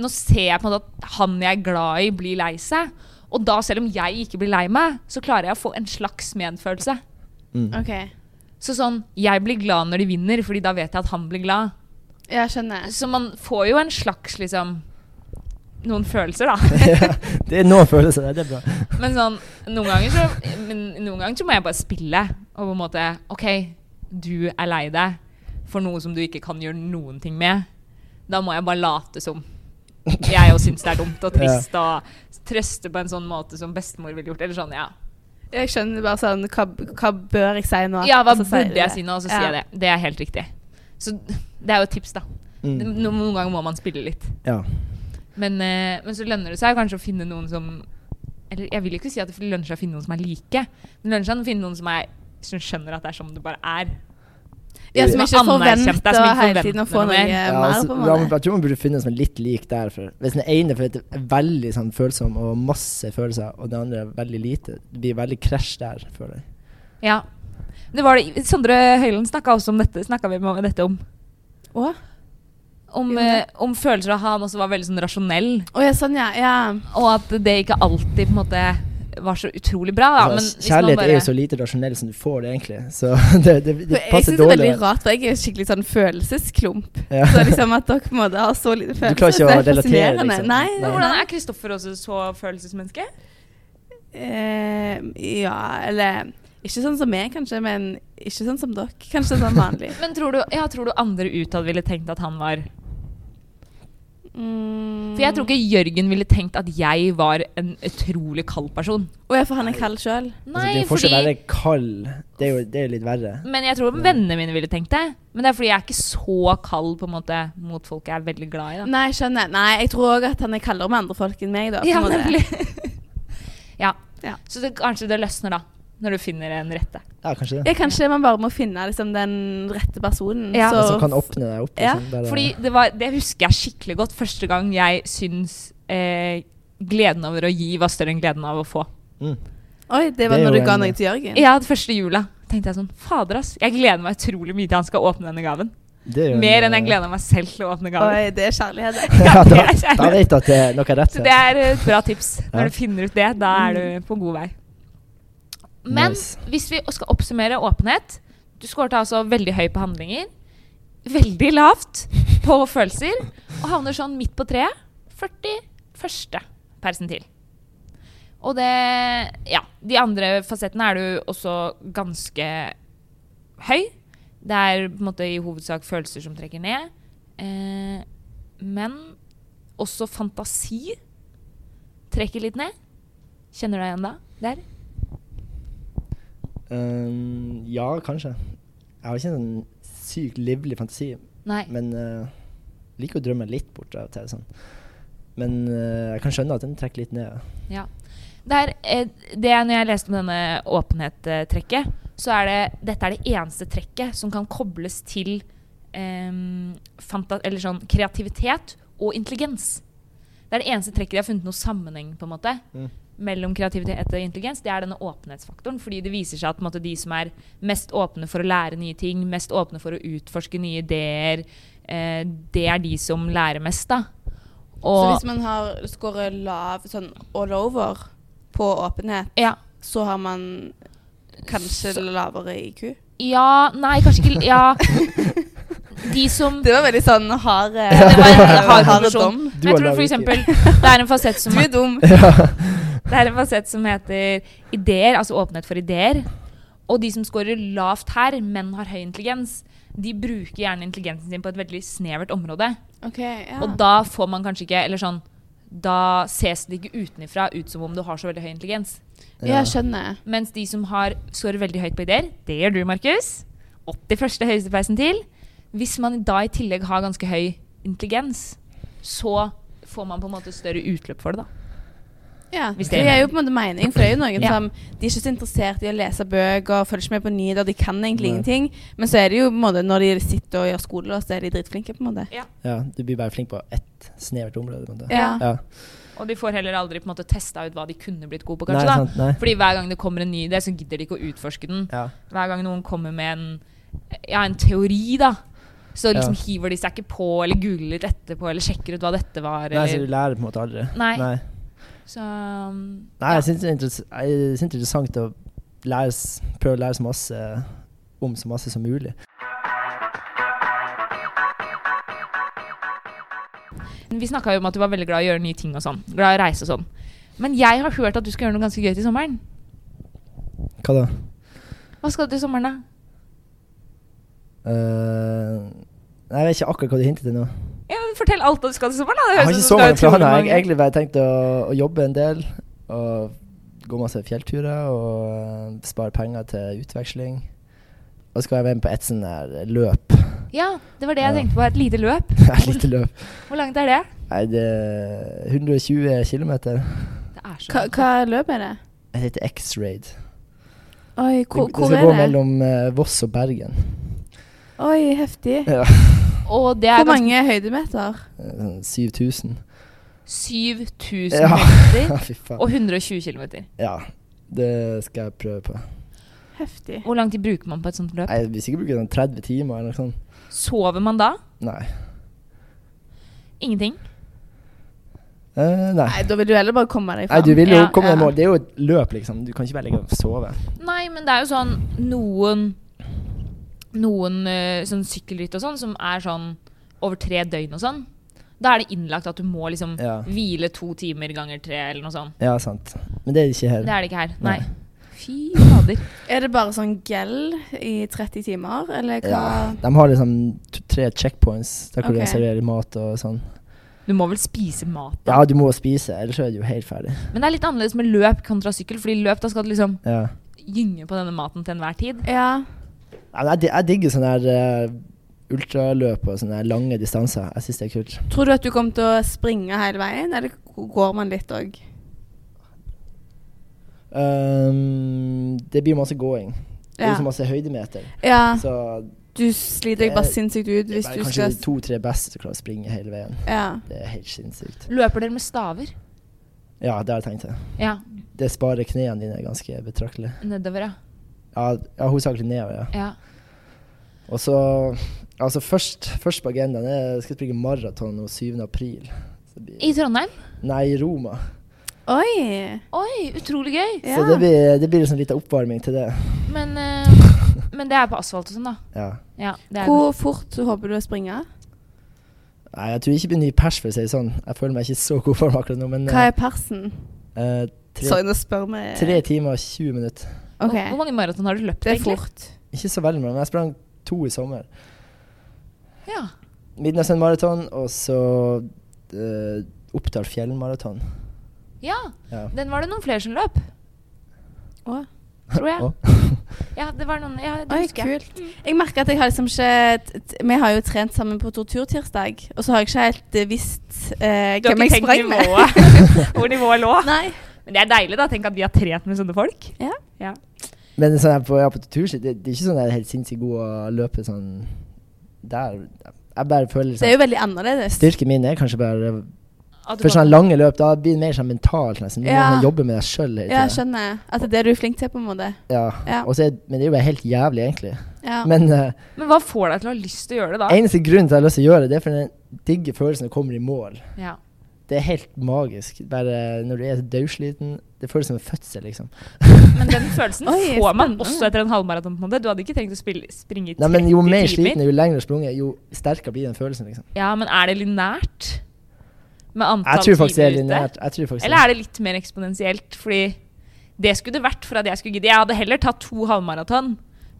[SPEAKER 1] Nå ser jeg på en måte at han jeg er glad i, blir lei seg. Og da, selv om jeg ikke blir lei meg, så klarer jeg å få en slags medfølelse.
[SPEAKER 3] Mm.
[SPEAKER 2] OK.
[SPEAKER 1] Så sånn Jeg blir glad når de vinner, Fordi da vet jeg at han blir glad.
[SPEAKER 2] Ja, skjønner.
[SPEAKER 1] Så man får jo en slags, liksom Noen følelser, da.
[SPEAKER 3] ja, det er noen følelser der, det er bra.
[SPEAKER 1] Men sånn Noen ganger så Men noen ganger så må jeg bare spille. Og på en måte OK, du er lei deg for noe som du ikke kan gjøre noen ting med. Da må jeg bare late som. Jeg òg syns det er dumt og trist, og trøste på en sånn måte som bestemor ville gjort. Eller sånn, ja.
[SPEAKER 2] Jeg skjønner bare sånn Hva, hva bør jeg si nå?
[SPEAKER 1] Ja, hva
[SPEAKER 2] Og så sier
[SPEAKER 1] burde
[SPEAKER 2] de
[SPEAKER 1] jeg
[SPEAKER 2] det.
[SPEAKER 1] si nå? Og så
[SPEAKER 2] Ja.
[SPEAKER 1] sier jeg det. Det er helt riktig. Så det er jo et tips, da.
[SPEAKER 3] Mm.
[SPEAKER 1] Noen, noen ganger må man spille litt.
[SPEAKER 3] Ja.
[SPEAKER 1] Men, eh, men så lønner det seg kanskje å finne noen som Eller jeg vil ikke si at det lønner seg å finne noen som er like, men det lønner seg å finne noen som, er, som skjønner at det er som det bare er.
[SPEAKER 2] Ja, som ikke
[SPEAKER 1] Som anerkjente deg, som
[SPEAKER 2] forventer
[SPEAKER 1] ikke
[SPEAKER 2] hele tiden å få
[SPEAKER 1] forventer noe mer.
[SPEAKER 2] noe
[SPEAKER 3] Ja,
[SPEAKER 2] mer,
[SPEAKER 3] altså,
[SPEAKER 2] på
[SPEAKER 3] ja,
[SPEAKER 2] en
[SPEAKER 3] men
[SPEAKER 2] måte.
[SPEAKER 3] jeg tror man burde finne en som er litt lik der. For hvis den ene for det er veldig sånn, følsom og masse følelser, og den andre er veldig lite, det blir veldig krasj der, føler jeg.
[SPEAKER 1] Ja. Det var det. Sondre Høiland snakka også om dette. Snakket vi om dette om?
[SPEAKER 2] Å?
[SPEAKER 1] Om,
[SPEAKER 2] Gjorde han
[SPEAKER 1] eh, om følelser av han også var veldig sånn rasjonell,
[SPEAKER 2] Å ja, sånn, ja. ja.
[SPEAKER 1] og at det ikke alltid på en måte var så utrolig bra. Da. Men
[SPEAKER 3] Altså,
[SPEAKER 1] hvis man
[SPEAKER 3] kjærlighet
[SPEAKER 1] bare,
[SPEAKER 3] er jo så lite rasjonell som du får det, egentlig. Så det, det, det,
[SPEAKER 2] For jeg
[SPEAKER 3] passer
[SPEAKER 2] syns det er
[SPEAKER 3] dårlig.
[SPEAKER 2] veldig rart, for jeg er skikkelig sånn følelsesklump.
[SPEAKER 3] Ja. Altså,
[SPEAKER 2] Så liksom at dere på en måte har så lite følelser,
[SPEAKER 3] klarer ikke
[SPEAKER 2] så
[SPEAKER 3] å
[SPEAKER 2] det er
[SPEAKER 3] relatere,
[SPEAKER 2] fascinerende.
[SPEAKER 3] liksom.
[SPEAKER 2] Nei,
[SPEAKER 3] Nei.
[SPEAKER 1] Hvordan er Kristoffer også så følelsesmenneske?
[SPEAKER 2] Eh, ja, eller Ikke sånn som meg, kanskje, men ikke sånn som dere. Kanskje sånn vanlig.
[SPEAKER 1] Men tror du, ja, tror du andre utad ville tenkt at han var
[SPEAKER 2] Mm.
[SPEAKER 1] For jeg tror ikke Jørgen ville tenkt at jeg var en utrolig kald person.
[SPEAKER 2] Å ja, for han er kald sjøl.
[SPEAKER 3] Altså, det er jo forskjell å være kald. Det er jo det er jo litt verre.
[SPEAKER 1] Men jeg tror vennene mine ville tenkt det. Men det er fordi jeg er ikke så kald på en måte mot folk jeg er veldig glad i. Da.
[SPEAKER 2] Nei, skjønner. Nei, jeg tror òg at han er kaldere med andre folk enn meg, da. på en måte.
[SPEAKER 1] ja.
[SPEAKER 2] Ja.
[SPEAKER 1] Så det, kanskje det løsner da, når du finner en rette.
[SPEAKER 3] Ja, kanskje det.
[SPEAKER 2] Ja, kanskje man bare må finne liksom, den rette personen.
[SPEAKER 1] Ja.
[SPEAKER 3] Altså, kan åpne deg opp.
[SPEAKER 2] Ja,
[SPEAKER 3] liksom, bare-
[SPEAKER 1] Fordi det, var, det husker jeg skikkelig godt første gang jeg syns eh, gleden over å gi var større enn gleden av å få.
[SPEAKER 3] Mm.
[SPEAKER 2] Oi, det var
[SPEAKER 3] Det er
[SPEAKER 2] når
[SPEAKER 3] jo
[SPEAKER 2] du ga
[SPEAKER 3] en-
[SPEAKER 2] noe til Jørgen?
[SPEAKER 1] Ja, det første jula tenkte jeg sånn Fader, ass. Jeg gleder meg utrolig mye til han skal åpne denne gaven.
[SPEAKER 3] Det er jo en,
[SPEAKER 1] Mer enn jeg
[SPEAKER 3] eh,
[SPEAKER 1] gleder meg selv til å åpne gaven.
[SPEAKER 2] Oi, det er kjærlighet.
[SPEAKER 3] ja,
[SPEAKER 1] det
[SPEAKER 3] da,
[SPEAKER 1] er kjærlighet.
[SPEAKER 3] da vet du at det er noe rett
[SPEAKER 1] Så det er eh, et bra tips. Når
[SPEAKER 3] Ja.
[SPEAKER 1] du finner ut det, da er du på god vei. Mm. Men
[SPEAKER 3] Nice.
[SPEAKER 1] hvis vi skal oppsummere åpenhet Du skåret altså veldig høy på handlinger. Veldig lavt på følelser. Og havner sånn midt på treet. 41. persentil. Og det Ja. De andre fasettene er du også ganske høy. Det er på en måte i hovedsak følelser som trekker ned. Eh, men også fantasi trekker litt ned. Kjenner du deg igjen da? Der?
[SPEAKER 3] Um, ja, kanskje. Jeg har ikke en sånn sykt livlig fantasi,
[SPEAKER 1] Nei.
[SPEAKER 3] men eh, liker å drømme litt bort av og til. Sånn. Men eh, jeg kan skjønne at den trekker litt ned.
[SPEAKER 1] Ja. Der, eh, det er når jeg leste om denne åpenhet-trekket, så er det dette er det eneste trekket som kan kobles til em, fanta eller sånn kreativitet og intelligens. Det er det eneste trekket de har funnet noe sammenheng på en måte,
[SPEAKER 3] Mm.
[SPEAKER 1] mellom kreativitet og intelligens. Det er denne åpenhetsfaktoren. Fordi det viser seg at på en måte, de som er mest åpne for å lære nye ting, mest åpne for å utforske nye ideer, eh, det er de som lærer mest, da.
[SPEAKER 2] Så
[SPEAKER 1] Og,
[SPEAKER 2] hvis man har scoret lav sånn all over på åpenhet,
[SPEAKER 1] ja.
[SPEAKER 2] så har man kanskje lavere IQ?
[SPEAKER 1] Ja, nei, kanskje ikke Ja. De som
[SPEAKER 2] Det var veldig sånn hard eh,
[SPEAKER 1] Det var en
[SPEAKER 2] hard
[SPEAKER 1] hard konklusjon.
[SPEAKER 2] dom.
[SPEAKER 1] Jeg tror for eksempel det er en fasett som,
[SPEAKER 2] Du er dum.
[SPEAKER 1] det er en fasett som heter ideer, altså åpenhet for ideer. Og de som scorer lavt her, men har høy intelligens, de bruker gjerne intelligensen sin på et veldig snevert område.
[SPEAKER 2] Ok, ja.
[SPEAKER 1] Og da får man kanskje ikke Eller sånn Da ses det ikke utenfra ut som om du har så veldig høy intelligens.
[SPEAKER 2] ja, skjønner.
[SPEAKER 1] Mens de som har scorer veldig høyt på ideer, det gjør du, Markus. 81. høyeste peisen til. Hvis man da i tillegg har ganske høy intelligens, så får man på en måte større utløp for det, da.
[SPEAKER 2] Ja,
[SPEAKER 1] Hvis
[SPEAKER 2] det
[SPEAKER 1] det er-
[SPEAKER 2] gir jo på en måte mening, for det er jo noen
[SPEAKER 1] Ja.
[SPEAKER 2] som De er ikke så interessert i å lese bøker, følger ikke med på nyheter, de kan egentlig
[SPEAKER 3] Nei.
[SPEAKER 2] ingenting. Men så er det jo på en måte når de sitter og gjør skole, så er de dritflinke, på en måte.
[SPEAKER 3] Ja, du blir bare flink på ett snevert område. på en måte.
[SPEAKER 2] Ja.
[SPEAKER 3] Ja.
[SPEAKER 1] Og de får heller aldri på en måte testa ut hva de kunne blitt gode på,
[SPEAKER 3] Nei,
[SPEAKER 1] kanskje.
[SPEAKER 3] sant, nei.
[SPEAKER 1] da. Fordi hver gang det kommer en ny idé, så gidder de ikke å utforske den.
[SPEAKER 3] Ja.
[SPEAKER 1] Hver gang noen kommer med en, ja, en teori, da. Så liksom
[SPEAKER 3] Ja.
[SPEAKER 1] hiver de seg ikke på, eller googler litt etterpå, eller sjekker ut hva dette var.
[SPEAKER 3] Nei, så du
[SPEAKER 1] Eller.
[SPEAKER 3] lærer på en måte aldri.
[SPEAKER 1] Nei.
[SPEAKER 3] Nei,
[SPEAKER 1] Så, um,
[SPEAKER 3] Nei, jeg syns det er interess- jeg synes det er interessant å lære, s- prøve å lære så masse om så masse som mulig.
[SPEAKER 1] Vi snakka jo om at du var veldig glad i å gjøre nye ting og sånn. Glad i å reise og sånn. Men jeg har hørt at du skal gjøre noe ganske gøy til sommeren.
[SPEAKER 3] Hva da?
[SPEAKER 1] Hva skal du til sommeren, da?
[SPEAKER 3] Eh, nei, jeg vet ikke akkurat hva du hintet til nå.
[SPEAKER 1] Ja, men Fortell alt hva du skal til sommeren, da. Det
[SPEAKER 3] Jeg har
[SPEAKER 1] høres ut
[SPEAKER 3] ikke så
[SPEAKER 1] som du
[SPEAKER 3] mange
[SPEAKER 1] utrolig
[SPEAKER 3] planer. Jeg har
[SPEAKER 1] mange-
[SPEAKER 3] egentlig bare tenkt å, å jobbe en del. Og gå masse fjellturer og eh, spare penger til utveksling. Og så skal jeg være med på et sånn der løp.
[SPEAKER 1] Ja, det var det jeg
[SPEAKER 3] Ja.
[SPEAKER 1] tenkte på. Et lite løp.
[SPEAKER 3] Et lite løp.
[SPEAKER 1] Hvor langt er det?
[SPEAKER 3] Nei, det er 120 km.
[SPEAKER 1] Det er så
[SPEAKER 2] Hva, hva løp er det?
[SPEAKER 3] Det heter X-Raid.
[SPEAKER 2] Oi,
[SPEAKER 3] Det
[SPEAKER 2] hvor,
[SPEAKER 3] det
[SPEAKER 2] hvor
[SPEAKER 3] skal gå
[SPEAKER 2] er det?
[SPEAKER 3] mellom eh, Voss og Bergen.
[SPEAKER 2] Oi, heftig.
[SPEAKER 3] Ja.
[SPEAKER 1] Og det er
[SPEAKER 2] Hvor
[SPEAKER 1] ganske
[SPEAKER 2] mange høydemeter?
[SPEAKER 3] Eh, Sånn 7000.
[SPEAKER 1] 7000
[SPEAKER 3] Ja.
[SPEAKER 1] meter
[SPEAKER 3] Ja, fy faen.
[SPEAKER 1] og 120 km.
[SPEAKER 3] Ja. Det skal jeg prøve på.
[SPEAKER 2] Heftig.
[SPEAKER 1] Hvor lang tid bruker man på et sånt løp?
[SPEAKER 3] Nei, Jeg vil sikkert bruke sånn 30 timer eller noe sånt.
[SPEAKER 1] Sover man da?
[SPEAKER 3] Nei.
[SPEAKER 1] Ingenting.
[SPEAKER 3] Eh, nei.
[SPEAKER 2] Nei, da vil du heller bare komme deg
[SPEAKER 3] Nei,
[SPEAKER 2] fram.
[SPEAKER 3] du vil jo
[SPEAKER 1] Ja,
[SPEAKER 3] komme deg i
[SPEAKER 2] ja.
[SPEAKER 3] mål. Det er jo et løp, liksom. Du kan ikke bare ligge og sove.
[SPEAKER 1] Nei, men det er jo sånn noen Noen eh, sånn sykkelritt og sånn som er sånn over tre døgn og sånn. Da er det innlagt at du må liksom
[SPEAKER 3] Ja.
[SPEAKER 1] hvile to timer ganger tre eller noe sånt.
[SPEAKER 3] Ja, sant. Men det er det ikke her.
[SPEAKER 1] Det er det ikke her. Nei. Fy fader.
[SPEAKER 2] Er det bare sånn gel i 30 timer, eller hva?
[SPEAKER 3] Ja, de har liksom t- tre checkpoints der hvor
[SPEAKER 2] Ok.
[SPEAKER 3] de serverer mat og sånn.
[SPEAKER 1] Du må vel spise mat, da.
[SPEAKER 3] Ja, du må spise, ellers så er du jo helt ferdig.
[SPEAKER 1] Men det er litt annerledes med løp kontra sykkel, fordi løp da skal du liksom
[SPEAKER 3] Ja.
[SPEAKER 1] gynge på denne maten til enhver tid.
[SPEAKER 2] Ja.
[SPEAKER 3] Ja, men Jeg, di- jeg digger sånne her eh, ultraløp og sånne her lange distanser. Jeg syns det er kult.
[SPEAKER 2] Tror du at du kommer til å springe hele veien, eller går man litt òg?
[SPEAKER 3] Ehm, det blir masse gåing. Det
[SPEAKER 2] Ja.
[SPEAKER 3] blir så masse høydemeter.
[SPEAKER 2] Ja,
[SPEAKER 3] Så
[SPEAKER 2] du sliter deg bare
[SPEAKER 3] Det-
[SPEAKER 2] sinnssykt ut
[SPEAKER 3] Eh, det er
[SPEAKER 2] hvis du
[SPEAKER 3] bare kanskje
[SPEAKER 2] skal
[SPEAKER 3] de to-tre beste som klarer å springe hele veien.
[SPEAKER 2] Ja.
[SPEAKER 3] Det er helt sinnssykt.
[SPEAKER 1] Løper dere med staver?
[SPEAKER 3] Ja, det har jeg tenkt. til.
[SPEAKER 1] Ja.
[SPEAKER 3] Det sparer knærne dine ganske betraktelig.
[SPEAKER 1] Nedover, ja.
[SPEAKER 3] Ja, ja hovedsakelig nedover, ja.
[SPEAKER 1] ja.
[SPEAKER 3] Og så Altså, først, først på agendaen er jeg skal springe maraton nå 7. april. Så det blir-
[SPEAKER 1] I Trondheim?
[SPEAKER 3] Nei, i Roma.
[SPEAKER 2] Oi!
[SPEAKER 1] Oi, utrolig gøy.
[SPEAKER 2] Ja.
[SPEAKER 3] Så det blir, det blir liksom litt oppvarming til det.
[SPEAKER 1] Men, eh, men det er på asfalt og sånn, da.
[SPEAKER 3] Ja.
[SPEAKER 1] Ja, det er det.
[SPEAKER 2] Hvor fort håper du å springe?
[SPEAKER 3] Nei, jeg tror ikke det blir ny pers, for å si det sånn. Jeg føler meg ikke i så god form akkurat nå, men
[SPEAKER 2] Hva er persen?
[SPEAKER 3] eh, tre,
[SPEAKER 2] Sorry, nå spør vi
[SPEAKER 3] tre timer og 20 minutter.
[SPEAKER 2] OK.
[SPEAKER 1] Hvor- Hvor mange maraton har du løpt,
[SPEAKER 2] Det er
[SPEAKER 1] egentlig?
[SPEAKER 2] fort.
[SPEAKER 3] Ikke så veldig mange, men jeg sprang to i sommer.
[SPEAKER 1] Ja.
[SPEAKER 3] Midnattssønn maraton, og så eh, Oppdal fjellmaraton.
[SPEAKER 1] ja.
[SPEAKER 3] Ja.
[SPEAKER 1] Den var det noen flere som løp,
[SPEAKER 2] Å.
[SPEAKER 1] tror jeg.
[SPEAKER 3] Å.
[SPEAKER 1] Ja, det var noen ja, det
[SPEAKER 2] Oi,
[SPEAKER 1] husker jeg. Mm.
[SPEAKER 2] kult. Jeg merker at jeg har liksom ikke t- t- Vi har jo trent sammen på torturtirsdag, og så har jeg ikke helt eh, visst eh,
[SPEAKER 1] Du har
[SPEAKER 2] hvem jeg
[SPEAKER 1] ikke tenkt
[SPEAKER 2] sprang med.
[SPEAKER 1] nivået, hvor nivået lå.
[SPEAKER 2] Nei.
[SPEAKER 1] Men det er deilig, da. Tenk at vi har trent med sånne folk.
[SPEAKER 2] Ja.
[SPEAKER 1] ja.
[SPEAKER 3] Men sånn her på, ja, på tur, det, det er ikke sånn jeg er helt sinnssykt god å løpe sånn der. Jeg bare føler
[SPEAKER 2] Det er
[SPEAKER 3] sånn,
[SPEAKER 2] jo veldig annerledes.
[SPEAKER 3] Styrken min er kanskje bare
[SPEAKER 1] At du
[SPEAKER 3] For
[SPEAKER 1] kan-
[SPEAKER 3] sånn sånne lange løp, da blir det mer sånn mentalt, nesten. Du må
[SPEAKER 2] Ja.
[SPEAKER 3] jobbe med deg sjøl
[SPEAKER 2] Ja,
[SPEAKER 3] hele
[SPEAKER 2] jeg
[SPEAKER 3] tida.
[SPEAKER 2] skjønner. At det er det du er flink til, på en måte.
[SPEAKER 3] Ja,
[SPEAKER 2] Ja.
[SPEAKER 3] Og så er- Men det er jo bare helt jævlig, egentlig.
[SPEAKER 2] Ja.
[SPEAKER 3] Men eh,
[SPEAKER 1] Men hva får deg til å ha lyst til å gjøre det, da?
[SPEAKER 3] eneste grunnen til at jeg har lyst til å gjøre det, det er for den digge følelsen når du kommer i mål.
[SPEAKER 1] Ja.
[SPEAKER 3] Det er helt magisk. Bare når du er dødsliten. Det føles som en fødsel, liksom.
[SPEAKER 1] Men den følelsen
[SPEAKER 2] Oi,
[SPEAKER 1] får man
[SPEAKER 2] spennende.
[SPEAKER 1] også etter en halvmaraton. på en måte. Du hadde ikke trengt å spille, springe i 30
[SPEAKER 3] Nei, men jo mer
[SPEAKER 1] timer.
[SPEAKER 3] sliten, jo lenger sprunget, jo sterkere blir den følelsen, liksom.
[SPEAKER 1] Ja, men er det lineært? Med antall
[SPEAKER 3] Jeg tror faktisk det er
[SPEAKER 1] timer ute?
[SPEAKER 3] lineært. Jeg tror faktisk
[SPEAKER 1] Eller er det litt mer eksponentielt? Fordi det skulle det vært for at jeg skulle gidde. Jeg hadde heller tatt to halvmaraton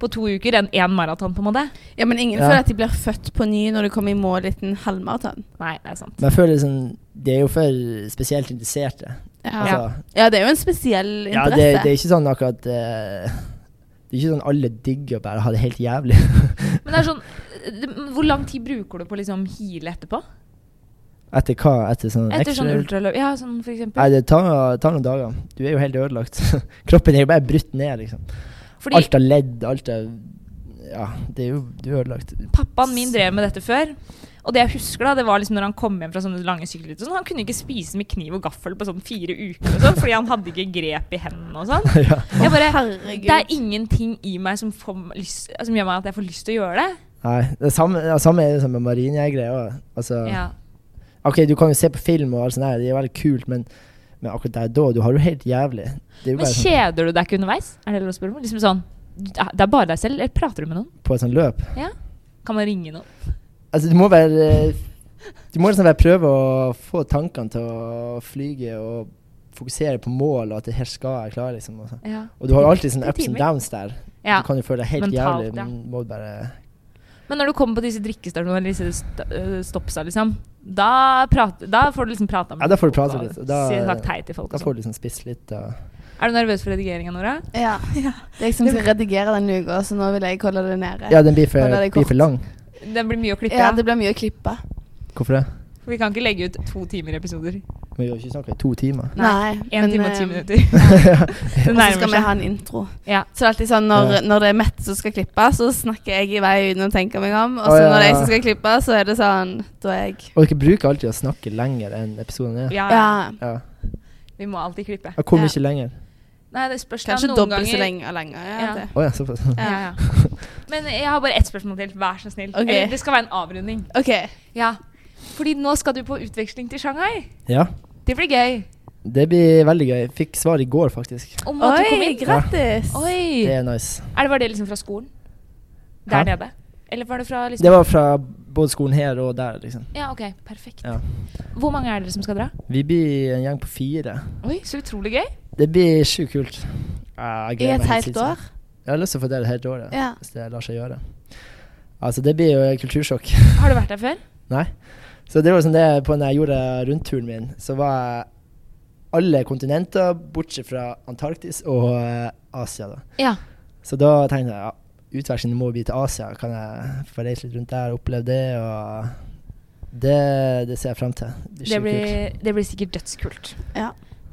[SPEAKER 1] på to uker enn én maraton, på en måte.
[SPEAKER 2] Ja, men ingen
[SPEAKER 3] Ja.
[SPEAKER 2] føler at de blir født på ny når de kommer i mål i en halvmaraton.
[SPEAKER 1] Nei, det er sant.
[SPEAKER 3] Men jeg føler sånn Det er jo for spesielt interesserte.
[SPEAKER 2] Ja.
[SPEAKER 3] Altså,
[SPEAKER 2] ja, det er jo en spesiell
[SPEAKER 3] ja,
[SPEAKER 2] interesse.
[SPEAKER 3] det, det er ikke sånn akkurat eh, Det er ikke sånn alle digger å bare ha det helt jævlig.
[SPEAKER 1] Men det er sånn det- Hvor lang tid bruker du på å liksom hile etterpå?
[SPEAKER 3] Etter hva? Etter sånn
[SPEAKER 1] Etter sånn
[SPEAKER 3] ekstra
[SPEAKER 1] ultraløp? Ja, sånn for
[SPEAKER 3] Nei,
[SPEAKER 1] eksempel.
[SPEAKER 3] det tar, tar noen dager. Du er jo helt ødelagt. Kroppen er jo bare brutt ned, liksom.
[SPEAKER 1] Fordi
[SPEAKER 3] Alt av ledd, alt av Ja, det er jo Du er ødelagt.
[SPEAKER 1] Pappaen min drev med dette før. Og det jeg husker da, det var liksom når han kom hjem fra sånne lange sykkelruter. og Sånn, han kunne ikke spise med kniv og gaffel på sånn fire uker og sånn, fordi han hadde ikke grep i hendene og sånn.
[SPEAKER 3] ja.
[SPEAKER 1] Jeg bare,
[SPEAKER 2] Herregud.
[SPEAKER 1] det er ingenting i meg som, får, lyst- som gjør meg at jeg får lyst til å gjøre det.
[SPEAKER 3] Nei. Det samme, ja, samme er det sånn med marinjegere òg. Altså
[SPEAKER 1] Ja.
[SPEAKER 3] OK, du kan jo se på film og alt sånt, der, det er veldig kult, men, men akkurat der da, du har det jo helt jævlig. Det er jo
[SPEAKER 1] Men
[SPEAKER 3] bare sånn,
[SPEAKER 1] kjeder du deg ikke underveis? Er det lov å spørre om? Liksom sånn, det er bare deg selv, eller prater du med noen?
[SPEAKER 3] på et sånt løp.
[SPEAKER 1] Kan man ringe noen?
[SPEAKER 3] Altså, du må være eh, Du må liksom bare prøve å få tankene til å flyge og fokusere på mål, og at det her skal jeg klare, liksom. Og, så.
[SPEAKER 1] Ja.
[SPEAKER 3] og du har alltid
[SPEAKER 1] Det
[SPEAKER 3] sånne
[SPEAKER 1] er
[SPEAKER 3] ups and
[SPEAKER 1] timer.
[SPEAKER 3] downs der. Du kan jo føle deg helt
[SPEAKER 1] Mentalt,
[SPEAKER 3] jævlig,
[SPEAKER 1] ja.
[SPEAKER 3] men må bare
[SPEAKER 1] Men når du kommer på disse drikkestasjonene eller disse st øh, stoppsa, liksom, da, prat, da får du liksom prata med
[SPEAKER 3] Ja, da får du
[SPEAKER 1] folk,
[SPEAKER 3] prate
[SPEAKER 1] og
[SPEAKER 3] litt, og da-
[SPEAKER 1] si- sagt hei til folk.
[SPEAKER 3] Da
[SPEAKER 1] og
[SPEAKER 3] får du liksom spist litt og
[SPEAKER 1] sånn. Er du nervøs for redigeringa, Nora?
[SPEAKER 2] Ja. Det er jeg som skal redigere den uka, så nå vil jeg holde det nede.
[SPEAKER 3] Ja, den blir
[SPEAKER 2] Ja,
[SPEAKER 3] for,
[SPEAKER 2] det er
[SPEAKER 3] blir
[SPEAKER 2] kort.
[SPEAKER 3] for lang.
[SPEAKER 1] Den blir mye å klippe.
[SPEAKER 2] Ja,
[SPEAKER 1] av.
[SPEAKER 2] det blir mye å klippe.
[SPEAKER 3] Hvorfor det?
[SPEAKER 1] For vi kan ikke legge ut to timer episoder.
[SPEAKER 3] Vi har jo ikke snakka i to timer.
[SPEAKER 1] Nei, Én
[SPEAKER 2] men,
[SPEAKER 1] time og
[SPEAKER 2] eh,
[SPEAKER 1] ti minutter. Det
[SPEAKER 2] Og så
[SPEAKER 1] nærmer
[SPEAKER 2] skal vi
[SPEAKER 1] seg.
[SPEAKER 2] ha en intro.
[SPEAKER 1] Ja.
[SPEAKER 2] Så det er alltid sånn når,
[SPEAKER 3] Ja.
[SPEAKER 2] når det er Mette som skal klippe, så snakker jeg i vei uten å tenke meg om. Og
[SPEAKER 3] Å,
[SPEAKER 2] så
[SPEAKER 3] ja,
[SPEAKER 2] når det er jeg
[SPEAKER 3] ja.
[SPEAKER 2] som skal klippe, så er det sånn Da er jeg
[SPEAKER 3] Og dere bruker alltid å snakke lenger enn episoden er.
[SPEAKER 1] Ja, ja.
[SPEAKER 2] Ja.
[SPEAKER 3] Ja.
[SPEAKER 1] Vi må alltid klippe.
[SPEAKER 3] Jeg kom
[SPEAKER 2] Ja.
[SPEAKER 3] ikke lenger.
[SPEAKER 1] Nei, det spørs da.
[SPEAKER 2] Kanskje
[SPEAKER 1] Noen
[SPEAKER 2] dobbelt
[SPEAKER 1] ganger-
[SPEAKER 2] så lenge lenger. Ja,
[SPEAKER 1] Ja.
[SPEAKER 2] det.
[SPEAKER 3] Å ja, såpass.
[SPEAKER 1] Ja, ja. Men eh, jeg har bare ett spørsmål til. Vær så snill.
[SPEAKER 2] Ok.
[SPEAKER 1] Eller, det skal være en avrunding.
[SPEAKER 2] OK.
[SPEAKER 1] Ja. Fordi nå skal du på utveksling til Shanghai.
[SPEAKER 3] Ja.
[SPEAKER 1] Det blir gøy.
[SPEAKER 3] Det blir veldig gøy. Fikk svar i går, faktisk.
[SPEAKER 1] Og må du komme
[SPEAKER 2] Oi,
[SPEAKER 1] inn?
[SPEAKER 2] grattis!
[SPEAKER 1] Oi!
[SPEAKER 3] Det er nice.
[SPEAKER 1] Er det bare det liksom fra skolen? Der
[SPEAKER 3] Hæ?
[SPEAKER 1] nede? Eller var det fra liksom
[SPEAKER 3] Det var fra både skolen her og der, liksom.
[SPEAKER 1] Ja, OK. Perfekt.
[SPEAKER 3] Ja.
[SPEAKER 1] Hvor mange er dere som skal dra?
[SPEAKER 3] Vi blir en gjeng på fire.
[SPEAKER 1] Oi, så utrolig gøy.
[SPEAKER 3] Det blir sjukt kult. Ah,
[SPEAKER 2] I
[SPEAKER 3] jeg gleder
[SPEAKER 2] et
[SPEAKER 3] meg helt
[SPEAKER 2] helt
[SPEAKER 3] sinnssykt.
[SPEAKER 2] år?
[SPEAKER 3] Jeg har lyst til å få det et helt år, ja.
[SPEAKER 2] Ja.
[SPEAKER 3] Hvis det lar seg gjøre. Altså, det blir jo kultursjokk.
[SPEAKER 1] Har du vært der før?
[SPEAKER 3] Nei. Så det var sånn det på den jorda rundt-turen min, så var jeg alle kontinenter bortsett fra Antarktis og eh, Asia, da.
[SPEAKER 1] Ja.
[SPEAKER 3] Så da tenkte jeg ja, utvekslingen må bli til Asia. Kan jeg få reise litt rundt der og oppleve det? Og det, det ser jeg fram til. Det blir
[SPEAKER 1] Det
[SPEAKER 3] skikkelig kult.
[SPEAKER 1] blir, det blir sikkert dødskult.
[SPEAKER 2] Ja.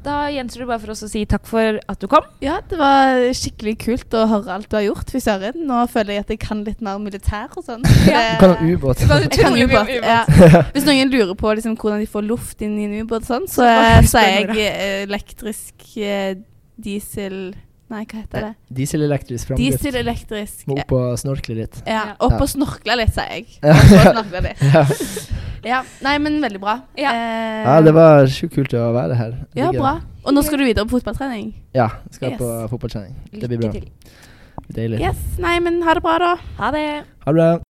[SPEAKER 1] Da gjenstår det bare for oss å si takk for at du kom.
[SPEAKER 2] ja, det var skikkelig kult å høre alt du har gjort. Fy søren. Nå føler jeg at jeg kan litt mer militær og sånn.
[SPEAKER 1] Ja.
[SPEAKER 3] Du kan ha ubåt.
[SPEAKER 1] Du kan
[SPEAKER 2] Jeg kan
[SPEAKER 1] utrolig mye
[SPEAKER 2] ubåt,
[SPEAKER 1] om ubåt.
[SPEAKER 2] ja. Hvis noen lurer på liksom, hvordan de får luft inn i en ubåt, og sånn, så
[SPEAKER 1] Bare
[SPEAKER 2] eh,
[SPEAKER 1] spør
[SPEAKER 2] sier
[SPEAKER 1] Nora.
[SPEAKER 2] jeg eh, elektrisk eh, diesel Nei, hva heter det?
[SPEAKER 3] Dieselelektrisk framdrift.
[SPEAKER 2] Diesel-elektrisk.
[SPEAKER 3] Må opp og snorkle litt.
[SPEAKER 2] Ja,
[SPEAKER 1] Ja.
[SPEAKER 2] opp
[SPEAKER 3] Ja.
[SPEAKER 2] og snorkle litt, sier jeg. Opp
[SPEAKER 3] Ja.
[SPEAKER 2] og snorkle litt.
[SPEAKER 3] Ja.
[SPEAKER 2] Ja, Nei, men veldig bra.
[SPEAKER 1] Ja.
[SPEAKER 2] Eh,
[SPEAKER 3] ja, det var sjukt kult å være her.
[SPEAKER 2] ja,
[SPEAKER 3] Ligge-
[SPEAKER 2] bra. Og nå skal du videre på fotballtrening.
[SPEAKER 3] Ja, skal på
[SPEAKER 2] Yes.
[SPEAKER 3] fotballtrening. Det blir
[SPEAKER 1] Lykke
[SPEAKER 3] bra.
[SPEAKER 1] til.
[SPEAKER 3] Deilig.
[SPEAKER 2] Yes, Nei, men ha det bra, da.
[SPEAKER 1] Ha det.
[SPEAKER 3] Ha det bra.